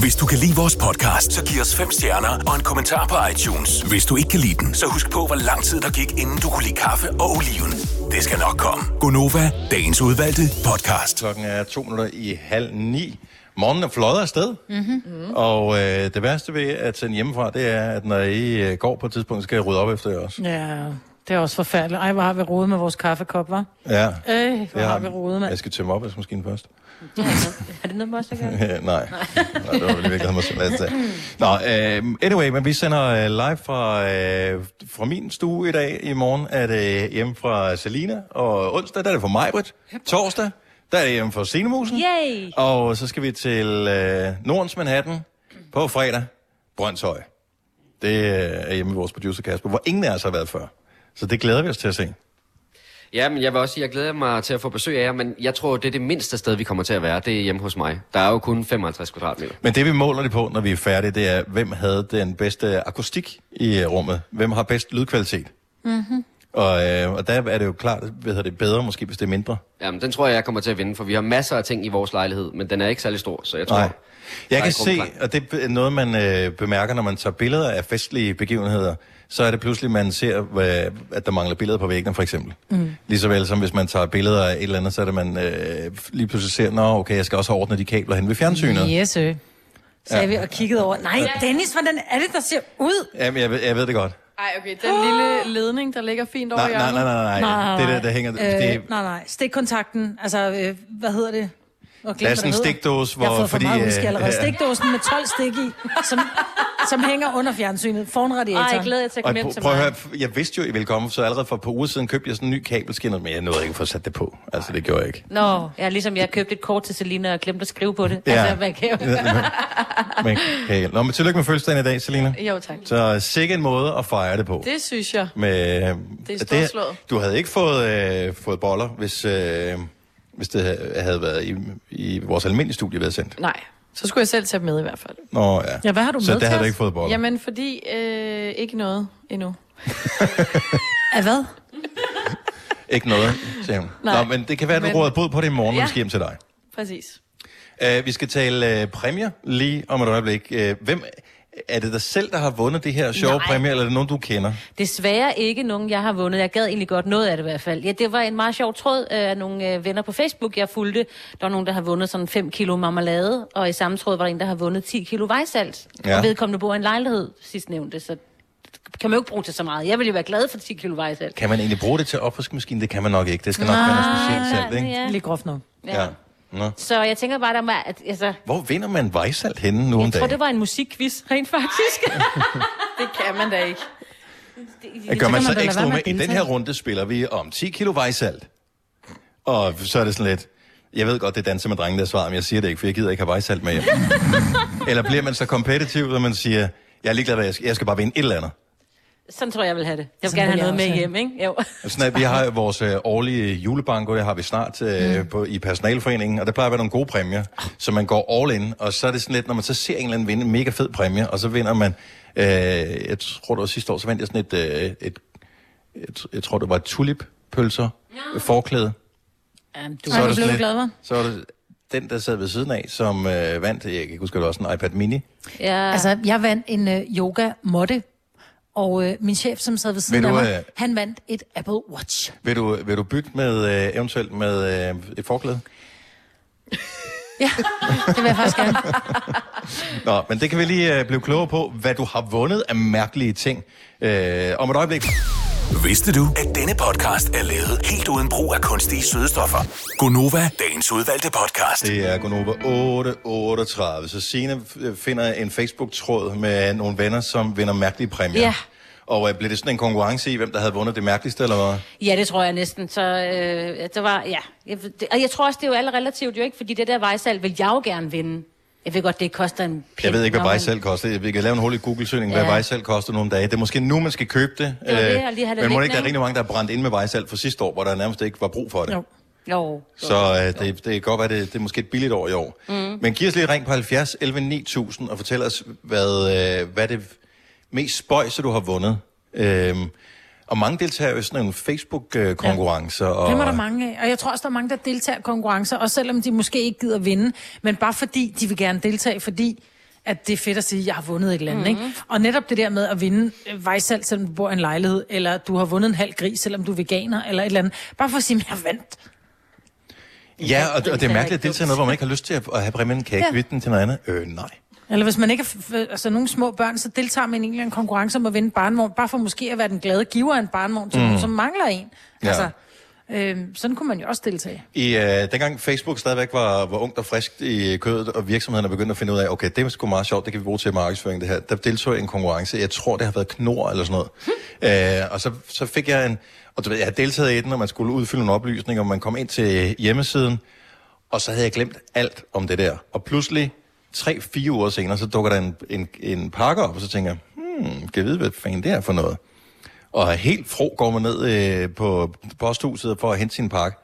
[SPEAKER 7] Hvis du kan lide vores podcast, så giv os fem stjerner og en kommentar på iTunes. Hvis du ikke kan lide den, så husk på, hvor lang tid der gik, inden du kunne lide kaffe og oliven. Det skal nok komme.
[SPEAKER 1] Gonova, dagens udvalgte podcast. Klokken er to minutter i halv ni. Morgenen er fløjet afsted.
[SPEAKER 19] Mm-hmm.
[SPEAKER 4] Mm.
[SPEAKER 1] Og øh, det værste ved at sende hjemmefra, det er, at når I øh, går på et tidspunkt, så skal jeg rydde op efter jer også.
[SPEAKER 4] Ja, det er også forfærdeligt. Ej, hvor har vi rodet med vores kaffekop, var?
[SPEAKER 1] Ja.
[SPEAKER 4] Øh, hvor
[SPEAKER 1] Jeg
[SPEAKER 4] har vi rodet med.
[SPEAKER 1] Jeg skal tømme opvaskemaskinen først.
[SPEAKER 6] Er det noget med os, der gør?
[SPEAKER 1] Ja, *laughs* nej. nej, det var vel i virkeligheden mig selv, jeg sagde. Nå, øh, anyway, men vi sender øh, live fra, øh, fra min stue i dag. I morgen er det hjemme fra Selina, og onsdag der er det fra Majbrit. Torsdag der er det hjemme fra Sinemusen.
[SPEAKER 6] Yay!
[SPEAKER 1] Og så skal vi til øh, Nordens Manhattan på fredag. Brøndshøj. Det øh, er hjemme med vores producer Kasper, hvor ingen af os har været før. Så det glæder vi os til at se.
[SPEAKER 12] Ja, men jeg vil også sige, jeg glæder mig til at få besøg af jer, men jeg tror, det er det mindste sted, vi kommer til at være. Det er hjemme hos mig. Der er jo kun 55 kvadratmeter.
[SPEAKER 1] Men det vi måler det på, når vi er færdige, det er, hvem havde den bedste akustik i øh, rummet? Hvem har bedst lydkvalitet?
[SPEAKER 19] Mm-hmm.
[SPEAKER 1] Og, øh, og der er det jo klart, hvad hedder det, bedre måske, hvis det er mindre.
[SPEAKER 12] Jamen, den tror jeg, jeg kommer til at vinde, for vi har masser af ting i vores lejlighed, men den er ikke særlig stor, så jeg tror...
[SPEAKER 1] Nej.
[SPEAKER 12] der
[SPEAKER 1] Jeg
[SPEAKER 12] er
[SPEAKER 1] kan
[SPEAKER 12] et
[SPEAKER 1] se,
[SPEAKER 12] rumklang.
[SPEAKER 1] og det er noget, man øh, bemærker, når man tager billeder af festlige begivenheder, så er det pludselig, man ser, hvad, at der mangler billeder på væggene, for eksempel.
[SPEAKER 19] Mm.
[SPEAKER 1] Ligeså vel som hvis man tager billeder af et eller andet, så er det, man øh, lige pludselig ser, nå, okay, jeg skal også have ordnet de kabler hen ved fjernsynet.
[SPEAKER 4] Yes, sir. Sagde
[SPEAKER 1] Ja.
[SPEAKER 4] vi og kiggede over. Nej, Dennis, hvordan er det, der ser ud?
[SPEAKER 1] Jamen, jeg, ved- jeg ved det godt.
[SPEAKER 2] Ej, okay, den lille ledning, der ligger fint over
[SPEAKER 1] Nej, nej,
[SPEAKER 2] hjørnet.
[SPEAKER 1] nej, nej, nej. Det der, der hænger... Øh, det,
[SPEAKER 4] Øh, nej, nej. Stikkontakten. Altså, øh, hvad hedder det? Og
[SPEAKER 1] Der er sådan en stikdåse, hvor-
[SPEAKER 4] Jeg har fået
[SPEAKER 1] fordi,
[SPEAKER 4] for meget udskæld
[SPEAKER 1] øh,
[SPEAKER 4] allerede.
[SPEAKER 1] ja.
[SPEAKER 4] Stikdåsen med 12 stik i, som, som hænger under fjernsynet. Foran radiatoren.
[SPEAKER 6] Ej, jeg glæder jer til at
[SPEAKER 1] og
[SPEAKER 6] komme hjem
[SPEAKER 1] pr-
[SPEAKER 6] til
[SPEAKER 1] prøv at
[SPEAKER 6] mig.
[SPEAKER 1] høre, f- jeg vidste jo, I ville komme, så allerede for et par uger siden købte jeg sådan en ny kabelskinner, men jeg nåede ikke at få sat det på. Altså, det gjorde jeg ikke.
[SPEAKER 6] Nå, ja, ligesom jeg købte et kort til Selina og glemte at skrive på det.
[SPEAKER 1] Ja.
[SPEAKER 6] Altså, hvad kan jeg?
[SPEAKER 1] Men, okay. Nå, men tillykke med fødselsdagen i dag, Selina.
[SPEAKER 2] Jo, tak.
[SPEAKER 1] Så sikke en måde at fejre det på.
[SPEAKER 2] Det synes jeg.
[SPEAKER 1] Med,
[SPEAKER 2] Det er storslået.
[SPEAKER 1] Du havde ikke fået, øh, fået boller, hvis, øh, hvis det ha- havde været i, i vores almindelige studie været sendt.
[SPEAKER 2] Nej, så skulle jeg selv tage dem med i hvert fald.
[SPEAKER 1] Nå ja.
[SPEAKER 4] Ja, hvad har du
[SPEAKER 1] Så der
[SPEAKER 4] med til
[SPEAKER 1] havde du
[SPEAKER 4] os?
[SPEAKER 1] ikke fået boller.
[SPEAKER 2] Jamen, fordi øh, ikke noget endnu.
[SPEAKER 4] Af hvad?
[SPEAKER 1] Ikke noget, sagde hun.
[SPEAKER 2] Nej.
[SPEAKER 1] Nå, men det kan være, at du
[SPEAKER 2] Men-
[SPEAKER 1] råder bod på det i morgen, når
[SPEAKER 2] Ja.
[SPEAKER 1] vi skal hjem til dig.
[SPEAKER 2] Præcis.
[SPEAKER 1] Uh, vi skal tale uh, præmier lige om et øjeblik. Uh, hvem er det dig selv, der har vundet det her sjove
[SPEAKER 6] Nej.
[SPEAKER 1] præmier, eller er det nogen, du kender?
[SPEAKER 6] Desværre ikke nogen, jeg har vundet. Jeg gad egentlig godt noget af det i hvert fald. Ja, det var en meget sjov tråd øh, af nogle øh, venner på Facebook, jeg fulgte. Der var nogen, der har vundet sådan 5 kilo marmelade, og i samme tråd var der en, der har vundet 10 kilo vejsalt.
[SPEAKER 1] Ja.
[SPEAKER 6] Ja. Og vedkommende bor i en lejlighed, sidst nævnte, så det kan man jo ikke bruge til så meget. Jeg ville jo være glad for 10 kilo vejsalt.
[SPEAKER 1] Kan man egentlig bruge det til opvaskemaskinen? Det kan man nok ikke. Det skal nok være noget specielt salt, ikke?
[SPEAKER 6] Ja.
[SPEAKER 4] Lige groft nok.
[SPEAKER 1] Ja. Nå.
[SPEAKER 6] Så jeg tænker bare, der må, at, altså, jeg
[SPEAKER 1] Hvor vinder man vejsalt henne nu om
[SPEAKER 6] tror,
[SPEAKER 1] dagen?
[SPEAKER 6] det var en musikquiz, rent faktisk.
[SPEAKER 2] Det kan man da ikke.
[SPEAKER 1] Det gør man så ekstra med. I den her runde spiller vi om 10 kilo vejsalt. Og så er det sådan lidt... Jeg ved godt, det danser med drenge, der svarer, men jeg siger det ikke, for jeg gider ikke have vejsalt *laughs* med hjem. eller bliver man så kompetitiv, at man siger, jeg er ligeglad, hvad jeg skal, jeg skal bare vinde et eller andet.
[SPEAKER 6] Sådan tror jeg, jeg vil have det. Jeg vil
[SPEAKER 4] Sådan
[SPEAKER 6] gerne
[SPEAKER 4] vil
[SPEAKER 6] have
[SPEAKER 4] jeg
[SPEAKER 6] noget med
[SPEAKER 4] også
[SPEAKER 6] hjem, ikke? Jo.
[SPEAKER 1] Sådan at vi har jo vores øh, årlige julebanko, det har vi snart øh, på, i personalforeningen, og der plejer at være nogle gode præmier, så man går all in, og så er det sådan lidt, når man så ser en eller anden vinde en mega fed præmie, og så vinder man, øh, jeg tror det var sidste år, så vandt jeg sådan et, øh, et, et jeg tror det var et tulippølser, øh, forklæde.
[SPEAKER 4] Jamen,
[SPEAKER 1] Så
[SPEAKER 4] du,
[SPEAKER 1] er
[SPEAKER 4] Ej,
[SPEAKER 1] det
[SPEAKER 4] du blev
[SPEAKER 1] sådan lidt-
[SPEAKER 4] du glad, hva'?
[SPEAKER 1] Så var det den, der sad ved siden af, som øh, vandt, jeg kan ikke huske, det var sådan en iPad mini.
[SPEAKER 6] Ja.
[SPEAKER 4] Altså, jeg vandt en øh, yoga måtte, og øh, min chef, som sad ved siden
[SPEAKER 1] du,
[SPEAKER 4] af
[SPEAKER 1] øh,
[SPEAKER 4] mig, han vandt et Apple Watch.
[SPEAKER 1] Vil du, vil du bytte med, øh, eventuelt med øh, et forklæde?
[SPEAKER 4] Ja, det vil jeg faktisk gerne.
[SPEAKER 1] Nå, men det kan vi lige øh, blive klogere på, hvad du har vundet af mærkelige ting. Øh, om et øjeblik.
[SPEAKER 7] Vidste du, at denne podcast er lavet helt uden brug af kunstige sødestoffer? Gonova, dagens udvalgte podcast.
[SPEAKER 1] Det er Gonova 838. Så Signe øh, finder en Facebook-tråd med nogle venner, som vinder mærkelige præmier.
[SPEAKER 6] Ja.
[SPEAKER 1] Og øh, blev det sådan en konkurrence i, hvem der havde vundet det mærkeligste, eller hvad?
[SPEAKER 6] Ja, det tror jeg næsten. Så øh, der var, ja. Jeg, ved- det, og jeg tror også, det er jo alle relativt jo ikke, fordi det der vejsalt vil jeg jo gerne vinde. Jeg ved godt, det koster en pind.
[SPEAKER 1] Jeg ved ikke, hvad
[SPEAKER 6] når man-
[SPEAKER 1] vejsel koster. Vi kan lave en hul i Google-søgning, hvad
[SPEAKER 6] Ja.
[SPEAKER 1] vejsel koster nogle dage. Det er måske nu, man skal købe det.
[SPEAKER 6] Det var det, jeg lige
[SPEAKER 1] øh,
[SPEAKER 6] havde det
[SPEAKER 1] men må
[SPEAKER 6] liggende,
[SPEAKER 1] ikke, der er
[SPEAKER 6] ikke?
[SPEAKER 1] rigtig mange, der er brændt ind med vejsel for sidste år, hvor der nærmest ikke var brug for det.
[SPEAKER 6] Jo. Jo.
[SPEAKER 1] Så øh, det, det kan godt være, det, det er måske et billigt år i år. Mm. Men giv os lige et ring på 70 11 9000 og fortæl os, hvad, øh, hvad det mest spøjse, du har vundet. Øhm, og mange deltager jo i sådan nogle Facebook-konkurrencer. Ja.
[SPEAKER 3] Dem er der
[SPEAKER 1] Og,
[SPEAKER 3] mange af, og jeg tror også, der er mange, der deltager i konkurrencer, også selvom de måske ikke gider vinde, men bare fordi, de vil gerne deltage, fordi at det er fedt at sige, at jeg har vundet et eller andet. Mm-hmm.
[SPEAKER 4] Mhm.
[SPEAKER 3] Ikke? Og netop det der med at vinde øh, vejsalt, selvom du bor i en lejlighed, eller du har vundet en halv gris, selvom du er veganer, eller et eller andet. Bare for at sige, at jeg vandt.
[SPEAKER 1] ja, og, og det er mærkeligt at deltage i noget, hvor man ikke har lyst til at, at have præmien. Kan jeg ikke
[SPEAKER 3] Ja.
[SPEAKER 1] vide den til noget andet? Øh, nej.
[SPEAKER 3] Eller hvis man ikke er f- altså, nogle små børn, så deltager man i en eller anden konkurrence om at vinde en barnvogn, bare for måske at være den glade giver af en barnvogn, til
[SPEAKER 1] Mm.
[SPEAKER 3] mm. som mangler en.
[SPEAKER 1] Ja.
[SPEAKER 3] Altså, øh, sådan kunne man jo også deltage.
[SPEAKER 1] I øh, dengang Facebook stadigvæk var, var ungt og frisk i kødet, og virksomhederne begyndte at finde ud af, okay, det er sgu meget sjovt, det kan vi bruge til markedsføring, det her. Der deltog jeg i en konkurrence, jeg tror, det har været Knor eller sådan noget. øh, og så, så fik jeg en, og du ved, jeg har deltaget i den, og man skulle udfylde nogle oplysninger, og man kom ind til hjemmesiden, og så havde jeg glemt alt om det der. Og pludselig, tre-fire uger senere, så dukker der en, en, en pakke op, og så tænker jeg, hmm, kan jeg vide, hvad fanden det er for noget? Og helt fro går man ned øh, på posthuset for at hente sin pakke.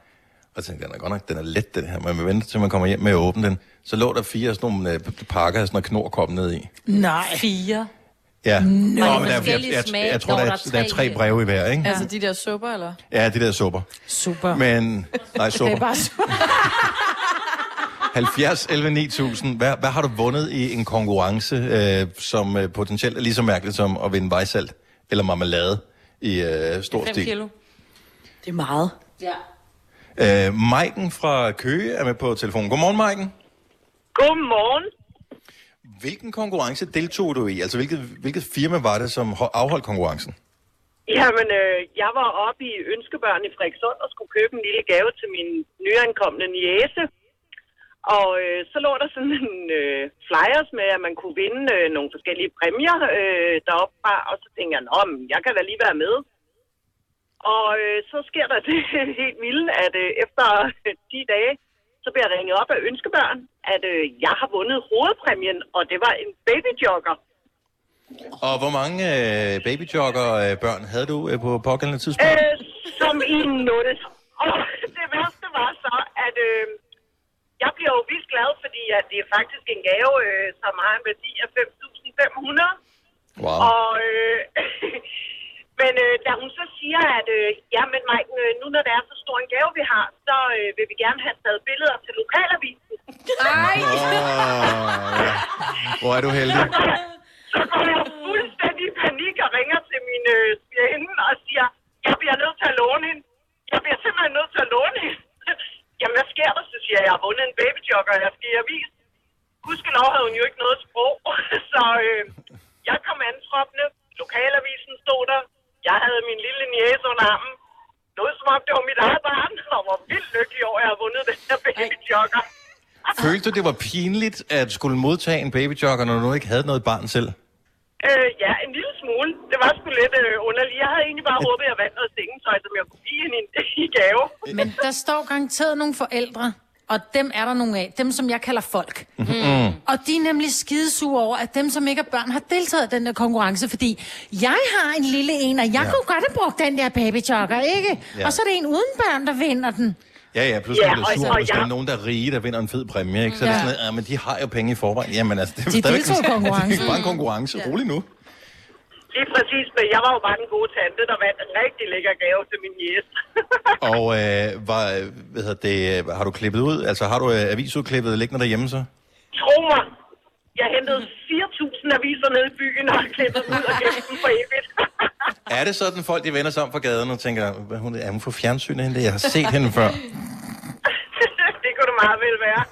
[SPEAKER 1] Og tænkte, den er godt nok, den er let, den her. Man vil vente, til man kommer hjem med at åbne den. Så lå der fire af sådan nogle øh, pakker af sådan noget knorkop ned i.
[SPEAKER 3] Nej.
[SPEAKER 6] Fire.
[SPEAKER 1] Ja. Nå, men der, jeg, jeg,
[SPEAKER 2] forskellige
[SPEAKER 1] jeg,
[SPEAKER 2] smag.
[SPEAKER 1] jeg tror,
[SPEAKER 2] Nå,
[SPEAKER 1] der
[SPEAKER 2] der
[SPEAKER 1] er,
[SPEAKER 2] er
[SPEAKER 1] der er
[SPEAKER 2] tre i
[SPEAKER 1] tre
[SPEAKER 2] det.
[SPEAKER 1] breve i hver, ikke?
[SPEAKER 2] Altså de der supper, eller?
[SPEAKER 1] Ja, det der supper.
[SPEAKER 3] Super.
[SPEAKER 1] Men, nej,
[SPEAKER 2] Det er
[SPEAKER 1] supper.
[SPEAKER 2] bare supper.
[SPEAKER 1] 70, 11, 9000. Hvad, hvad har du vundet i en konkurrence, øh, som øh, potentielt er lige så mærkeligt som at vinde vejsalt eller marmelade i øh, stor
[SPEAKER 6] Fem
[SPEAKER 1] stil?
[SPEAKER 6] kilo.
[SPEAKER 2] Det er meget.
[SPEAKER 6] Ja.
[SPEAKER 1] Øh, Maiken fra Køge er med på telefonen. Godmorgen, Maiken.
[SPEAKER 15] Godmorgen.
[SPEAKER 1] Hvilken konkurrence deltog du i? Altså, hvilket, hvilket firma var det, som ho- afholdt konkurrencen?
[SPEAKER 15] Jamen, øh, jeg var oppe i Ønskebørn i Frederikssund og skulle købe en lille gave til min nyankomne niese. Og øh, så lå der sådan en øh, flyers med, at man kunne vinde øh, nogle forskellige præmier øh, deroppe fra. Og så tænkte jeg, nå, men jeg kan da lige være med. Og øh, så sker der *laughs* det helt vildt, at øh, efter *laughs* 10 dage, så bliver jeg ringet op af Ønskebørn, at øh, jeg har vundet hovedpræmien, og det var en babyjogger.
[SPEAKER 1] Og hvor mange øh, babyjogger-børn havde du øh, på pågældende tidspunkt?
[SPEAKER 15] Øh, som i en notes. Og det værste var så, at øh, jeg bliver jo vildt glad, fordi at det er faktisk en gave, øh, som har en værdi af 5.500.
[SPEAKER 1] Wow.
[SPEAKER 15] Og, øh, *laughs* men øh, da hun så siger, at øh, ja, men Maiken, øh, nu når det er så stor en gave, vi har, så øh, vil vi gerne have taget billeder til lokalavisen. Nej!
[SPEAKER 1] Åh, ja. Hvor er du heldig.
[SPEAKER 15] Så går jeg fuldstændig i panik og ringer til min øh, svigerinde og siger, jeg bliver nødt til at låne hende. Jeg bliver simpelthen nødt til at låne hende. *laughs* Jamen, hvad sker der? Så siger jeg, jeg har vundet en babyjogger, og jeg skal i avis. Gudskelov havde hun jo ikke noget sprog, *laughs* så øh, jeg kom antroppende. Lokalavisen stod der. Jeg havde min lille niæse under armen. Noget som om, det var mit eget barn, *laughs* og var vildt lykkelig over, at jeg har vundet den her babyjogger.
[SPEAKER 3] Øh.
[SPEAKER 1] Følte du, det var pinligt at skulle modtage en babyjogger, når du ikke havde noget barn selv?
[SPEAKER 15] Øh, ja, en lille smule. Det var sgu lidt øh, underligt. Jeg havde egentlig bare håbet, at jeg vandt noget sengetøj, som jeg kunne give hende i, i gave.
[SPEAKER 3] *laughs* Men der står garanteret nogle forældre, og dem er der nogle af, dem som jeg kalder folk. Mm.
[SPEAKER 1] Mm-hmm.
[SPEAKER 15] Mhm.
[SPEAKER 3] Og de er nemlig skidesure over, at dem som ikke er børn har deltaget i den der konkurrence, fordi jeg har en lille en, og jeg
[SPEAKER 1] Ja.
[SPEAKER 3] ja. kunne godt have brugt den der babyjogger, ikke?
[SPEAKER 1] Ja.
[SPEAKER 3] Ja. Og så er det en uden børn, der vinder den.
[SPEAKER 1] Ja, ja, pludselig
[SPEAKER 3] Ja,
[SPEAKER 1] ja, bliver
[SPEAKER 3] og-
[SPEAKER 1] det
[SPEAKER 3] og
[SPEAKER 1] sur, hvis der
[SPEAKER 3] jeg-
[SPEAKER 1] er nogen, der er rige, der vinder en fed præmie. Ikke? Så ja. er
[SPEAKER 3] Ja.
[SPEAKER 1] det sådan, at ja, men de har jo penge i forvejen. Jamen, altså, det er
[SPEAKER 3] De
[SPEAKER 1] stadigvæk
[SPEAKER 3] deltog i
[SPEAKER 1] en- *laughs*
[SPEAKER 3] konkurrencen.
[SPEAKER 1] Det er bare en konkurrence. Rolig nu.
[SPEAKER 15] Lige præcis, men jeg var jo bare den gode tante, der vandt en rigtig lækker gave til min jæs.
[SPEAKER 1] Og øh, var, hvad hedder det, øh, har du klippet ud? Altså, har du øh, avisudklippet liggende derhjemme så?
[SPEAKER 15] Tro mig, jeg hentede 4.000 aviser ned i byen og klippede dem ud og gemte dem for evigt.
[SPEAKER 1] Er det sådan, folk de vender sig om fra gaden og tænker, hvad hun, er hun for fjernsynet hende? der? Jeg har set hende før.
[SPEAKER 15] *laughs* det kunne det meget vel være.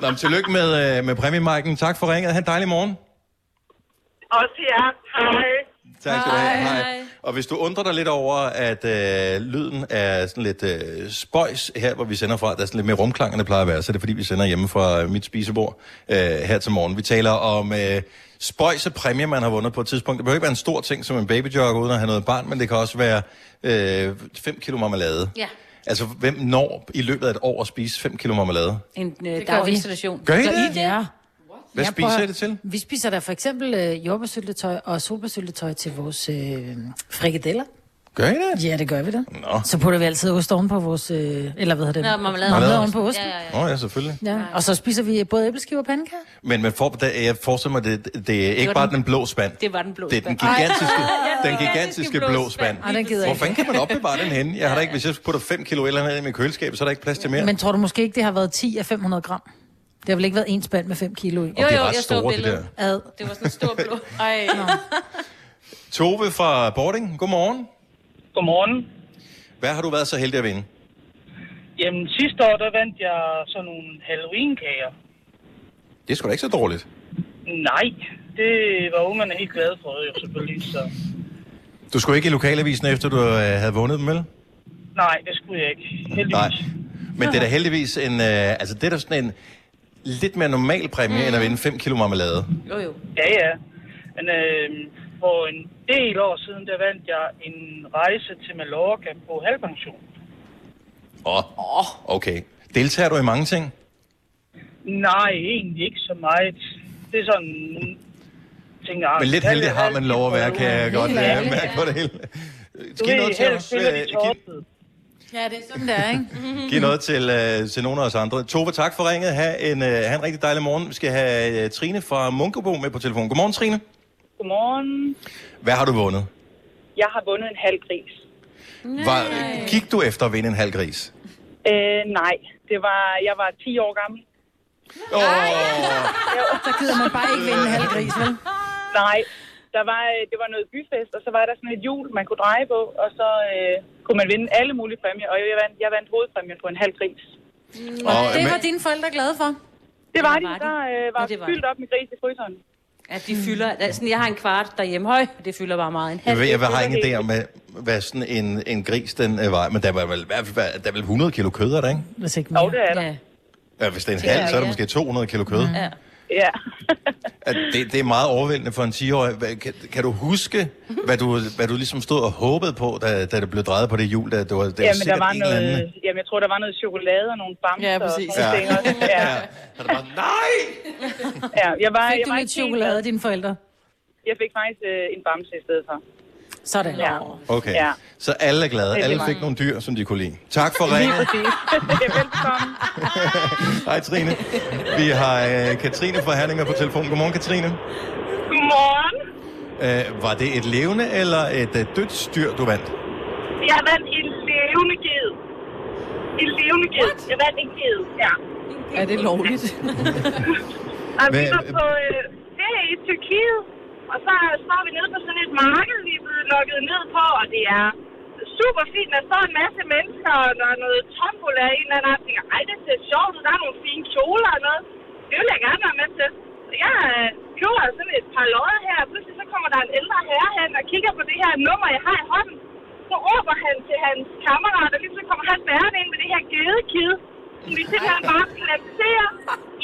[SPEAKER 1] Nå, men tillykke med, øh, med præmiemærken. Tak for ringet. Ha' en dejlig morgen.
[SPEAKER 15] Også til jer. Hej.
[SPEAKER 1] Tak skal du have. Hej. Og hvis du undrer dig lidt over, at øh, lyden er sådan lidt øh, spøjs her, hvor vi sender fra, der er sådan lidt mere rumklang, end det plejer at være, så er det fordi, vi sender hjemme fra øh, mit spisebord øh, her til morgen. Vi taler om øh, spøjs og præmie, man har vundet på et tidspunkt. Det behøver ikke være en stor ting som en babyjogger uden at have noget barn, men det kan også være 5 øh, fem kilo marmelade.
[SPEAKER 6] Ja.
[SPEAKER 1] Altså, hvem når i løbet af et år at spise 5 kilo marmelade?
[SPEAKER 6] En,
[SPEAKER 4] øh,
[SPEAKER 6] der er vi.
[SPEAKER 4] installation.
[SPEAKER 1] Gør I
[SPEAKER 4] Gør
[SPEAKER 1] det?
[SPEAKER 4] I det? Ja.
[SPEAKER 1] Hvad
[SPEAKER 4] Ja,
[SPEAKER 1] spiser
[SPEAKER 4] prøv
[SPEAKER 1] I
[SPEAKER 4] at-
[SPEAKER 1] det til?
[SPEAKER 4] Vi spiser da for eksempel øh, jordbærsyltetøj og solbærsyltetøj til vores øh, frikadeller.
[SPEAKER 1] Gør I det?
[SPEAKER 4] Ja, det gør vi da.
[SPEAKER 1] Nå.
[SPEAKER 4] Så putter vi altid ost ovenpå vores... Øh, eller hvad hedder det?
[SPEAKER 6] Nå, marmelade.
[SPEAKER 4] Marmelade ovenpå osten.
[SPEAKER 6] Ja,
[SPEAKER 4] Ja,
[SPEAKER 6] ja,
[SPEAKER 1] Åh, oh, ja, selvfølgelig.
[SPEAKER 4] ja. ja, og så spiser vi både æbleskiver og pandekager.
[SPEAKER 1] Men man får, der, jeg forestiller mig, det, det er ikke
[SPEAKER 4] var
[SPEAKER 1] bare
[SPEAKER 4] den-
[SPEAKER 1] den blå spand.
[SPEAKER 4] det var den blå
[SPEAKER 1] Det er den
[SPEAKER 4] spand.
[SPEAKER 1] *laughs* gigantiske,
[SPEAKER 4] Ej.
[SPEAKER 1] den gigantiske blå spand.
[SPEAKER 4] Ej, den gider jeg
[SPEAKER 1] Hvor
[SPEAKER 4] ikke.
[SPEAKER 1] fanden kan man opbevare den henne? Jeg har da ikke, hvis jeg putter 5 kilo eller andet i mit køleskab, så er der ikke plads til mere.
[SPEAKER 4] Men tror du måske ikke, det har været 10 af 500 gram? Det har vel ikke været en spand med 5 kilo i?
[SPEAKER 1] de er jo, ret jeg så store, de billedet.
[SPEAKER 4] Ad.
[SPEAKER 6] Det var sådan en stor blå.
[SPEAKER 2] Ej.
[SPEAKER 1] Tove fra Bording, godmorgen.
[SPEAKER 8] Godmorgen.
[SPEAKER 1] Hvad har du været så heldig at vinde?
[SPEAKER 8] Jamen, sidste år, der vandt jeg sådan nogle Halloween-kager.
[SPEAKER 1] Det er sgu da ikke så dårligt.
[SPEAKER 8] Nej, det var ungerne helt glade for, jo selvfølgelig. Så.
[SPEAKER 1] Du skulle ikke i lokalavisen, efter du øh, havde vundet dem, vel?
[SPEAKER 8] Nej, det skulle jeg ikke.
[SPEAKER 1] Nej. Men det er da heldigvis en, øh, altså det er da sådan en lidt mere normal præmie, mm. end at vinde 5 kilo marmelade.
[SPEAKER 6] Jo, jo.
[SPEAKER 8] Ja, ja. Men øh, for en del år siden, der vandt jeg en rejse til Mallorca på halvpension.
[SPEAKER 1] Åh, oh, okay. Deltager du i mange ting?
[SPEAKER 8] Nej, egentlig ikke så meget. Det er sådan... Tænker,
[SPEAKER 15] Ah,
[SPEAKER 1] Men lidt heldig har man lov at være, kan jeg godt
[SPEAKER 8] Ja,
[SPEAKER 1] ja,
[SPEAKER 8] ja.
[SPEAKER 1] mærke på det hele.
[SPEAKER 8] Du
[SPEAKER 1] Giv noget
[SPEAKER 8] ved,
[SPEAKER 1] til
[SPEAKER 8] helst
[SPEAKER 1] os.
[SPEAKER 8] spiller
[SPEAKER 1] øh,
[SPEAKER 8] de
[SPEAKER 1] giv-
[SPEAKER 8] torsede.
[SPEAKER 4] Ja, det er sådan, der, ikke?
[SPEAKER 1] *laughs* Giv noget til, øh, til nogle af os andre. Tove, tak for ringet. Ha' en, øh, ha en rigtig dejlig morgen. Vi skal have øh, Trine fra Munkebo med på telefonen. Godmorgen, Trine.
[SPEAKER 20] Godmorgen.
[SPEAKER 1] Hvad har du vundet?
[SPEAKER 20] Jeg har vundet en halv gris.
[SPEAKER 1] Var, gik du efter at vinde en halv gris?
[SPEAKER 20] Øh, nej, det var, jeg var 10 år gammel.
[SPEAKER 4] *laughs* Så gider man bare ikke vinde en halv gris, vel?
[SPEAKER 20] Nej, der var, øh, det var noget byfest, og så var der sådan et hjul, man kunne dreje på, og så øh, kunne man vinde alle mulige præmier, og jeg vandt, jeg vandt hovedpræmien på en halv gris.
[SPEAKER 4] Og
[SPEAKER 1] Og, øh,
[SPEAKER 4] det
[SPEAKER 1] men-
[SPEAKER 4] var dine forældre glade for.
[SPEAKER 20] Det var,
[SPEAKER 6] Ja,
[SPEAKER 20] de,
[SPEAKER 6] var de.
[SPEAKER 20] der øh, var,
[SPEAKER 6] Ja, det var
[SPEAKER 20] fyldt op med gris i fryseren.
[SPEAKER 6] At de fylder... Altså, jeg har en kvart derhjemme høj, det fylder bare meget. En
[SPEAKER 1] Jeg,
[SPEAKER 6] halv
[SPEAKER 1] ved, jeg har
[SPEAKER 6] fylder
[SPEAKER 1] ingen
[SPEAKER 6] helt.
[SPEAKER 1] idé om, hvad, hvad sådan en, en gris den øh, var. Men der var vel, i hvert fald- der er vel 100 kilo kød, er der ikke?
[SPEAKER 4] Hvis ikke mere. Jo,
[SPEAKER 20] det er der.
[SPEAKER 1] Ja, hvis det er en
[SPEAKER 20] Tænker
[SPEAKER 1] halv,
[SPEAKER 20] jeg,
[SPEAKER 1] så er det
[SPEAKER 20] ja.
[SPEAKER 1] måske 200 kilo kød.
[SPEAKER 20] Mm. Ja.
[SPEAKER 1] At Det, det er meget overvældende for en 10-årig. Hvad- Kan, kan du huske, hvad du, hvad du ligesom stod og håbede på, da, da det blev drejet på det hjul? Da, det var, det var
[SPEAKER 20] Jamen,
[SPEAKER 1] sikkert
[SPEAKER 20] der var
[SPEAKER 1] en
[SPEAKER 20] noget,
[SPEAKER 1] eller anden...
[SPEAKER 20] jamen, jeg tror, der var noget chokolade og nogle bamser
[SPEAKER 1] Ja,
[SPEAKER 20] og
[SPEAKER 1] præcis.
[SPEAKER 20] sådan nogle ting
[SPEAKER 1] *laughs* Ja.
[SPEAKER 20] også. Ja.
[SPEAKER 1] Nej!
[SPEAKER 20] *laughs* ja, jeg var,
[SPEAKER 4] Fik
[SPEAKER 20] jeg
[SPEAKER 4] du
[SPEAKER 20] var
[SPEAKER 4] lidt
[SPEAKER 20] ikke helt
[SPEAKER 4] chokolade,
[SPEAKER 20] glad.
[SPEAKER 4] dine forældre?
[SPEAKER 20] Jeg fik faktisk øh, en bamse *laughs* i stedet for.
[SPEAKER 4] Sådan.
[SPEAKER 20] Ja.
[SPEAKER 1] Okay,
[SPEAKER 20] Ja.
[SPEAKER 1] så alle er glade.
[SPEAKER 20] Rigtig
[SPEAKER 1] Alle
[SPEAKER 20] meget.
[SPEAKER 1] fik nogle dyr, som de kunne lide. Tak for
[SPEAKER 20] Lige
[SPEAKER 1] ringen.
[SPEAKER 20] præcis. Velkommen.
[SPEAKER 1] Hej Trine. Vi har øh, Katrine fra Herning med på telefonen. Godmorgen Katrine.
[SPEAKER 15] Godmorgen.
[SPEAKER 1] Øh, var det et levende eller et øh, dødt dyr, du vandt?
[SPEAKER 15] Jeg vandt en levende ged. En levende ged. Jeg vandt en ged, ja.
[SPEAKER 2] Er det lovligt?
[SPEAKER 15] *laughs* Og vi
[SPEAKER 1] Hvad-
[SPEAKER 15] var på øh, ferie i Tyrkiet, og så står vi nede på sådan et marked, vi er blevet lukket ned på, og det er super fint. Der står en masse mennesker, og der er noget tombola i en eller anden, og jeg tænker, ej, det ser sjovt ud, der er nogle fine kjoler og noget. Det vil jeg gerne være med til. Så jeg øh, køber sådan et par lodder her, og pludselig så kommer der en ældre herre hen og kigger på det her nummer, jeg har i hånden. Så råber han til hans kammerat, og lige så kommer han bærende ind med det her gedekid, som vi simpelthen bare placerer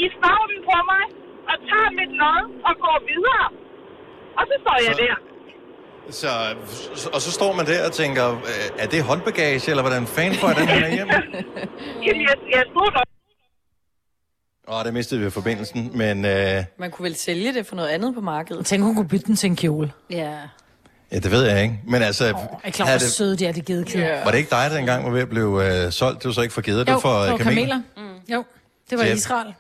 [SPEAKER 15] i favnen på mig, og tager mit lod og går videre. Og så står jeg
[SPEAKER 1] Så-
[SPEAKER 15] der.
[SPEAKER 1] Så, og så står man der og tænker, øh, er det håndbagage, eller hvordan fanden får jeg den her hjem?
[SPEAKER 15] Jamen, jeg, jeg stod der.
[SPEAKER 1] Åh, der mistede vi forbindelsen, men øh, ja,
[SPEAKER 2] Man kunne vel sælge det for noget andet på markedet?
[SPEAKER 4] Tænk, hun kunne bytte den til en kjole.
[SPEAKER 2] Ja.
[SPEAKER 1] det ved jeg ikke. Men altså,
[SPEAKER 4] Er I klar,
[SPEAKER 1] havde
[SPEAKER 4] hvor
[SPEAKER 1] det,
[SPEAKER 4] søde de er, de gedekæder?
[SPEAKER 1] var det ikke dig, der engang var ved at blive øh, solgt? Det var så ikke for geder, det var for øh, kameler.
[SPEAKER 4] Mm. Jo, det var
[SPEAKER 1] Ja.
[SPEAKER 4] i Israel.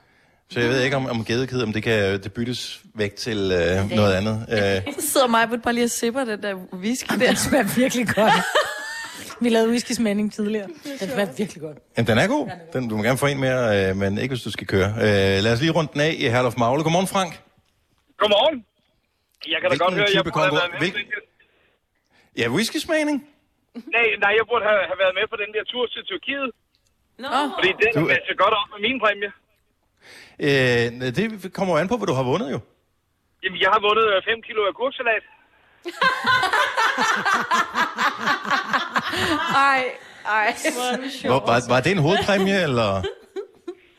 [SPEAKER 1] Så jeg ved ikke, om, om gedekid, om det kan øh, det byttes væk til øh, noget andet. Øh,
[SPEAKER 2] Så sidder mig bare lige og sipper den der whisky der.
[SPEAKER 4] Det smager virkelig godt.
[SPEAKER 2] *laughs*
[SPEAKER 4] Vi lavede whiskysmænding tidligere. Den smager virkelig godt.
[SPEAKER 1] jamen, den er god. Den, du må gerne få en mere, øh, men ikke hvis du skal køre. Øh, lad os lige runde den af i Herlof Magle. Godmorgen, Frank.
[SPEAKER 8] Godmorgen.
[SPEAKER 1] Jeg kan da godt høre, jeg burde have været med. Hvilken... Ja, whisky-smagning.
[SPEAKER 8] Nej, nej, jeg burde have, have været med på den der tur til Tyrkiet.
[SPEAKER 6] Nå.
[SPEAKER 8] Fordi den
[SPEAKER 1] Du-
[SPEAKER 8] matcher godt op med min præmie.
[SPEAKER 1] Øh, det kommer jo an på, hvad du har vundet jo.
[SPEAKER 8] Jamen, jeg har vundet 5 kilo agurksalat.
[SPEAKER 2] Ej, ej.
[SPEAKER 1] Hvor, var, var det en *laughs* hovedpræmie, eller?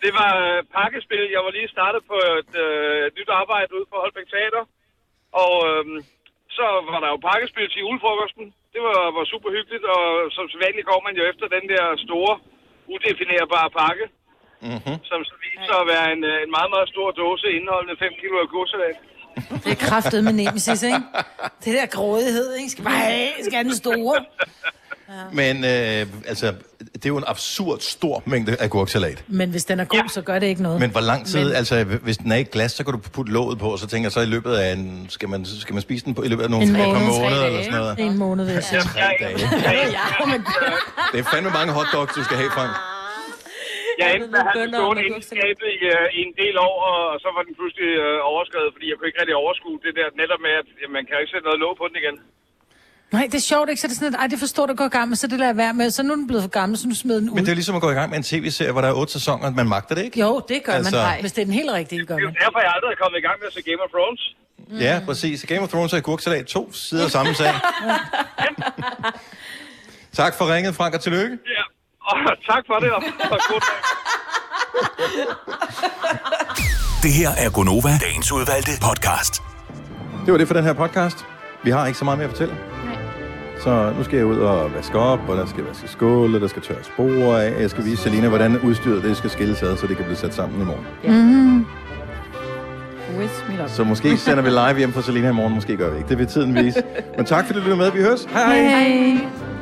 [SPEAKER 8] Det var øh, pakkespil. Jeg var lige startet på et øh, nyt arbejde ude på Holbæk Teater. Og øhm, så var der jo pakkespil til julefrokosten. Det var vores super hyggeligt, og som sædvanligt går man jo efter den der store, udefinerbare pakke,
[SPEAKER 1] Mm-hmm.
[SPEAKER 8] som så viser sig at være en, øh, en meget, meget stor dåse indeholdende 5 kilo af godsalat.
[SPEAKER 4] Det er kraftet med nemesis, ikke? Det der grådighed, ikke? Skal bare have, skal have den store.
[SPEAKER 1] Men øh, altså, det er jo en absurd stor mængde agurksalat.
[SPEAKER 4] Men hvis den er god, ja. så gør det ikke noget.
[SPEAKER 1] Men hvor lang tid,
[SPEAKER 4] Men-
[SPEAKER 1] Men... altså hvis den er i et glas, så kan du putte låget på, og så tænker jeg så i løbet af en, skal man, skal man spise den på, i løbet af nogle
[SPEAKER 4] En
[SPEAKER 1] par
[SPEAKER 4] måned,
[SPEAKER 1] måneder eller sådan noget?
[SPEAKER 4] En måned, vil jeg sige.
[SPEAKER 1] Tre dage. Det er fandme mange hotdogs, du skal have, Frank.
[SPEAKER 8] Jeg endte med at have den stående inde i skabet i, øh, i en del år, og så var den pludselig øh, overskrevet, fordi jeg kunne ikke rigtig overskue det der, netop med, at jamen, man kan jo ikke sætte noget låg på den igen.
[SPEAKER 4] Nej, det er sjovt, ikke? Så er det sådan, at ej, det forstår du godt gammel, så det lader jeg være med. Så nu er den blevet for gammel, så nu smider den ud.
[SPEAKER 1] Men det er jo ligesom at gå i gang med en tv-serie, hvor der er otte sæsoner, man magter det ikke.
[SPEAKER 4] Jo, det gør altså...
[SPEAKER 1] Altså-
[SPEAKER 4] man. Nej, hvis det er den helt rigtige, det gør man.
[SPEAKER 8] Derfor er jeg aldrig kommet i gang med at se Game of Thrones.
[SPEAKER 1] Ja, præcis. Game of Thrones og agurksalat, to sider af samme
[SPEAKER 4] *laughs*
[SPEAKER 1] sag. tak for ringet, Frank, og tillykke.
[SPEAKER 8] Ja, og tak for det, og, og god dag.
[SPEAKER 7] Det her er Gonova, dagens udvalgte podcast.
[SPEAKER 1] Det var det for den her podcast. Vi har ikke så meget mere at fortælle. Så nu skal jeg ud og vaske op, og der skal vaske skål, og der skal tørres spor af. Jeg skal vise Selina, hvordan udstyret det skal skilles ad, så det kan blive sat sammen i morgen.
[SPEAKER 2] Mm. Whiz me up.
[SPEAKER 1] Så måske sender *laughs* vi live hjem fra Selina i morgen, måske gør vi ikke. Det vil tiden vise. Men tak fordi du lyttede med. Vi høres. Hej.
[SPEAKER 2] Hej.